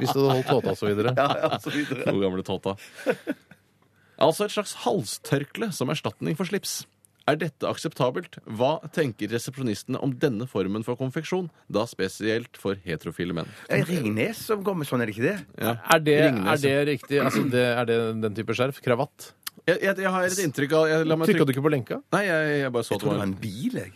D: Hvis du hadde holdt låta og så videre.
E: God gamle tåta. Altså et slags halstørkle som erstatning for slips. Er dette akseptabelt? Hva tenker resepsjonistene om denne formen for konfeksjon, da spesielt for heterofile menn?
F: Det er Ringnes som går med sånn, er det ikke det?
E: Ja.
D: Er det, er
E: Ringnes,
D: det riktig? Altså, det, er det den type skjerf? Kravatt?
E: Jeg, jeg, jeg har et inntrykk av jeg, la meg
D: Trykka
E: trykke.
D: du ikke på lenka?
E: Nei, jeg, jeg bare så at
F: Jeg
E: det
F: tror det var
E: var
F: en bil, jeg.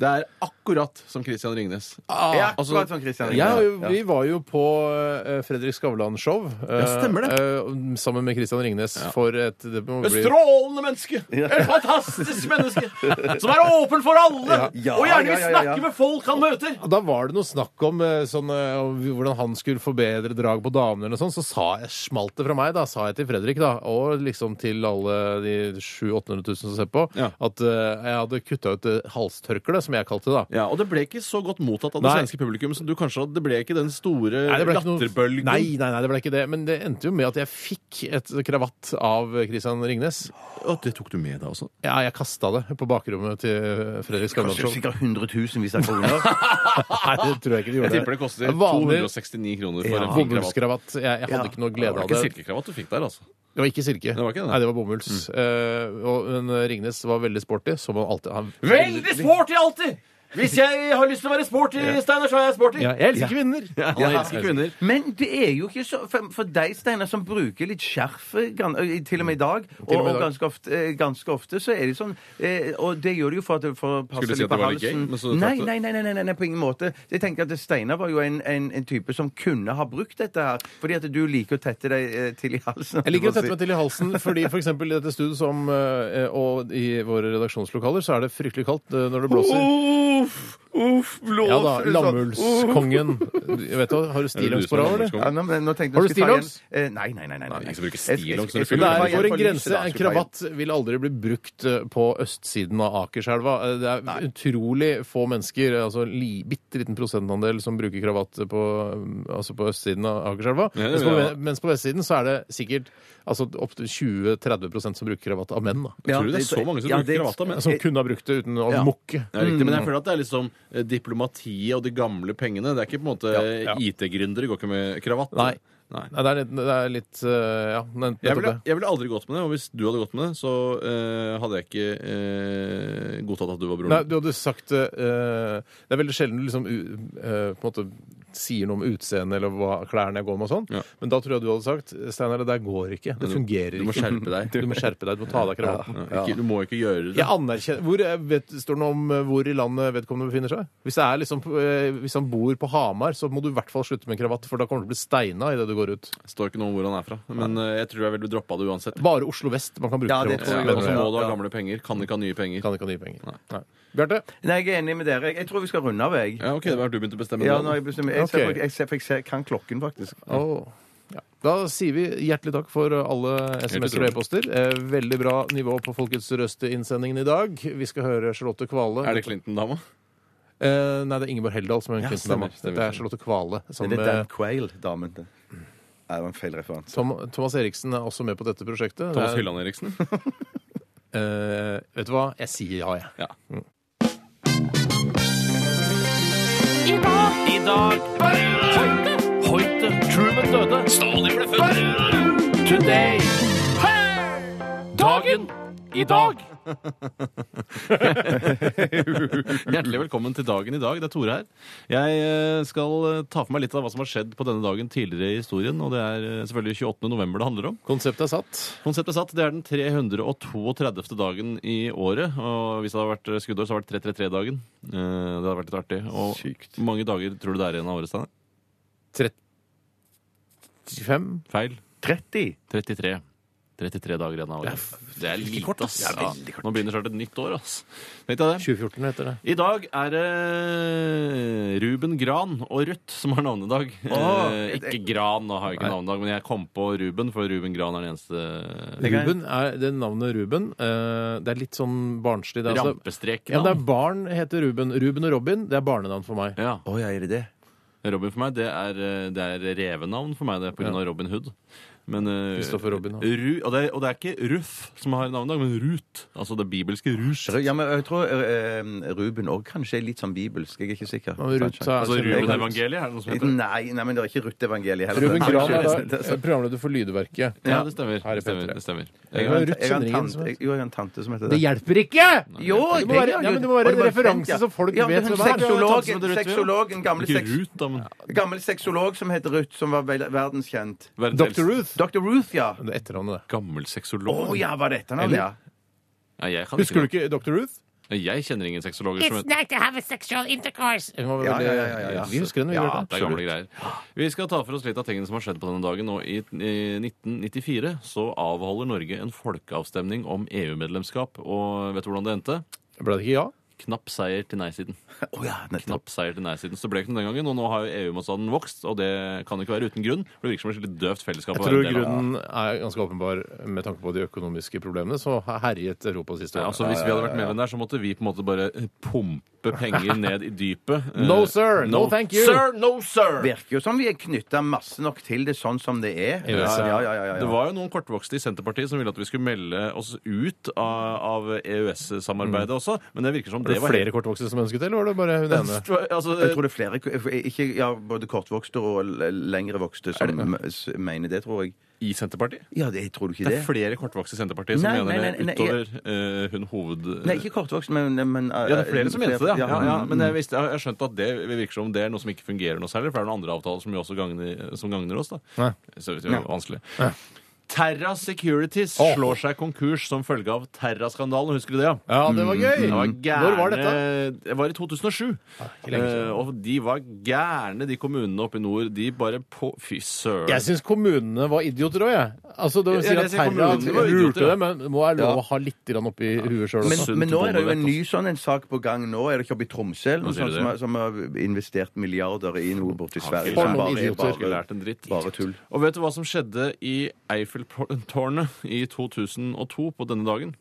E: Det er akkurat som Christian Ringnes.
F: Ja,
E: altså-
F: akkurat som Christian
D: Ja,
F: Ringnes.
D: vi var jo på eh, Fredrik Skavlan-show eh,
E: stemmer det.
D: eh, sammen med Christian Ringnes for et det må bli-
E: strålende menneske! Et fantastisk menneske! Som er åpen for alle!
F: Ja, og gjerne vil ja, ja, ja, ja. snakke
E: med folk han møter!
D: Da var det noe snakk om eh, sånn, eh, om hvordan han skulle forbedre drag på damene eller noe sånt, så sa jeg, smalt det fra meg, da, sa jeg til Fredrik, da, og liksom til alle de 700 000-800 000 som ser på,
E: Ja.
D: at eh, jeg hadde kutta ut eh, halstørkle, som jeg kalte det, da.
E: Ja, Og det ble ikke så godt mottatt av det
D: Nei.
E: svenske publikum som du kanskje hadde. Det ble ikke den store
D: Nei, det ble ikke noe-
E: latterbølgen.
D: Nei, nei, nei, det ble ikke det. Men det endte jo med at jeg fikk et kravatt av Christian Ringnes.
E: Å, det tok du med deg også.
D: Ja, jeg kasta det på bakrommet til eh, Fredrik Skavlan
F: Kanskje
D: Show.
F: sikkert hundretusenvis av kroner.
D: Nei, det tror jeg ikke de gjorde.
E: Jeg tipper det koster
D: Vanlig
E: 269 kroner for en fin kravatt.
D: bomullskravatt. Jeg, jeg hadde
F: Ja.
D: ikke noe
E: Det
D: glede
E: var
D: av
E: ikke
D: det.
E: silkekravatt du fikk der, altså.
D: Det var ikke silke.
E: var ikke det. Mm.
D: Nei, det var bomulls. Eh, og, men Ringnes var veldig sporty, som han alltid han,
E: Veldig sporty alltid! Hvis jeg har lyst til å være sporty, Steinar, så er jeg sporty.
D: Ja, Jeg elsker kvinner!
E: Han elsker kvinner.
F: Men det er jo ikke så For, for deg, Steinar, som bruker litt skjerf eh, gan- eh, til og med i dag, og,
D: og med i
F: og
D: dag.
F: ganske, ofte, eh, ganske ofte, så er det sånn eh, Og det gjør du jo for at du får passe
E: Skulle du
F: litt
E: si at det
F: på
E: var litt gay,
F: halsen.
E: men så trakk
F: nei,
E: du det?
F: nei, nei, nei, nei, nei, nei, på ingen måte. Jeg tenker at Steinar var jo en, en, en type som kunne ha brukt dette her, fordi at du liker å tette deg eh, til i halsen.
D: Jeg liker å tette meg til i halsen, fordi for eksempel i dette studioet som, eh, og i våre redaksjonslokaler så er det fryktelig kaldt eh, når det blåser.
E: Oh,
F: Uff, uff, blåser
D: Ja da,
F: det sånn. Uff.
D: Lammullskongen. Jeg Vet du, har du
E: Er Oh. det
D: stillongs
E: du
D: på deg,
E: som er
D: eller?
E: lammullskongen?
F: Ja, nå, men, nå tenkte jeg
D: Har du
F: skulle ta
D: stillongs?
F: igjen- Eh, nei, nei, nei. nei, nei.
E: ingen som bruker
F: Jeg- jeg- jeg-
E: stillongs når du
F: jeg-
D: Det
E: fyller.
F: jeg-
D: er
F: jeg-
D: for
F: jeg-
D: en
F: jeg-
D: grense.
F: jeg-
D: En
F: jeg-
D: kravatt vil aldri bli brukt eh, på østsiden av Akerselva. Eh, Det er utrolig få mennesker, altså li, bitte liten prosentandel, som bruker kravatt på, eh, altså på østsiden av Akerselva.
E: Ja,
D: Mens
E: det vil
D: på,
E: jeg ha.
D: mens på vestsiden så er det sikkert altså, opptil 20-30 som bruker kravatt av menn. Da.
F: Ja,
E: Tror du det altså, er så mange som
F: ja,
E: bruker
F: det-
E: kravatt, da? Men
D: Som kunne ha brukt det uten å
F: Ja.
D: mukke.
E: Ja, riktig, Men jeg føler at det er liksom eh, diplomatiet og de gamle pengene. Det er ikke på en måte eh,
D: ja.
E: IT-gründere går ikke med kravatt.
D: Nei.
E: Nei.
D: Nei, det er litt, det er litt eh, Ja, nett-
E: Jeg
D: nettopp
E: ville,
D: det.
E: jeg ville aldri gått med det, og hvis du hadde gått med det, så eh, hadde jeg ikke eh, godtatt at du var broren.
D: Nei, du hadde sagt eh, Det er veldig sjelden du liksom, u- eh, på en måte sier noe om utseendet eller hva klærne jeg går med og sånn,
E: Ja.
D: men da tror jeg du hadde sagt Steinar, det der går ikke. Det fungerer
E: du må
D: ikke. Mm-hmm.
E: skjerpe deg.
D: Du må skjerpe deg. Du må ta av deg kravatten.
E: Ja, Ikke, du må ikke gjøre det.
D: Jeg anerkjenner hvor, eh, vet, Står det noe om eh, hvor i landet vedkommende befinner seg? Hvis, det er liksom, eh, hvis han bor på Hamar, så må du i hvert fall slutte med kravatt, for da kommer du til å bli steina idet du går ut.
E: Det står ikke noe om hvor han er fra, men eh, jeg tror jeg ville droppa det uansett.
D: Bare Oslo vest man kan bruke
F: Ja, det
D: kravatt.
F: tror jeg
E: Ja,
D: mener
E: og så
D: jeg.
E: må du ha gamle penger. Kan ikke ha nye penger.
D: Kan ikke ha nye penger. Nei. Bjarte?
F: Nei, jeg er enig med dere. Jeg- Jeg tror vi skal runde av, jeg.
E: Ja, ok, det var du begynte å bestemme
F: Ja,
E: det.
F: nå har jeg bestemt jeg, ser,
D: Ok.
F: faktisk- jeg, ser, for jeg ser, kan klokken, faktisk.
D: Åh. Ja. Da sier vi hjertelig takk for alle SMS-er og
E: Hjertelig
D: e-poster. Eh, Veldig bra nivå på Folkets Røst-innsendingen i dag. Vi skal høre Charlotte Kvale.
E: Er det Clinton-dama?
D: Eh, nei, det er Ingeborg Heldal som er en
E: Ja,
D: Clinton-dame.
E: stemmer, stemmer,
D: Dette er Charlotte Kvale. Som,
F: Er det Dan
D: eh,
F: Quayle-damen? det? Nei, det var en feil referanse.
D: Tom, Thomas Eriksen er også med på dette prosjektet.
E: Thomas
D: Det er-
E: Hylland Eriksen?
D: Eh, vet du hva? Jeg sier ja, jeg.
E: Ja.
G: I dag Hoite, Hoite, Truman døde Stalin ble født Today Dagen I dag
E: Hjertelig velkommen til dagen i dag. Det er Tore her. Jeg eh, skal eh, ta for meg litt av hva som har skjedd på denne dagen tidligere i historien. Og det er eh, selvfølgelig 28. november det handler om.
D: Konseptet er satt.
E: Konseptet satt, det er den 332. dagen i året. Og hvis det hadde vært eh, skuddår, så hadde det vært 333-dagen. Eh, Det hadde vært litt artig. Og
F: Sykt.
E: hvor mange dager tror du det er igjen av året, Steinar?
D: 35?
E: Feil.
F: 30!
E: 33. 33 dager igjen av året. Det er lite,
D: kort,
E: ass.
D: ass. Det er
E: Ja.
D: veldig kort.
E: Nå begynner snart et nytt år, ass. Tenkte jeg det.
D: 2014 heter det.
E: I dag er det Ruben Gran og Ruth som har navnedag. Eh,
F: et-
E: ikke Gran, da har jeg ikke navnedag, men jeg kom på Ruben, for Ruben Gran er den eneste
D: Ruben er, det navnet Ruben eh, Det er litt sånn barnslig. Det er, altså-
E: rampestreken.
D: ja, men det er barn heter Ruben. Ruben og Robin, det er barnenavn for meg.
E: ja.
F: Å ja, er det det?
E: Robin for meg, det er, eh, det er revenavn for meg, det er på grunn av Robin Hood. Men, eh,
D: Christopher Robin Hood.
E: Ru, og, det er, og det er ikke Ruff som har navnedag, men Rut. Altså det bibelske Rush.
F: Ja, men jeg tror eh, Ruben òg kanskje er litt sånn bibelsk. Jeg er ikke sikker.
D: Men Ruth
F: Kanskje.
D: er-
E: Altså
D: generelt-
E: Ruben-evangeliet, er det noe som heter?
F: Nei, nei, men det er ikke Ruth-evangeliet heller.
D: Ruben Gran er da
F: Unnskyld, det-
D: eh, programleder for Lydverket.
E: Ja, det stemmer.
D: Her i
E: Det stemmer,
D: P3.
E: det stemmer.
F: Jeg har en- jeg har
D: Ruth
F: en
D: Sønningen
F: tante-
D: som heter-
F: Jo, jeg har en tante som heter
D: Det
F: det.
D: hjelper ikke!
F: Jo,
D: Det må være-
F: gjør
D: ja, men det må
F: jo-
D: være
F: og
D: en
F: en
D: referanse
F: tante.
D: så folk
F: ja,
D: vet
F: hun
D: hvem
F: sexolog-
D: det er.
E: Ja, det er tante som heter Ruth, ja.
F: Sexolog, en gammel,
E: Ikke
F: sex,
E: Ruth, da, men
F: gammel sexolog som heter Ruth, som var vel- verdenskjent.
E: verdens
D: Dr.
E: eldste-
D: Ruth.
F: Dr. Ruth, ja.
D: Det er etternavnet, det.
E: Gammel
F: Å
E: sexolog.
F: ja, var det etternavnet, ja?
E: Nei, jeg kan
D: Husker du
E: ikke det.
D: ikke Dr. Ruth?
E: Jeg kjenner ingen sexologer som heter
I: nice to have a sexual intercourse.
D: Hun var
F: Ja,
D: veldig-
F: ja, ja, ja, ja.
D: Vi husker henne, vi.
E: ja,
D: Bjarte.
E: det er gamle greier. Vi skal ta for oss litt av tingene som har skjedd på denne dagen. Og i i 1994 så avholder Norge en folkeavstemning om EU-medlemskap. Og vet du hvordan det endte?
D: Ble det ikke ja?
E: Knapp seier til nei-siden.
F: Å ja, nettopp.
E: Knapp seier til nei-siden. Så det ble ikke noe den gangen, og nå har jo EU-motstanden vokst, og det kan ikke være uten grunn. for Det virker som et litt døvt fellesskap.
D: Jeg
E: å være
D: tror
E: en del av.
D: grunnen er ganske åpenbar med tanke på de økonomiske problemene som har herjet Europa de siste
E: Ja,
D: årene.
E: altså Hvis vi hadde vært med i den der, så måtte vi på en måte bare pumpe penger ned i dypet.
D: No,
E: Eh,
D: sir. No, thank you.
E: Sir, no, sir!
F: Virker jo som vi er knytta masse nok til det sånn som det er.
D: Ja,
F: ja,
D: ja,
F: ja, ja,
E: Det
F: ja.
E: var jo noen kortvokste i Senterpartiet som ville at vi skulle melde oss ut av, av EØS-samarbeidet også, men det virker som
D: Var
E: det
D: det
E: var
D: flere kortvokste som ønsket det, eller var det bare hun ene?
E: helt altså,
F: Jeg tror det er flere ikke, ja, Både kortvokste og l- lengre vokste som s- mener det, tror jeg.
E: I Senterpartiet?
F: Ja, det tror du ikke
E: Det
F: det?
E: er flere kortvokste i Senterpartiet som
F: Nei,
E: mener
F: nei, nei, nei,
E: det utover eh, hun hoved...
F: Nei, ikke kortvokst, men, men eh,
E: ja, det er flere som mente det, Eh, ja. ja, ja
F: mm,
E: men jeg, visste, jeg har skjønt at det virker som det er noe som ikke fungerer noe særlig, for det er noen andre avtaler som jo også gagner, som gagner oss, da.
D: Nei.
E: Så det er jo vanskelig. Terra Securities
D: Åh.
E: slår seg konkurs som følge av Terra-skandalen. Husker du det, ja?
D: Ja, det var gøy!
E: Det var gærne,
D: Når var dette?
E: Det var i 2007.
D: ikke lenge siden.
E: Eh, og de var gærne, de kommunene oppe i nord. De bare på Fy søren.
D: Jeg syns kommunene var idioter òg, jeg. Altså, det
E: Ja,
D: sier at
E: jeg synes
D: Terra
E: kommunene var idioter,
D: lurte
E: ja.
D: det, men det må være lov å ha litt grann oppi huet sjøl også.
F: Men,
E: sunt
F: men nå er det jo en
E: bondevett,
F: ny sånn en sak på gang nå. Er det ikke oppe i Tromsø eller
E: Nå
F: noe sånt
E: sier du
F: som,
E: det.
F: har- som har investert milliarder i noe borti Sverige?
E: for
F: som
D: noen
F: er
D: idioter.
E: Ikke lært en dritt.
F: bare tull.
E: Og vet du hva som skjedde i Eiffeltårnet i 2002 på denne dagen?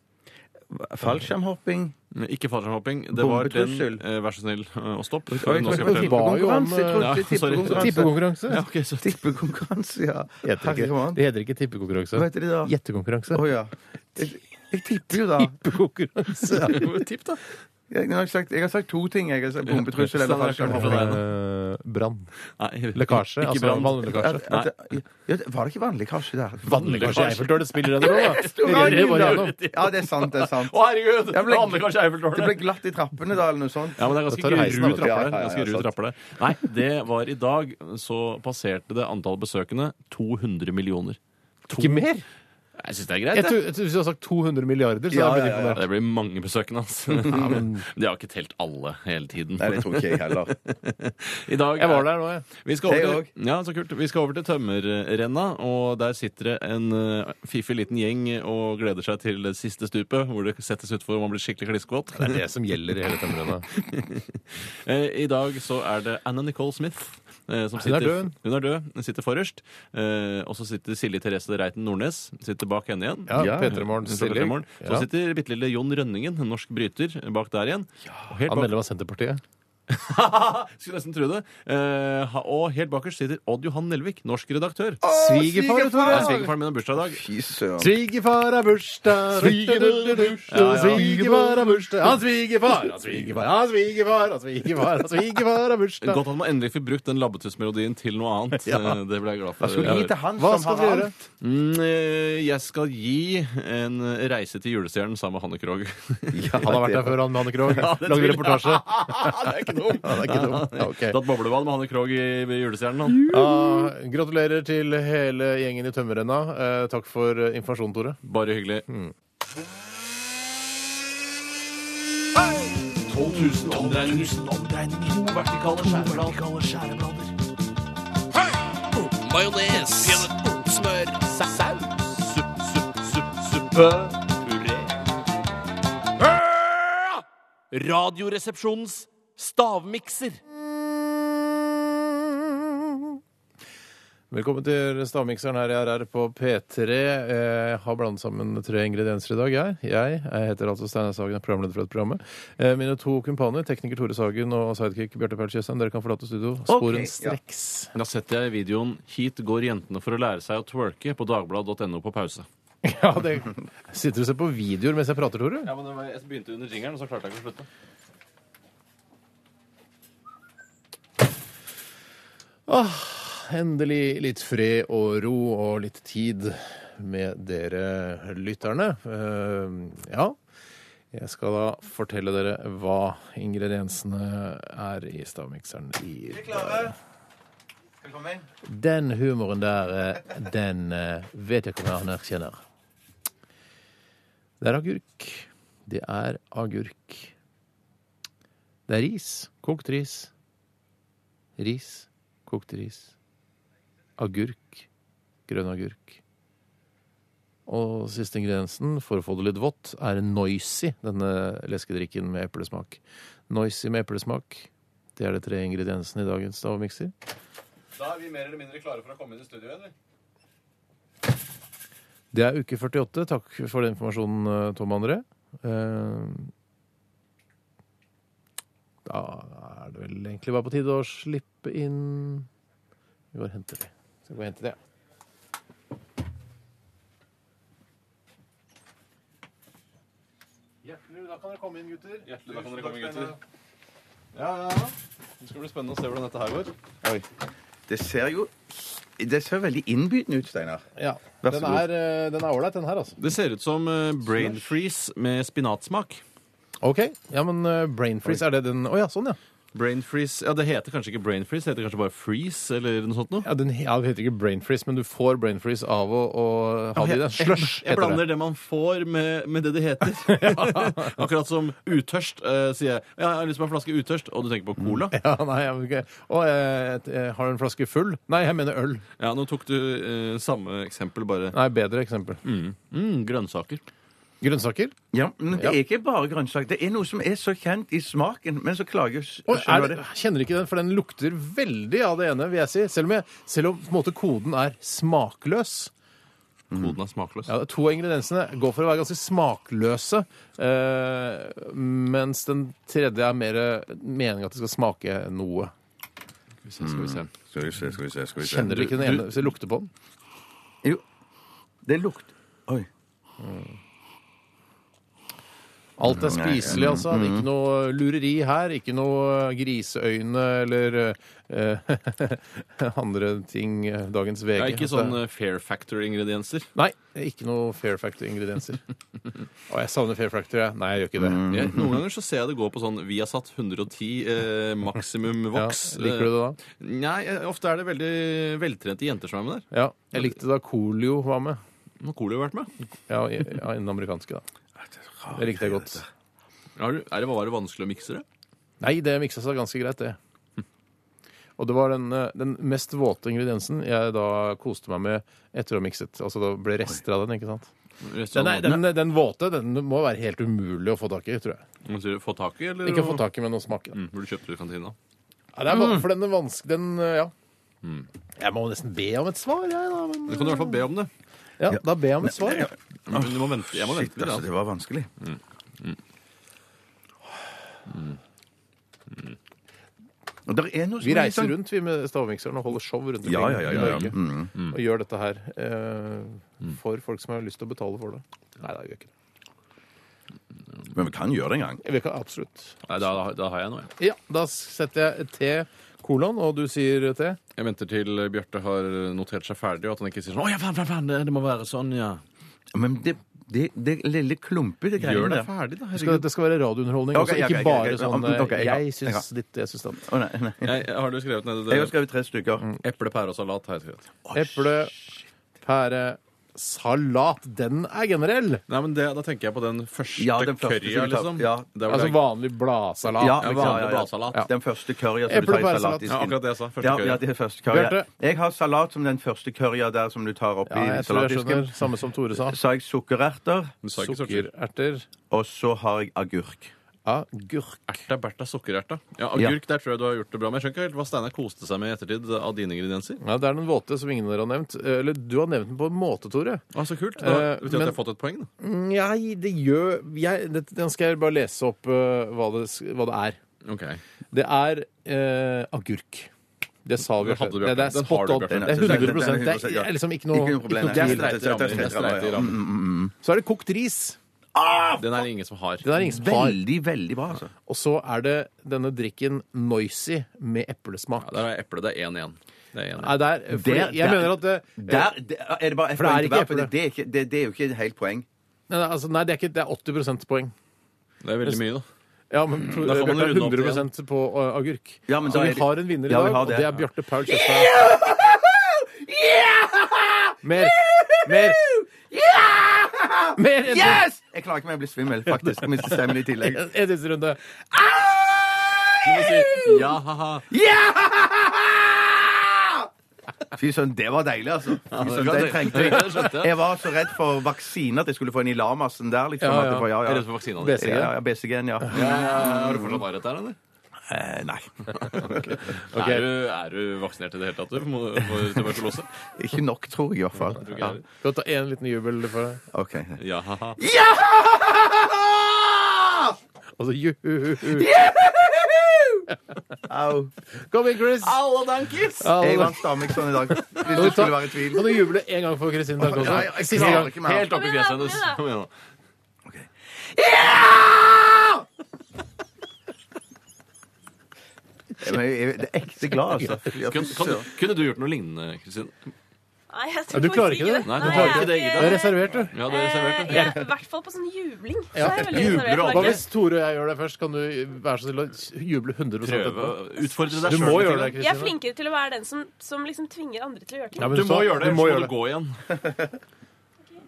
F: Fallskjermhopping?
E: Ikke fallskjermhopping. Det var den
F: Bombetrussel.
E: eh, Vær så snill eh, å stoppe. Nå
F: Oi,
E: skal jeg
D: men-
E: fortelle.
D: ba jo om,
F: Tippekonkurranse! Jeg tror ikke tippekonkurranse.
D: Tippekonkurranse?
E: eh, ja, sorry. Ja, ok, så
F: Tippekonkurranse, ja.
D: Det heter ikke-
F: Herregud.
D: Det heter ikke tippekonkurranse.
F: Hva heter det da?
D: Gjettekonkurranse.
F: Å ja. Jeg, jeg tipper jo, da.
D: Tippekonkurranse.
E: Tipp, da.
F: Jeg, jeg, har sagt, jeg har sagt to ting. Jeg har sagt Bombetrussel eller
E: Standard reklame for
F: fallskjermhopping.
E: deg.
D: Eh, Brann.
E: Nei,
D: Lekkasje.
E: Ikke
D: Altså
E: brann.
D: vannlekkasje.
F: At- at- ja, det- Var det ikke vanlig kanskje der?
D: Vannlekkasje i Eiffeltårnet spiller det nå, da. Det renner bare gjennom.
F: Ja, det er sant, det er sant.
E: Å, herregud!
F: Jeg ble-
E: Vannlekkasje i
F: Det
E: Eiffeltårnet.
F: ble glatt i trappene da, eller noe sånt.
E: Ja, men det
D: Da
E: er
D: tar
E: ganske
D: du heisen, da,
E: ru
D: vet du.
E: trapper der.
F: Ja, ja, ja,
E: Ganske ru
F: sant.
E: trapper der. Nei, det var i dag så passerte det antall besøkende, 200 millioner. To-
D: Ikke mer?
E: Jeg syns det er greit.
D: Jeg
E: jeg.
D: tror, jeg tror Hvis du har sagt 200 milliarder, så
F: Ja,
D: er jeg
F: ja,
D: blitt
F: ja, ja.
D: imponert.
E: Det blir mange besøkende, altså. De har ikke telt alle hele tiden.
F: Nei, det tror ikke jeg heller.
E: I dag
D: Jeg var der nå, jeg.
E: Vi skal,
F: Jeg
E: over
F: òg.
E: til, ja, så kult. vi skal over til tømmerrenna, og der sitter det en eh, fiffig liten gjeng og gleder seg til det siste stupet, hvor det settes utfor og man blir skikkelig klissvåt.
D: Det er det som gjelder i hele tømmerrennet.
E: Eh, I dag så er det Anna Nicole Smith. eh, Som
D: Hun er død.
E: Hun er død. Hun sitter forrest. Eh, og så sitter Silje Therese Reiten Nordnes sitter bak henne igjen.
D: Ja,
F: Ja.
D: P3 Morgens
E: Hun står
D: stilling.
E: etter morgen. Så
D: Ja.
E: sitter bitte lille Jon Rønningen, en norsk bryter, bak der igjen. Og helt
D: Han er
E: bak-
D: medlem av Senterpartiet.
E: Skulle nesten tro det. Eh, ha- og helt bakerst sitter Odd Johan Nelvik, norsk redaktør.
D: Svigerfar,
E: Det
D: Tore!
E: er Svigerfaren min har bursdag i dag.
F: Fy søren.
D: Svigerfar har bursdag, svigerfar har bursdag Han svigerfar, han svigerfar, han svigerfar, han svigerfar, han svigerfar har bursdag.
E: Godt at man endelig fikk brukt den labbetussmelodien til noe annet. Eh, Det ble jeg glad for.
F: Hva skal du gi til han
D: Hva
F: som
D: skal
F: har
D: du gjøre?
F: alt?
E: Mm, eh, jeg skal gi en reise til julestjernen sammen med Hanne Krogh.
F: Ja,
D: Han har vært der før, han med Hanne Krogh. Lagde reportasje.
E: det er ikke dumt.
D: Ja, det er ikke dumt. Ja, ok.
E: Datt boblevann med Hanne Krogh i ved julestjernen. Han.
D: Ah, gratulerer til hele gjengen i Tømmerrenna. Eh, takk for eh, informasjonen, Tore.
E: Bare hyggelig. 12 000 omdreininger. To vertikale skjæreblader.
G: Majones. Smør.
E: Saus. Supp, supp, supp, suppe. Puré.
G: Radioresepsjonens stavmikser.
D: Velkommen til stavmikseren her i RR på P3. Eh, har blandet sammen tre ingredienser i dag, jeg. Jeg, jeg heter altså Steinar Sagen, er programleder for dette programmet. Eh, mine to kumpaner, tekniker Tore Sagen og sidekick Bjarte Paul Tjøstheim, dere kan forlate studio. Sporen
F: Ok, ja.
D: streks.
E: Da setter jeg videoen 'Hit går jentene for å lære seg å twerke' på dagbladet.no på pause.
D: Ja, det Sitter du og ser på videoer mens jeg prater, Tore?
E: Ja, men det var, Jeg begynte under jingeren, og så klarte jeg ikke å slutte.
D: Endelig litt fred og ro og litt tid med dere lytterne. Eh, ja. Jeg skal da fortelle dere hva ingrediensene er i stavmikseren i dag. Den humoren der, eh, den eh, vet jeg ikke om jeg anerkjenner. Det er agurk. Det er agurk. Det er ris. Kokt ris. Ris. Kokt ris agurk, grønn agurk. Og siste ingrediensen, for å få det litt vått, er noisy, denne leskedrikken med eplesmak. Noisy med eplesmak. Det er de tre ingrediensene i dagens stavmikser.
E: Da er vi mer eller mindre klare for å komme inn i studio igjen.
D: Det er uke 48. Takk for den informasjonen, Tom André. Eh, Da er det vel egentlig bare på tide å slippe inn Vi går og henter det. Skal gå og hente det. Hjertelig, da kan dere komme inn, gutter.
E: Hjertelig, da kan dere komme inn, gutter. Ja, ja, ja. Det skal bli spennende å se hvordan dette her går.
F: Oi. Det ser jo Det ser veldig innbydende ut, Steinar.
D: Ja.
F: Vær så
D: Den
F: god.
D: er eh, den er ålreit, den her, altså.
E: Det ser ut som eh, brain freeze med spinatsmak.
D: OK. Ja, men eh, brain freeze, er det den Å ja, sånn, ja.
E: Brain freeze, ja Det heter kanskje ikke brain freeze, det heter kanskje bare freeze eller noe sånt noe.
D: Ja, Den he- ja, det heter ikke brain freeze, men du får brain freeze av å, å ha det i deg. Slush
E: jeg
D: heter det.
E: blander det man får, med, med det det heter. Akkurat som utørst, eh, sier jeg. Ja, jeg har lyst på en flaske utørst, og du tenker på cola.
D: Mm. Ja, nei, jeg, vil ikke- Å, jeg, jeg har du en flaske full? Nei, jeg mener øl.
E: Ja, Nå tok du eh, samme eksempel, bare
D: Nei, bedre eksempel.
E: mm, grønnsaker.
D: Grønnsaker?
F: Ja, men det
D: Ja.
F: er ikke bare grønnsak. Det er noe som er så kjent i smaken, men så klager s-
D: Å, er
F: skjønner
D: det,
F: det.
D: kjenner ikke den, for den lukter veldig av det ene, vil jeg si. Selv om, jeg, selv om på en måte, koden er smakløs.
E: Koden er smakløs.
D: Mm. Ja, de to ingrediensene går for å være ganske smakløse, eh, mens den tredje er mer meningen at det skal smake noe.
E: Skal vi se, skal vi se.
F: Skal vi se, skal vi se, skal vi se.
D: Kjenner du ikke den ene hvis jeg lukter på den?
F: Jo, det lukter Oi.
D: Alt er spiselig, altså.
F: Mm-hmm.
D: Ikke noe lureri her. Ikke noe griseøyne eller eh, andre ting. eh, Dagens VG.
E: Ja, ikke sånn eh, Fair Factor-ingredienser.
D: Nei, ikke noe Fair Factor-ingredienser. Å, jeg savner Fair Factor, jeg. Nei, jeg gjør ikke det.
E: Jeg, noen ganger så ser jeg det gå på sånn Viasat 110 eh, maksimum
D: Ja,
E: voks.
D: liker du det da?
E: eh, Nei, eh, ofte er det veldig veltrente jenter som er med der.
D: Ja, Jeg likte da Coolio var med.
E: Nå har Coolio vært med.
D: Ja, i- ja, innen amerikanske, da. Det likte jeg godt.
E: Har du, er det, var det vanskelig å mikse det?
D: Nei, det miksa seg ganske greit, det. Og det var den, eh, den mest våte ingrediensen jeg da koste meg med etter å ha mikset. Altså det ble rester av den, ikke sant. Den, er, den, den våte den må være helt umulig å få tak i, tror jeg.
E: Hva sier du, Få tak i, eller?
D: Ikke få tak i, men å smake.
E: Mm, Burde kjøpt det i kantina.
D: Ja, det er van- for den er vanskelig Den, eh, ja.
F: Mm.
D: Jeg må nesten be om et svar, jeg, da.
E: Du
D: Men,
E: kan i hvert fall be om det.
D: ja, da ber jeg om et svar. Ja.
E: Men du må vente. Jeg må
F: Shit,
E: vente litt.
F: altså,
E: Altså.
F: det var vanskelig.
E: Mm.
F: Mm.
E: Mm.
F: Og der er noe som
D: Vi
F: er litt
D: reiser
F: sånn-
D: rundt vi med stavmikseren og holder show rundt omkring
F: Ja, ja, Mm, ja, ja, ja.
D: i Norge. Og gjør dette her eh, for folk som har lyst til å betale for det. Nei, da gjør vi ikke det.
F: Men vi kan gjøre det en gang.
D: Jeg vil ikke, absolutt.
E: Nei, da, da har jeg noe, jeg.
D: Ja, da setter jeg T kolon, og du sier T.
E: Jeg venter til Bjarte har notert seg ferdig, og at han ikke sier sånn Å ja, faen, faen, faen, det, det må være sånn, ja.
F: Men det, det, det lille klumpete
E: Gjør
F: greiene
E: det
F: der
E: ferdig, da.
D: Det skal,
E: Herregud.
D: det skal være radiounderholdning
F: Ok,
D: også,
F: ok,
D: ikke
F: ok,
D: bare
F: ok.
D: sånn
F: Ok, ok, ja,
D: eh, jeg
F: ja.
D: syns ditt, jeg syns datt.
F: Å, nei, nei.
E: Jeg, har du skrevet ned det?
F: Jeg har skrevet tre stykker.
E: Eple, pære og salat har jeg skrevet.
D: Eple, pære, salat. Den er generell!
E: Nei, men det, Da tenker jeg på den første,
F: Ja, den første
E: currya,
F: som du tar-
E: liksom.
F: ja.
E: Det er hvor
D: Altså
E: jeg-
D: vanlig bladsalat.
F: Ja,
E: ja,
F: ja,
E: vanlig
F: ja, ja.
E: bladsalat.
F: Ja. Den første currya som
D: Eple,
F: du tar i
D: pære,
F: salat. i
D: salat.
E: ja, akkurat det jeg sa. Første
F: Ja,
E: curry.
F: ja, det er første curry.
D: Bjarte?
F: Jeg har salat som den første currya der som du tar oppi
D: Ja, jeg tror jeg
F: salatdisken.
D: skjønner. Samme som Tore sa.
F: Så har jeg sukkererter,
E: Du sa ikke sorter.
D: Sukkererter.
F: og så har jeg agurk.
D: Agurk.
E: Erta, berta, sukkererta. Ja, Agurk, der tror jeg du har gjort det bra. Men jeg skjønner ikke helt hva Steinar koste seg med i ettertid av dine ingredienser.
D: Ja, det er den våte som ingen av dere har nevnt. Eh, Eller du har nevnt den på en måte, Tore.
E: Å, så kult. Da
D: Eh,
E: betyr det at
D: men-
E: jeg har fått et poeng, da.
D: Nei, Mm, det gjør jeg, det, Den skal jeg bare lese opp eh, hva, det, hva det er.
E: Ok.
D: Det er eh, agurk. Det sa vi.
E: Den hadde du,
D: det, det er
E: Bjarte. Den
D: spot
E: har du,
D: on.
E: Bjarte.
D: Det er 100 Det er,
F: ja.
D: liksom ikke
F: Ikke
D: noe,
F: noe problem.
D: ikke noe
E: Det er
D: tvil.
E: streite rammer. Det er streite rammer.
D: Så er det kokt ris.
E: Den er det ingen som har.
D: Den er det ingen som har.
F: Veldig, veldig bra, altså.
D: Og så er det denne drikken Noisy med eplesmak.
E: Der er eple. Det er 1-1. Det er 1-1.
D: Nei, der, fordi
F: Der-
D: jeg
F: der-
D: mener at det,
F: Der, det- er det bare ett
D: For det
F: poeng
D: er
F: til
D: ikke
F: hver, for
D: eple.
F: det, det, er ikke- det, det er jo ikke et helt poeng.
D: nei, nei, altså, nei, det er ikke det er 80 poeng.
E: Det er veldig mye, da.
D: Ja, men Tor-
E: Da får man
D: Bjarte er
E: runde opp
D: 100 på uh, agurk.
F: Ja, men
D: så
F: da
D: vi
F: er det-
D: har en vinner i
F: Ja, vi
D: dag,
F: har
D: og
F: det.
D: det er Bjarte Paul Kjøstheim. Mer! Mer! Mer! En,
F: Yes! Jeg klarer ikke mer å bli svimmel, faktisk. Jeg Mister stemmen i tillegg.
D: en, en siste runde.
E: Du må si ja, ha-ha.
F: Fy søren, det var deilig, altså. Fy sønn, det trengte
E: Ja, det skjønte
F: jeg.
E: jeg.
F: Jeg var så redd for vaksine at jeg skulle få en i lamasen der, liksom.
D: Ja,
F: at
D: ja.
F: jeg får- ja,
E: Jeg
F: ja.
E: er redd for vaksina di.
D: BCG.
F: Ja, ja, BCG-en, ja.
E: Har du fortsatt arret der, eller?
F: Eh, nei.
D: Ok.
E: Er, du, er du vaksinert i det hele tatt, du? Må- For tuberkulose?
F: Ikke nok, tror jeg, i hvert fall. Ja.
D: Skal vi ta én liten jubel for deg?
F: OK.
E: Ja, ha-ha.
D: Og så juhu!
F: Au.
D: Kom inn, Chris!
E: Alle dankis!
D: Alle-
F: Jeg vant Stamikson i dag, hvis
D: Kan
F: det
D: du ta-
F: skulle være i tvil.
D: Kan du juble en gang for Kristin Dag
F: Ja, ja,
D: også?
F: jeg
D: Siste
F: klarer
D: gang.
F: ikke mer.
E: Helt oppi fjeset hennes. Kom igjen, da.
F: Men jeg jeg er ekte glad, altså. Ja,
E: Kan,
F: fy
E: kan,
F: søren.
E: du- kunne du gjort noe lignende, Kristin?
J: Nei, jeg
D: Ja,
J: tror
D: du klarer
J: faktisk
D: ikke det?
J: det.
E: Nei, du
J: Nei,
E: klarer ikke det,
J: jeg-
D: Du er reservert, du.
E: Ja, det er
J: Eh,
E: reservert.
J: Jeg er i hvert fall på sånn jubling. Så
D: Ja.
J: er jeg veldig
E: Jubler og
J: reservert, merker
D: Hva
J: jeg.
D: hvis Tore og jeg gjør det først? Kan du være så snill å juble 100
E: Prøve
D: etterpå?
E: å utfordre deg
D: Du må gjøre det,
E: det.
J: Jeg er
D: Kristine.
J: flinkere til å være den som, som liksom tvinger andre til å gjøre ting.
D: Ja, men
E: Du må
D: så-
E: gjøre det,
D: du
E: ellers
D: må
E: må
D: gjøre
E: du
D: det.
E: gå igjen.
D: Gjør det.
E: Ok.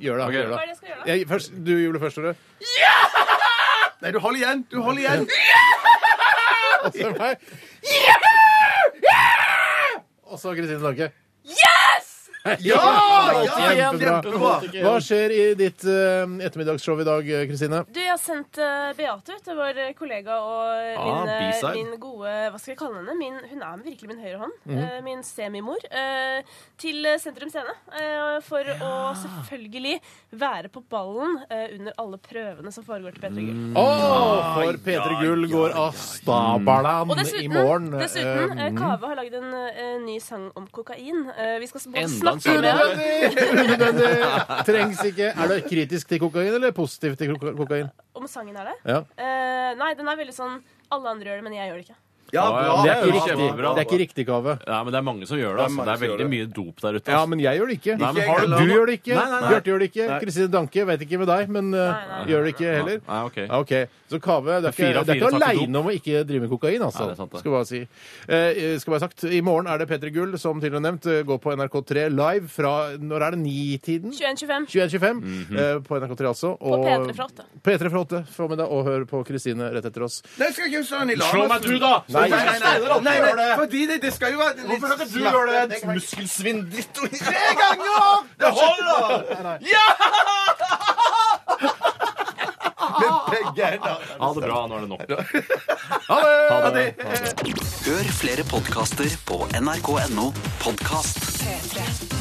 D: Gjør
J: Hva
D: det.
J: er det jeg skal gjøre da?
D: Jeg, først, du jubler først, Tore.
F: Nei, du holder igjen! Du holder igjen!
D: Og så meg. Og så Kristine Danke. Yes! Ja!
F: Ja,
D: Kjempebra.
F: kjempebra!
D: Hva skjer i ditt eh, ettermiddagsshow i dag, eh, Kristine?
J: Du, jeg har sendt eh, Beate ut, vår eh, kollega og eh,
E: Ah,
J: min, eh,
E: B-side.
J: min gode Hva skal jeg kalle henne? Min, hun er virkelig min høyre hånd.
D: Mhm.
J: eh, min semimor. eh, til eh, Sentrum Scene. eh, for å selvfølgelig være på ballen eh, under alle prøvene som foregår til P3 Gull.
D: Å, for P3 Gull går av
J: Og
D: stabelen i
J: dessuten,
D: morgen.
J: dessuten
D: Eh,
J: eh, Kave har lagd en eh, ny sang om kokain. Eh, vi skal både
E: Enda en
J: snakke
E: sang.
J: med han
D: Unødvendig! Unødvendig! Trengs ikke. Er det kritisk til kokain, eller positiv til koka- kokain?
J: om sangen er det.
D: Ja.
J: Eh, nei, den er veldig sånn Alle andre gjør det, men jeg gjør det ikke.
F: Ja, bra!
E: Det
D: Det
E: er
D: er
E: jo
D: ikke riktig,
E: kjempebra.
D: det er ikke riktig gave.
E: Nei, men det er mange som gjør det.
F: Det er
E: altså.
F: mange
E: Det er
F: som gjør det.
E: veldig mye dop der ute.
D: Ja,
E: altså.
D: men jeg gjør det ikke.
E: Nei, men
F: har
D: du
E: du-
D: gjør det ikke.
E: Nei, nei, nei.
D: Bjarte gjør det ikke. Kristine Danke vet ikke med deg, men uh,
J: nei.
D: gjør det ikke heller.
E: Nei, ok.
D: Ja, ok. Så Kave, det er ikke, det er
E: fire av fire
D: ikke
E: tar ikke dop.
D: aleine om å ikke drive med kokain, altså.
E: Nei, det er sant, det.
D: skal bare si. Eh, skal bare sagt, I morgen er det P3 Gull, som tidligere nevnt, eh, går på NRK3 live fra Når er det? 9-tiden?
J: 21-25.
D: 21.25
E: Mhm.
D: eh, på NRK3, altså.
J: På P3 fra åtte.
D: P3 fra 8. eh, Få med deg og hør på Kristine rett etter oss.
F: Nei, skal ikke Søren i lag
E: Slå meg
F: altså.
E: du, da!
F: Nei,
D: Nei,
F: nei, nei, nei, nei, nei,
E: gjør det.
F: fordi det, det skal jo være litt
E: Hvorfor skal ikke du
F: slapp-
E: gjøre det? Muskelsvinn-dritt!
F: Tre ganger!
E: Det holder!
F: Med begge hender.
E: Ha det bra. Nå er det nok.
D: Ha
E: Ha
D: det!
E: det.
B: Hør flere podkaster på nrk.no podkast.
H: P3.